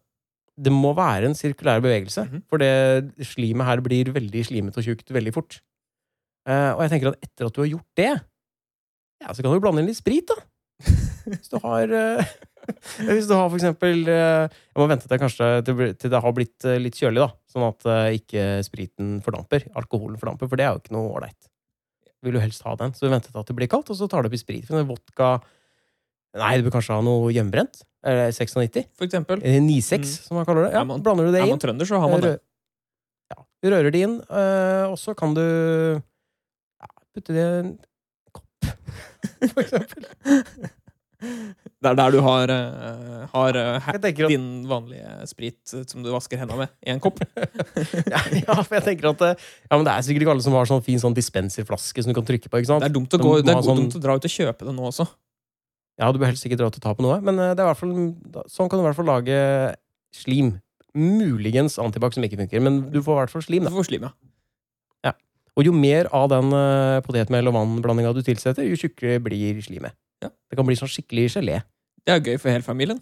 S1: Det må være en sirkulær bevegelse,
S2: Mhm.
S1: for det slimet her blir veldig slimet og tjukt veldig fort. Eh, og jeg tenker at etter at du har gjort det, ja, så kan du blande inn litt sprit, da. Hvis du har eh, <laughs> Hvis du har for eksempel eh, Jeg må vente til, kanskje, til, det blir- til det har blitt eh, litt kjølig, da. Sånn at eh, ikke spriten fordamper. Alkoholen fordamper, for det er jo ikke noe ålreit. Vil du helst ha den, så du venter til at det blir kaldt, og så tar du oppi sprit. For eksempel vodka Nei, du bør kanskje ha noe hjemmebrent. eh, Eller 96.
S2: For eksempel.
S1: Eller 96,
S2: Mm.
S1: som man kaller det. Ja,
S2: Er man-
S1: blander du Eh, det
S2: Er
S1: inn? Eh,
S2: man trønder, så har man det.
S1: Rø- Ja, du rører det inn, eh, og så kan du ja, putte det i en kopp, for eksempel.
S2: Det er der du har, eh, har eh, ha-
S1: Jeg
S2: <laughs>
S1: tenker at,
S2: din vanlige sprit eh, som du vasker hendene med, i en kopp.
S1: ja, <laughs> ja, for jeg tenker at eh, ja, men Det er sikkert ikke alle som har sånn fin sånn dispenserflaske som du kan trykke på. ikke
S2: Det
S1: sant?
S2: er dumt å,
S1: Du
S2: gå,
S1: må
S2: det er
S1: ha sånn-
S2: dumt å dra ut og kjøpe det nå også.
S1: Ja, Du bør helst ikke dra ut og ta på noe, men eh, det er i hvert fall, da- sånn kan du i hvert fall lage slim. Muligens antibac som ikke funker, men du får i hvert fall slim. da.
S2: Du får slim, ja.
S1: Og jo mer av den eh, potetmel- og vannblandinga du tilsetter, jo tjukkere blir slimet.
S2: Ja.
S1: Det kan bli sånn skikkelig gelé.
S2: Det er gøy for hele familien.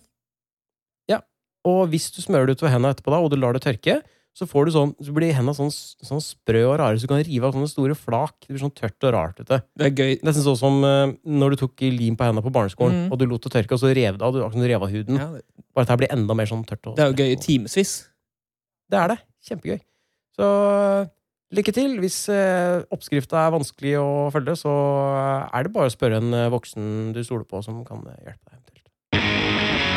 S1: Og hvis du smører det utover hendene etterpå, da, og du lar det tørke, så, får du sånn, så blir hendene sånn, sånn sprø og rare, så du kan rive av sånne store flak. Det blir sånn tørt og rart ute.
S2: Det er gøy.
S1: Nesten sånn som eh, når du tok lim på hendene på barneskolen,
S2: Mhm.
S1: og du lot det tørke, og så rev det av. Du, akkurat som du rev av huden.
S2: Ja, det-
S1: Bare at det her blir enda mer sånn tørt. Og
S2: det er jo gøy i timevis.
S1: Det er det. Kjempegøy. Så eh, lykke til. Hvis eh, oppskrifta er vanskelig å følge, så er det bare å spørre en eh, voksen du stoler på, som kan eh, hjelpe deg. eventuelt.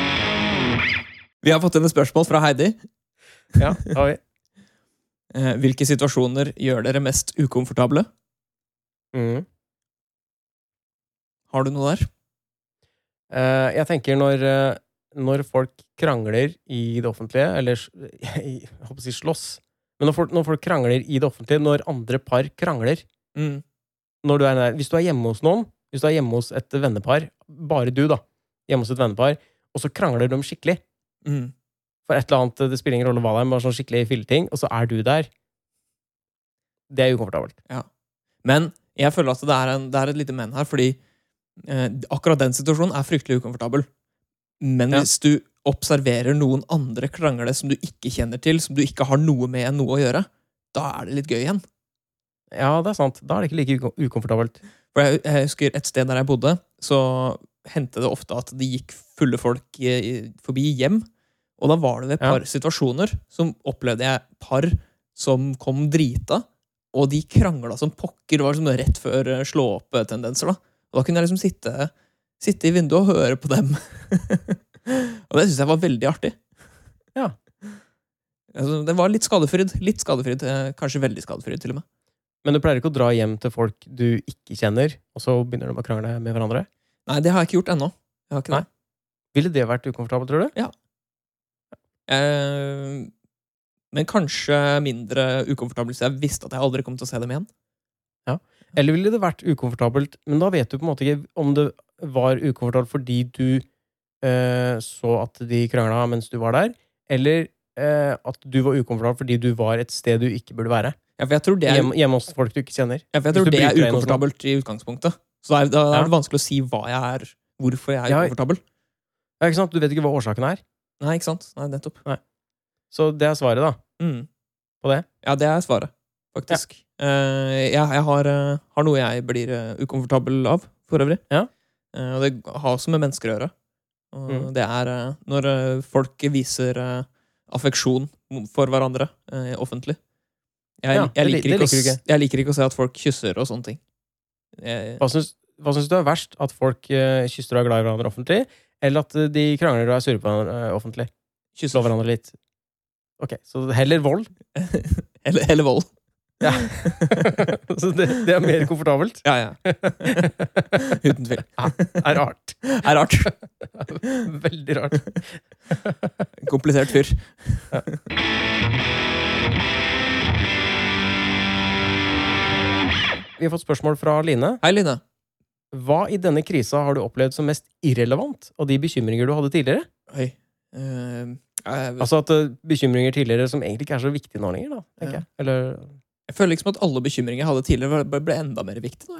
S2: Vi har fått inn et spørsmål fra Heidi.
S1: Ja, det har vi.
S2: Eh, Hvilke situasjoner gjør dere mest ukomfortable?
S1: Mhm.
S2: Har du noe der?
S1: Eh, jeg tenker når, eh, når folk krangler i det offentlige, eller s- <laughs> jeg holdt på å si slåss Men når folk, når folk krangler i det offentlige, når andre par krangler
S2: Mm.
S1: når du er nær, Hvis du er hjemme hos noen, hvis du er hjemme hos et vennepar, bare du, da, hjemme hos et vennepar, og så krangler de skikkelig
S2: Mm.
S1: for et eller annet, eh, det spiller ingen rolle hva det er, men bare sånn skikkelig filleting, og så er du der Det er ukomfortabelt.
S2: Men jeg føler at det er, en, det er et lite men her, fordi eh, akkurat den situasjonen er fryktelig ukomfortabel. Men
S1: Ja.
S2: hvis du observerer noen andre krangle som du ikke kjenner til, som du ikke har noe med noe å gjøre, da er det litt gøy igjen.
S1: Ja, det er sant. Da er det ikke like uko- ukomfortabelt.
S2: For jeg, jeg husker et sted der jeg bodde, så hendte det ofte at det gikk fulle folk eh, i- forbi hjem. Og da var det ved et
S1: Ja.
S2: par situasjoner som opplevde jeg par som kom drita, og de krangla som pokker. Det var sånn rett før eh, slå opp-tendenser. da. Og da kunne jeg liksom sitte, sitte i vinduet og høre på dem. <laughs> og det syns jeg var veldig artig.
S1: Ja.
S2: Altså, det var litt skadefryd. Litt skadefryd. eh, Kanskje veldig skadefryd, til og med.
S1: Men du pleier ikke å dra hjem til folk du ikke kjenner, og så begynner de å krangle med hverandre?
S2: Nei, det har jeg ikke gjort ennå. Jeg har ikke det.
S1: Nei. Ville det vært ukomfortabelt, tror du?
S2: Eh, men kanskje mindre ukomfortabel hvis jeg visste at jeg aldri kom til å se dem igjen.
S1: Eller ville det vært ukomfortabelt, men da vet du på en måte ikke om det var ukomfortabelt fordi du eh, så at de krangla mens du var der, eller eh, at du var ukomfortabel fordi du var et sted du ikke burde være.
S2: Ja, for jeg tror det er,
S1: Hjemme, hjemme hos folk du ikke kjenner.
S2: ja, for jeg
S1: hvis du
S2: tror det
S1: bryter
S2: er
S1: deg inn og sånn.
S2: ukomfortabelt i utgangspunktet. Så da er, da er det vanskelig å si hva jeg er, hvorfor jeg er
S1: Ja,
S2: ukomfortabel.
S1: Ja, ikke sant? Du vet ikke hva årsaken er.
S2: Nei, ikke sant? Nei, nettopp.
S1: Så det er svaret, da.
S2: Mm.
S1: På det?
S2: Ja, det er svaret, faktisk. Eh, jeg jeg har, eh, har noe jeg blir eh, ukomfortabel av, for øvrig.
S1: Ja.
S2: Eh, og det har også med mennesker å gjøre. Og
S1: Mm.
S2: Det er eh, når eh, folk viser eh, affeksjon for hverandre eh, offentlig. Jeg,
S1: Ja,
S2: jeg,
S1: det
S2: liker
S1: li- det
S2: ikke å,
S1: liker du
S2: s- jeg liker ikke å se at folk kysser og sånne ting. Jeg,
S1: Hva syns, hva syns du er verst? At folk eh, kysser og er glad i hverandre offentlig, eller at eh, de krangler og er sure på hverandre eh, offentlig? Slår
S2: kysser.
S1: hverandre litt? Ok, så heller vold.
S2: <laughs>
S1: <laughs>
S2: Eller, eller vold. <laughs>
S1: Ja. så det, det er mer komfortabelt.
S2: Ja, ja.
S1: er
S2: Uten tvil.
S1: rart.
S2: Er rart.
S1: Veldig rart.
S2: Komplisert fyr.
S1: Vi har fått spørsmål fra Line.
S2: Hei, Line.
S1: Hva i denne krisa har du opplevd som mest irrelevant av de bekymringer du hadde tidligere?
S2: Hei. Eh, jeg-
S1: Altså at eh, bekymringer tidligere som egentlig ikke er så viktige nå lenger, da. tenker
S2: Ja.
S1: jeg. Eller <laughs>
S2: Jeg føler liksom at alle bekymringer jeg hadde tidligere, ble, ble enda mer viktig. nå.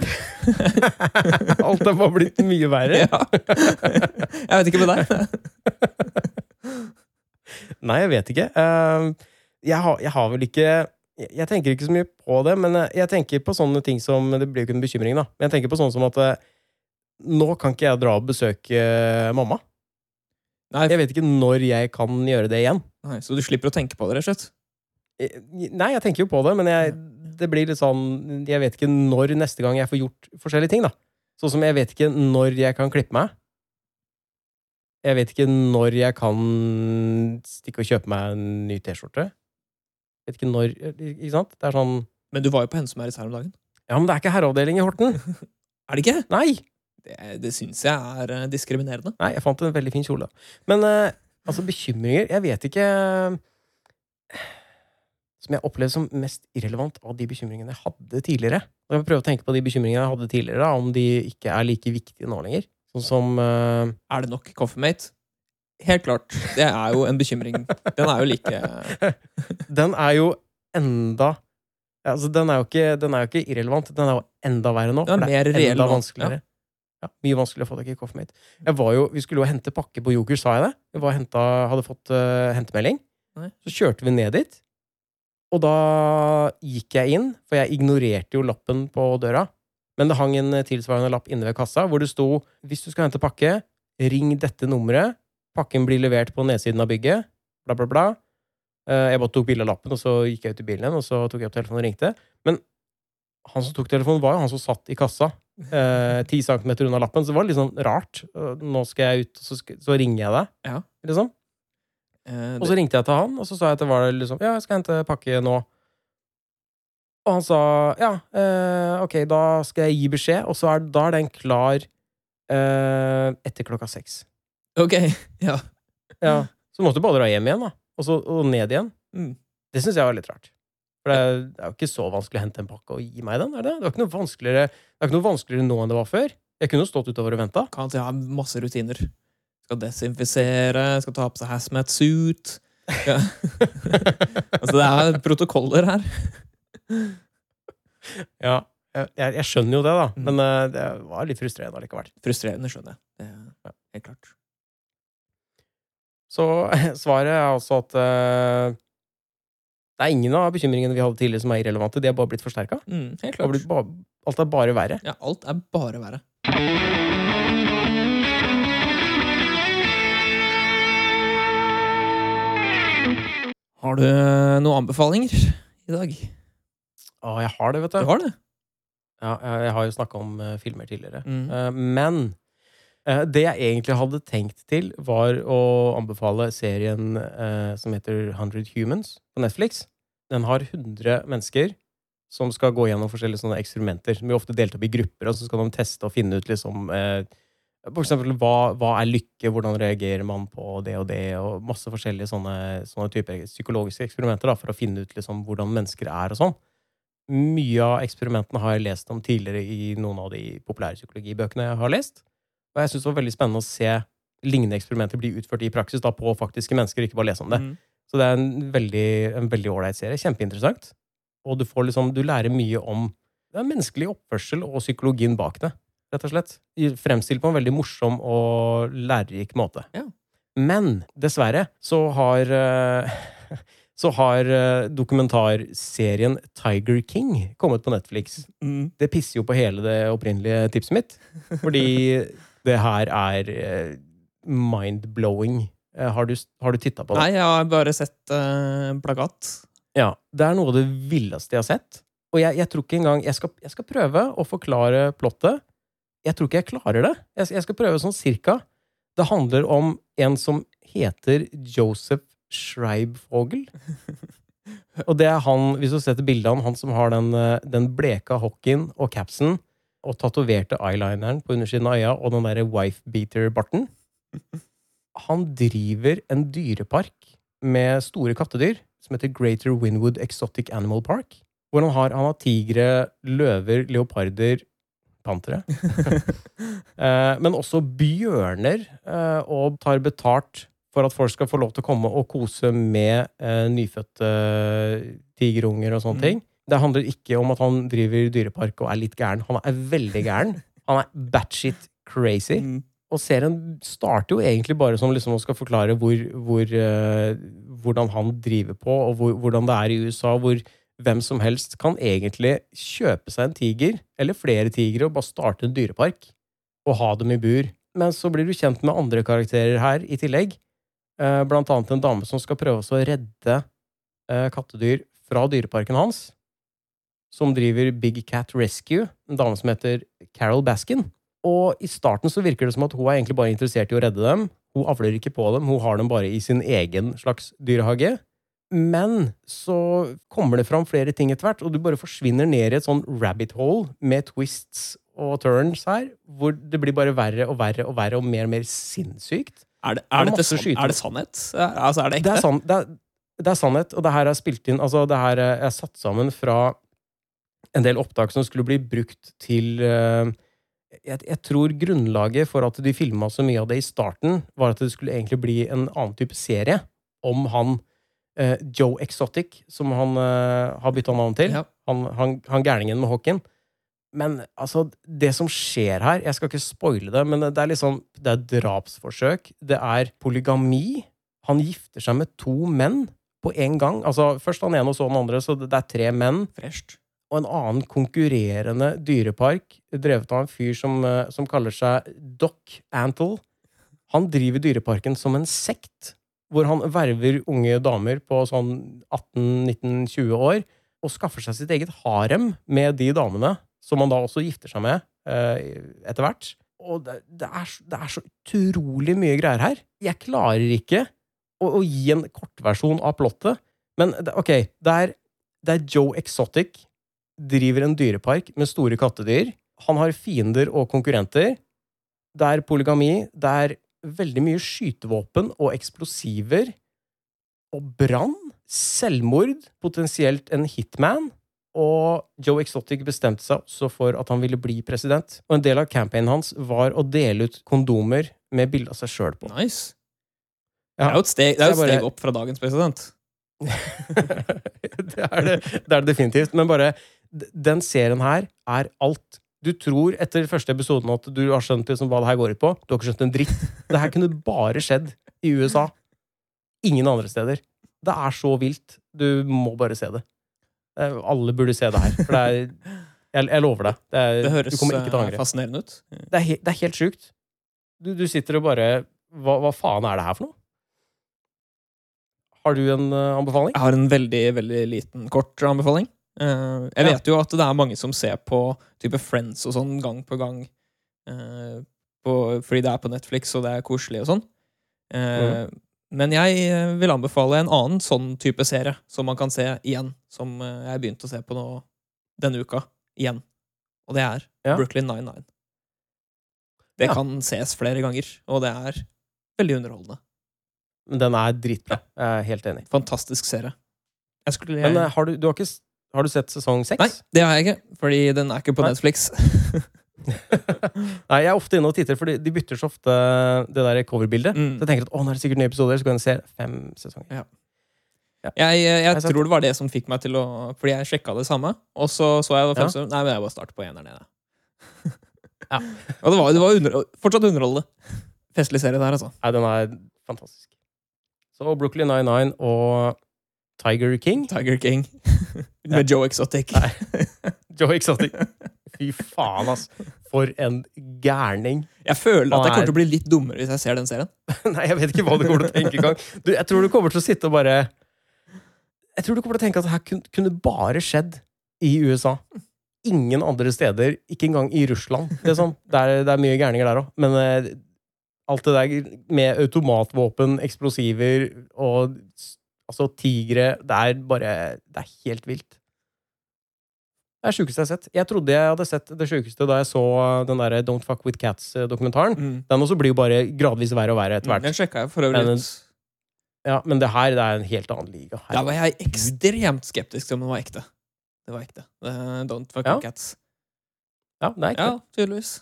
S1: Alt har bare blitt mye verre.
S2: <laughs> Ja. Jeg vet ikke med deg.
S1: <laughs> Nei, jeg vet ikke. Eh, Jeg har, jeg har vel ikke jeg, jeg tenker ikke så mye på det, men eh, jeg tenker på sånne ting som Det blir jo ikke en bekymring, da. Men jeg tenker på sånn som at eh, nå kan ikke jeg dra og besøke eh, mamma.
S2: Nei,
S1: Jeg vet ikke når jeg kan gjøre det igjen.
S2: nei, så du slipper å tenke på det, rett og slett?
S1: Eh, Nei, jeg tenker jo på det, men jeg, det blir litt sånn Jeg vet ikke når neste gang jeg får gjort forskjellige ting, da. Sånn som jeg vet ikke når jeg kan klippe meg. Jeg vet ikke når jeg kan stikke og kjøpe meg en ny T-skjorte. Vet ikke når Ikke sant? Det er sånn
S2: Men du var jo på Hensemæres her om dagen.
S1: Ja, men det er ikke herreavdeling i Horten!
S2: Er det ikke?
S1: Nei!
S2: Det, det syns jeg er eh, diskriminerende.
S1: Nei, jeg fant en veldig fin kjole. da. Men eh, altså, bekymringer Jeg vet ikke eh, Som jeg opplever som mest irrelevant av de bekymringene jeg hadde tidligere. Og jeg prøver å tenke på de bekymringene jeg hadde tidligere, da, om de ikke er like viktige nå lenger. Sånn som eh,
S2: Er det nok Coffeemate? Helt klart. Det er jo en bekymring. Den er jo like
S1: Den er jo enda ja, altså, den, er jo ikke, den er jo ikke irrelevant. Den er jo enda verre nå.
S2: Den er
S1: for
S2: mer reell
S1: enda
S2: nå,
S1: vanskeligere. Ja. mye vanskeligere å få tak i coffee mate. Jeg var jo, vi skulle jo hente pakke på Joker, sa jeg det? Jeg var og henta, hadde fått eh, hentemelding.
S2: Nei.
S1: Så kjørte vi ned dit. Og da gikk jeg inn, for jeg ignorerte jo lappen på døra. Men det hang en eh, tilsvarende lapp inne ved kassa hvor det sto 'Hvis du skal hente pakke, ring dette nummeret'. Pakken blir levert på nedsiden av bygget. Bla, bla, bla. Eh, Jeg bare tok bilde av lappen, og så gikk jeg ut i bilen igjen, og så tok jeg opp telefonen og ringte. Men han som tok telefonen, var jo han som satt i kassa. eh, Ti centimeter unna lappen, så det var litt sånn rart. Eh, Nå skal jeg ut, og så, sk- så ringer jeg deg.
S2: Ja.
S1: Liksom.
S2: eh,
S1: Og så ringte jeg til han, og så sa jeg at det var liksom Ja, jeg skal hente pakke nå. Og han sa ja, eh, ok, da skal jeg gi beskjed, og så er, da er den klar eh, etter klokka seks.
S2: Ok. Ja.
S1: Ja. Så måtte du bare dra hjem igjen, da. Og, så, og ned igjen.
S2: Mm.
S1: Det syns jeg var litt rart. For det er, det er jo ikke så vanskelig å hente en pakke og gi meg den. er Det Det var ikke noe vanskeligere, det er ikke noe vanskeligere nå enn det var før. Jeg kunne jo stått utover og venta.
S2: Kan til å ha masse rutiner. Skal desinfisere, skal ta på seg hazmat suit. Ja. <laughs> altså, det er protokoller her.
S1: ja. Jeg, jeg jeg skjønner jo det, da,
S2: Mm.
S1: men eh, det var litt frustrerende allikevel.
S2: Frustrerende, skjønner jeg. Det er helt klart.
S1: Så <laughs> svaret er altså at eh, det er ingen av bekymringene vi hadde tidligere som er irrelevante. De er bare blitt forsterka.
S2: Mm, helt klart.
S1: Alt er bare verre.
S2: Ja, alt er bare verre. Har du eh, noen anbefalinger i dag?
S1: Å, jeg har det, vet
S2: Du
S1: du.
S2: har det?
S1: Ja, jeg, jeg har jo snakka om eh, filmer tidligere.
S2: Mm.
S1: Eh, Men eh, det jeg egentlig hadde tenkt til, var å anbefale serien eh, som heter 100 Humans på Netflix. Den har 100 mennesker som skal gå gjennom forskjellige sånne eksperimenter. Som blir ofte delt opp i grupper, og så skal de teste og finne ut liksom eh, For eksempel hva, hva er lykke, hvordan reagerer man på det og det, og masse forskjellige sånne, sånne typer psykologiske eksperimenter da, for å finne ut liksom hvordan mennesker er og sånn. Mye av eksperimentene har jeg lest om tidligere i noen av de populære psykologibøkene jeg har lest. Og jeg syns det var veldig spennende å se lignende eksperimenter bli utført i praksis da, på faktiske mennesker, ikke bare lese om det.
S2: Mm.
S1: Så det er en veldig en veldig ålreit serie. Kjempeinteressant. Og du, får liksom, du lærer mye om det er menneskelig oppførsel og psykologien bak det. rett og slett. I- Fremstilt på en veldig morsom og lærerik måte.
S2: Ja.
S1: Men dessverre så har eh, <laughs> så har eh, dokumentarserien Tiger King kommet på Netflix.
S2: Mm.
S1: Det pisser jo på hele det opprinnelige tipset mitt. Fordi det her er eh, mind-blowing. Eh, Har du, har du titta på det?
S2: Nei, jeg har bare sett eh, plakat.
S1: Ja, Det er noe av det villeste jeg har sett. Og jeg, jeg tror ikke engang jeg skal, jeg skal prøve å forklare plottet. Jeg tror ikke jeg klarer det. Jeg, jeg skal prøve sånn cirka. Det handler om en som heter Joseph Schreibvogel. Og det er han, hvis du setter bildet av han, han som har den, eh, den bleka hockeyen og capsen og tatoverte eyelineren på undersiden av øya og den derre wifebeater-barten. Han driver en dyrepark med store kattedyr som heter Greater Winwood Exotic Animal Park. Hvor han har, han har tigre, løver, leoparder Pantere. Eh, men også bjørner, eh, og tar betalt for at folk skal få lov til å komme og kose med eh, nyfødte eh, tigerunger og sånne
S2: Mm.
S1: ting. Det handler ikke om at han driver dyrepark og er litt gæren. Han er veldig gæren. Han er batshit crazy.
S2: Mm.
S1: Og serien starter jo egentlig bare som liksom å skal forklare hvor, hvor, eh, hvordan han driver på, og hvor, hvordan det er i USA, hvor hvem som helst kan egentlig kjøpe seg en tiger, eller flere tigre, og bare starte en dyrepark, og ha dem i bur, Men så blir du kjent med andre karakterer her i tillegg. Eh, Blant annet en dame som skal prøve også å redde eh, kattedyr fra dyreparken hans. Som driver Big Cat Rescue. En dame som heter Carol Baskin. Og i starten så virker det som at hun er egentlig bare interessert i å redde dem. Hun avler ikke på dem, hun har dem bare i sin egen slags dyrehage. Men så kommer det fram flere ting etter hvert, og du bare forsvinner ned i et sånn rabbit hole med twists og turns her, hvor det blir bare verre og verre og verre og mer og mer sinnssykt.
S2: Er det,
S1: er
S2: er,
S1: masse
S2: dette, sånn-
S1: skyting.
S2: er det sannhet? Er, altså, er det
S1: Det
S2: ekte?
S1: er, sann- det, er, det er sannhet, og det her er spilt inn Altså, det her er er satt sammen fra en del opptak som skulle bli brukt til eh, jeg, jeg tror grunnlaget for at de filma så mye av det i starten, var at det skulle egentlig bli en annen type serie om han eh, Joe Exotic, som han eh, har bytta navn til.
S2: Ja.
S1: Han, han, han gærningen med hockeyen. Men altså, det som skjer her Jeg skal ikke spoile det, men det er liksom Det er drapsforsøk. Det er polygami. Han gifter seg med to menn på en gang. Altså, Først han ene, og så den andre. Så det det er tre menn
S2: Fresht.
S1: og en annen konkurrerende dyrepark, drevet av en fyr som, eh, som kaller seg Doc Antle. Han driver dyreparken som en sekt, hvor han verver unge damer på sånn 18-19-20 år, og skaffer seg sitt eget harem med de damene, som han da også gifter seg med eh, etter hvert. Og det, det, er, så- det er så utrolig mye greier her. Jeg klarer ikke å, å gi en kortversjon av plottet, men det- ok, det er, det er Joe Exotic driver en dyrepark med store kattedyr. Han har fiender og konkurrenter. Det er polygami. Det er veldig mye skytevåpen og eksplosiver. Og brann. Selvmord. Potensielt en hitman. Og Joe Exotic bestemte seg også for at han ville bli president. Og en del av campaignen hans var å dele ut kondomer med bilde av seg sjøl på.
S2: Nice.
S1: Ja.
S2: Det er jo et steg, det er jo
S1: Så
S2: et
S1: jeg
S2: steg opp fra dagens president.
S1: <laughs> det, er det, det er det definitivt. Men bare d- Den serien her er alt. Du tror etter første episoden at du har skjønt liksom hva det her går ut på. Du har ikke skjønt en dritt. Det her kunne bare skjedd i USA. Ingen andre steder. Det er så vilt. Du må bare se det. Eh, Alle burde se det her. For det er Jeg, jeg lover deg. Det, er,
S2: Det høres
S1: du kommer ikke til å
S2: eh,
S1: angre.
S2: fascinerende ut.
S1: Det er, he, det er helt sjukt. Du, du sitter og bare hva, hva faen er det her for noe? Har du en eh, anbefaling?
S2: Jeg har en veldig, veldig liten, kort anbefaling. Eh, jeg
S1: Ja.
S2: vet jo at det er mange som ser på type Friends og sånn gang på gang, eh, på, fordi det er på Netflix og det er koselig og sånn. Eh, Men jeg eh, vil anbefale en annen sånn type serie som man kan se igjen, som eh, jeg begynte å se på nå denne uka, igjen. Og det er
S1: Ja.
S2: Brooklyn Nine-Nine. Det
S1: Ja.
S2: kan ses flere ganger, og det er veldig underholdende.
S1: Men den er dritbra. Jeg er helt enig.
S2: Fantastisk serie. Jeg skulle
S1: Men eh, har du, du har, ikke, s- har du sett sesong seks?
S2: Nei, det har jeg ikke, fordi den er ikke på
S1: Nei.
S2: Netflix.
S1: <laughs> Nei, jeg er ofte inne og titter, for de, de bytter så ofte det der coverbildet. Så
S2: Mm.
S1: jeg tenker at å, nå er det sikkert nye episoder, så kan jeg se fem sesonger.
S2: Jeg, jeg
S1: Nei, sant.
S2: tror det var det som fikk meg til å Fordi jeg sjekka det samme, og så så jeg det
S1: Ja.
S2: første Nei, men jeg bare starter på eneren, jeg. <laughs> Og det var, det var under, fortsatt underholdende. Festlig serie der, altså.
S1: Nei, den er fantastisk. Så Brooklyn Nine-Nine og Tiger King. <laughs>
S2: Tiger King <laughs> med Joe Exotic.
S1: Nei. Joe Exotic. Fy faen, ass. For en gærning.
S2: Jeg føler at jeg
S1: Han er-
S2: kommer til å bli litt dummere hvis jeg ser den serien.
S1: <laughs> Nei, jeg vet ikke hva du kommer til å tenke engang. Du, Jeg tror du kommer til å sitte og bare Jeg tror du kommer til å tenke at det her kun- kunne bare skjedd i USA. Ingen andre steder, ikke engang i Russland. Det er, sånn. det er, det er mye gærninger der òg. Men eh, alt det der med automatvåpen, eksplosiver og s- altså tigre Det er bare Det er helt vilt. Det er det sjukeste jeg har sett. Jeg trodde jeg hadde sett det sjukeste da jeg så eh, den der Don't Fuck With eh, Cats-dokumentaren. Den også blir jo bare gradvis verre og verre Mm. etter hvert.
S2: Mm. Den sjekka jeg for
S1: Det er
S2: øvrig
S1: en-
S2: ut.
S1: Ja, men det her det er en helt annen liga. Her.
S2: Der var jeg ekstremt skeptisk til om den var ekte. Det var ekte. Eh, Don't fuck
S1: Ja.
S2: with cats.
S1: Ja, det er ikke
S2: Ja,
S1: det.
S2: tydeligvis.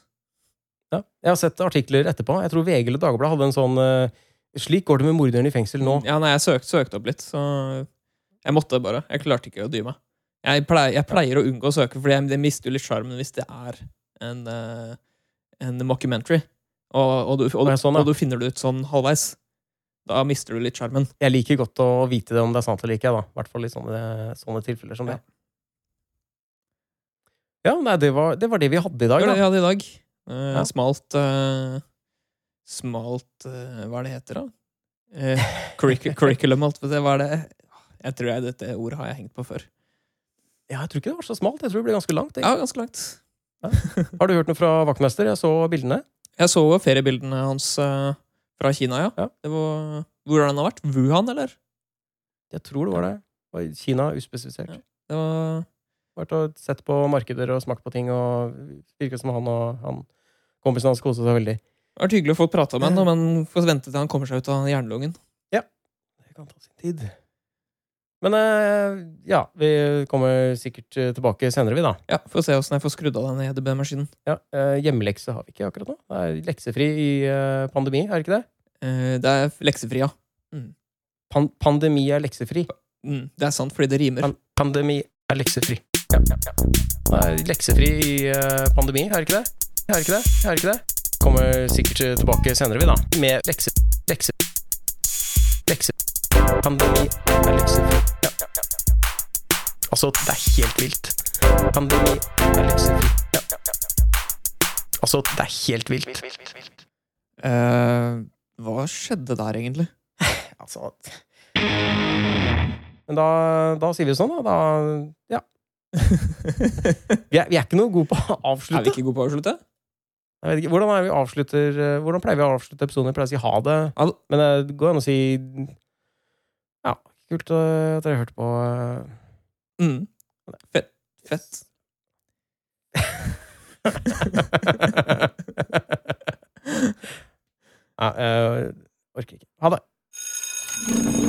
S1: Ja. Jeg har sett artikler etterpå. Jeg tror VG eller Dagbladet hadde en sånn eh, 'Slik går det med morderen i fengsel nå'.
S2: Mm, Ja, nei, jeg søkte, søkte opp litt, så jeg måtte bare. Jeg klarte ikke å dy meg. Jeg pleier, jeg pleier å unngå å søke, for det mister jo litt sjarmen hvis det er en, eh, en mockumentary, og, og, du, og,
S1: Å, ja, sånn, ja.
S2: og du finner det ut sånn halvveis. Da mister du litt sjarmen.
S1: Jeg liker godt å vite det om det er sant eller ikke. da. I hvert fall i sånne, sånne tilfeller som det. Ja, nei, det var, det var det vi hadde i dag.
S2: Det var
S1: da.
S2: det vi hadde i dag. Eh,
S1: Ja.
S2: Smalt, eh, smalt eh, Hva er det heter, da?
S1: <laughs>
S2: Eh, curricu- curriculum, alt på det. Hva er det? Jeg tror jeg, dette ordet har jeg hengt på før.
S1: Ja, jeg tror ikke det var så smalt. Jeg tror det ble ganske langt. jeg.
S2: Ja, ganske langt.
S1: Har du hørt noe fra vaktmester? Jeg så bildene.
S2: Jeg så jo feriebildene hans eh, fra Kina, ja.
S1: Ja.
S2: Det var, hvor har han har vært? Wuhan, eller?
S1: Jeg tror det var det. Det var Kina, uspesifisert.
S2: Ja. Det var,
S1: Vært og sett på markeder og smakt på ting, og virket som han og han kompisen hans koste seg veldig.
S2: det har vært hyggelig å få prata med han, da, men får vente til han kommer seg ut av jernlungen.
S1: Det kan ta sin tid. Men eh, ja, vi kommer sikkert eh, tilbake senere, vi, da.
S2: Ja, Får se åssen jeg får skrudd av den E EDB-maskinen.
S1: Ja, eh, hjemmelekse har vi ikke akkurat nå. Det er leksefri i eh, pandemi, er det ikke det?
S2: Eh, det er leksefri, ja.
S1: Pan pandemi er leksefri.
S2: Mm, det er sant, fordi det rimer.
S1: Pan pandemi er leksefri. Ja, ja, ja. Det er leksefri i eh, pandemi, er det ikke det? Er det ikke det? Er det ikke det? Kommer sikkert eh, tilbake senere, vi, da. Med lekse... Lekse... Lekse... Pandemi er leksefri. Ja, ja, ja, ja. Altså, det er helt vilt. Pandemi er leksefri. Ja, ja, ja, ja. Altså, det er helt vilt.
S2: Eh, hva skjedde der, egentlig?
S1: Altså Men da, da sier vi det sånn, da. da ja. vi, er, vi er ikke noe gode på å
S2: <laughs> Er vi
S1: avslutte.
S2: ikke gode på å avslutte?
S1: Jeg vet ikke, hvordan, er vi avslutter, eh, hvordan pleier vi å avslutte episoden? Vi pleier å si ha det,
S2: Ha det.
S1: men eh, det går an å si Ja, kult eh, at dere hørte på. eh.
S2: Mm. Fett. Fett.
S1: Nei, jeg orker ikke. Ha det.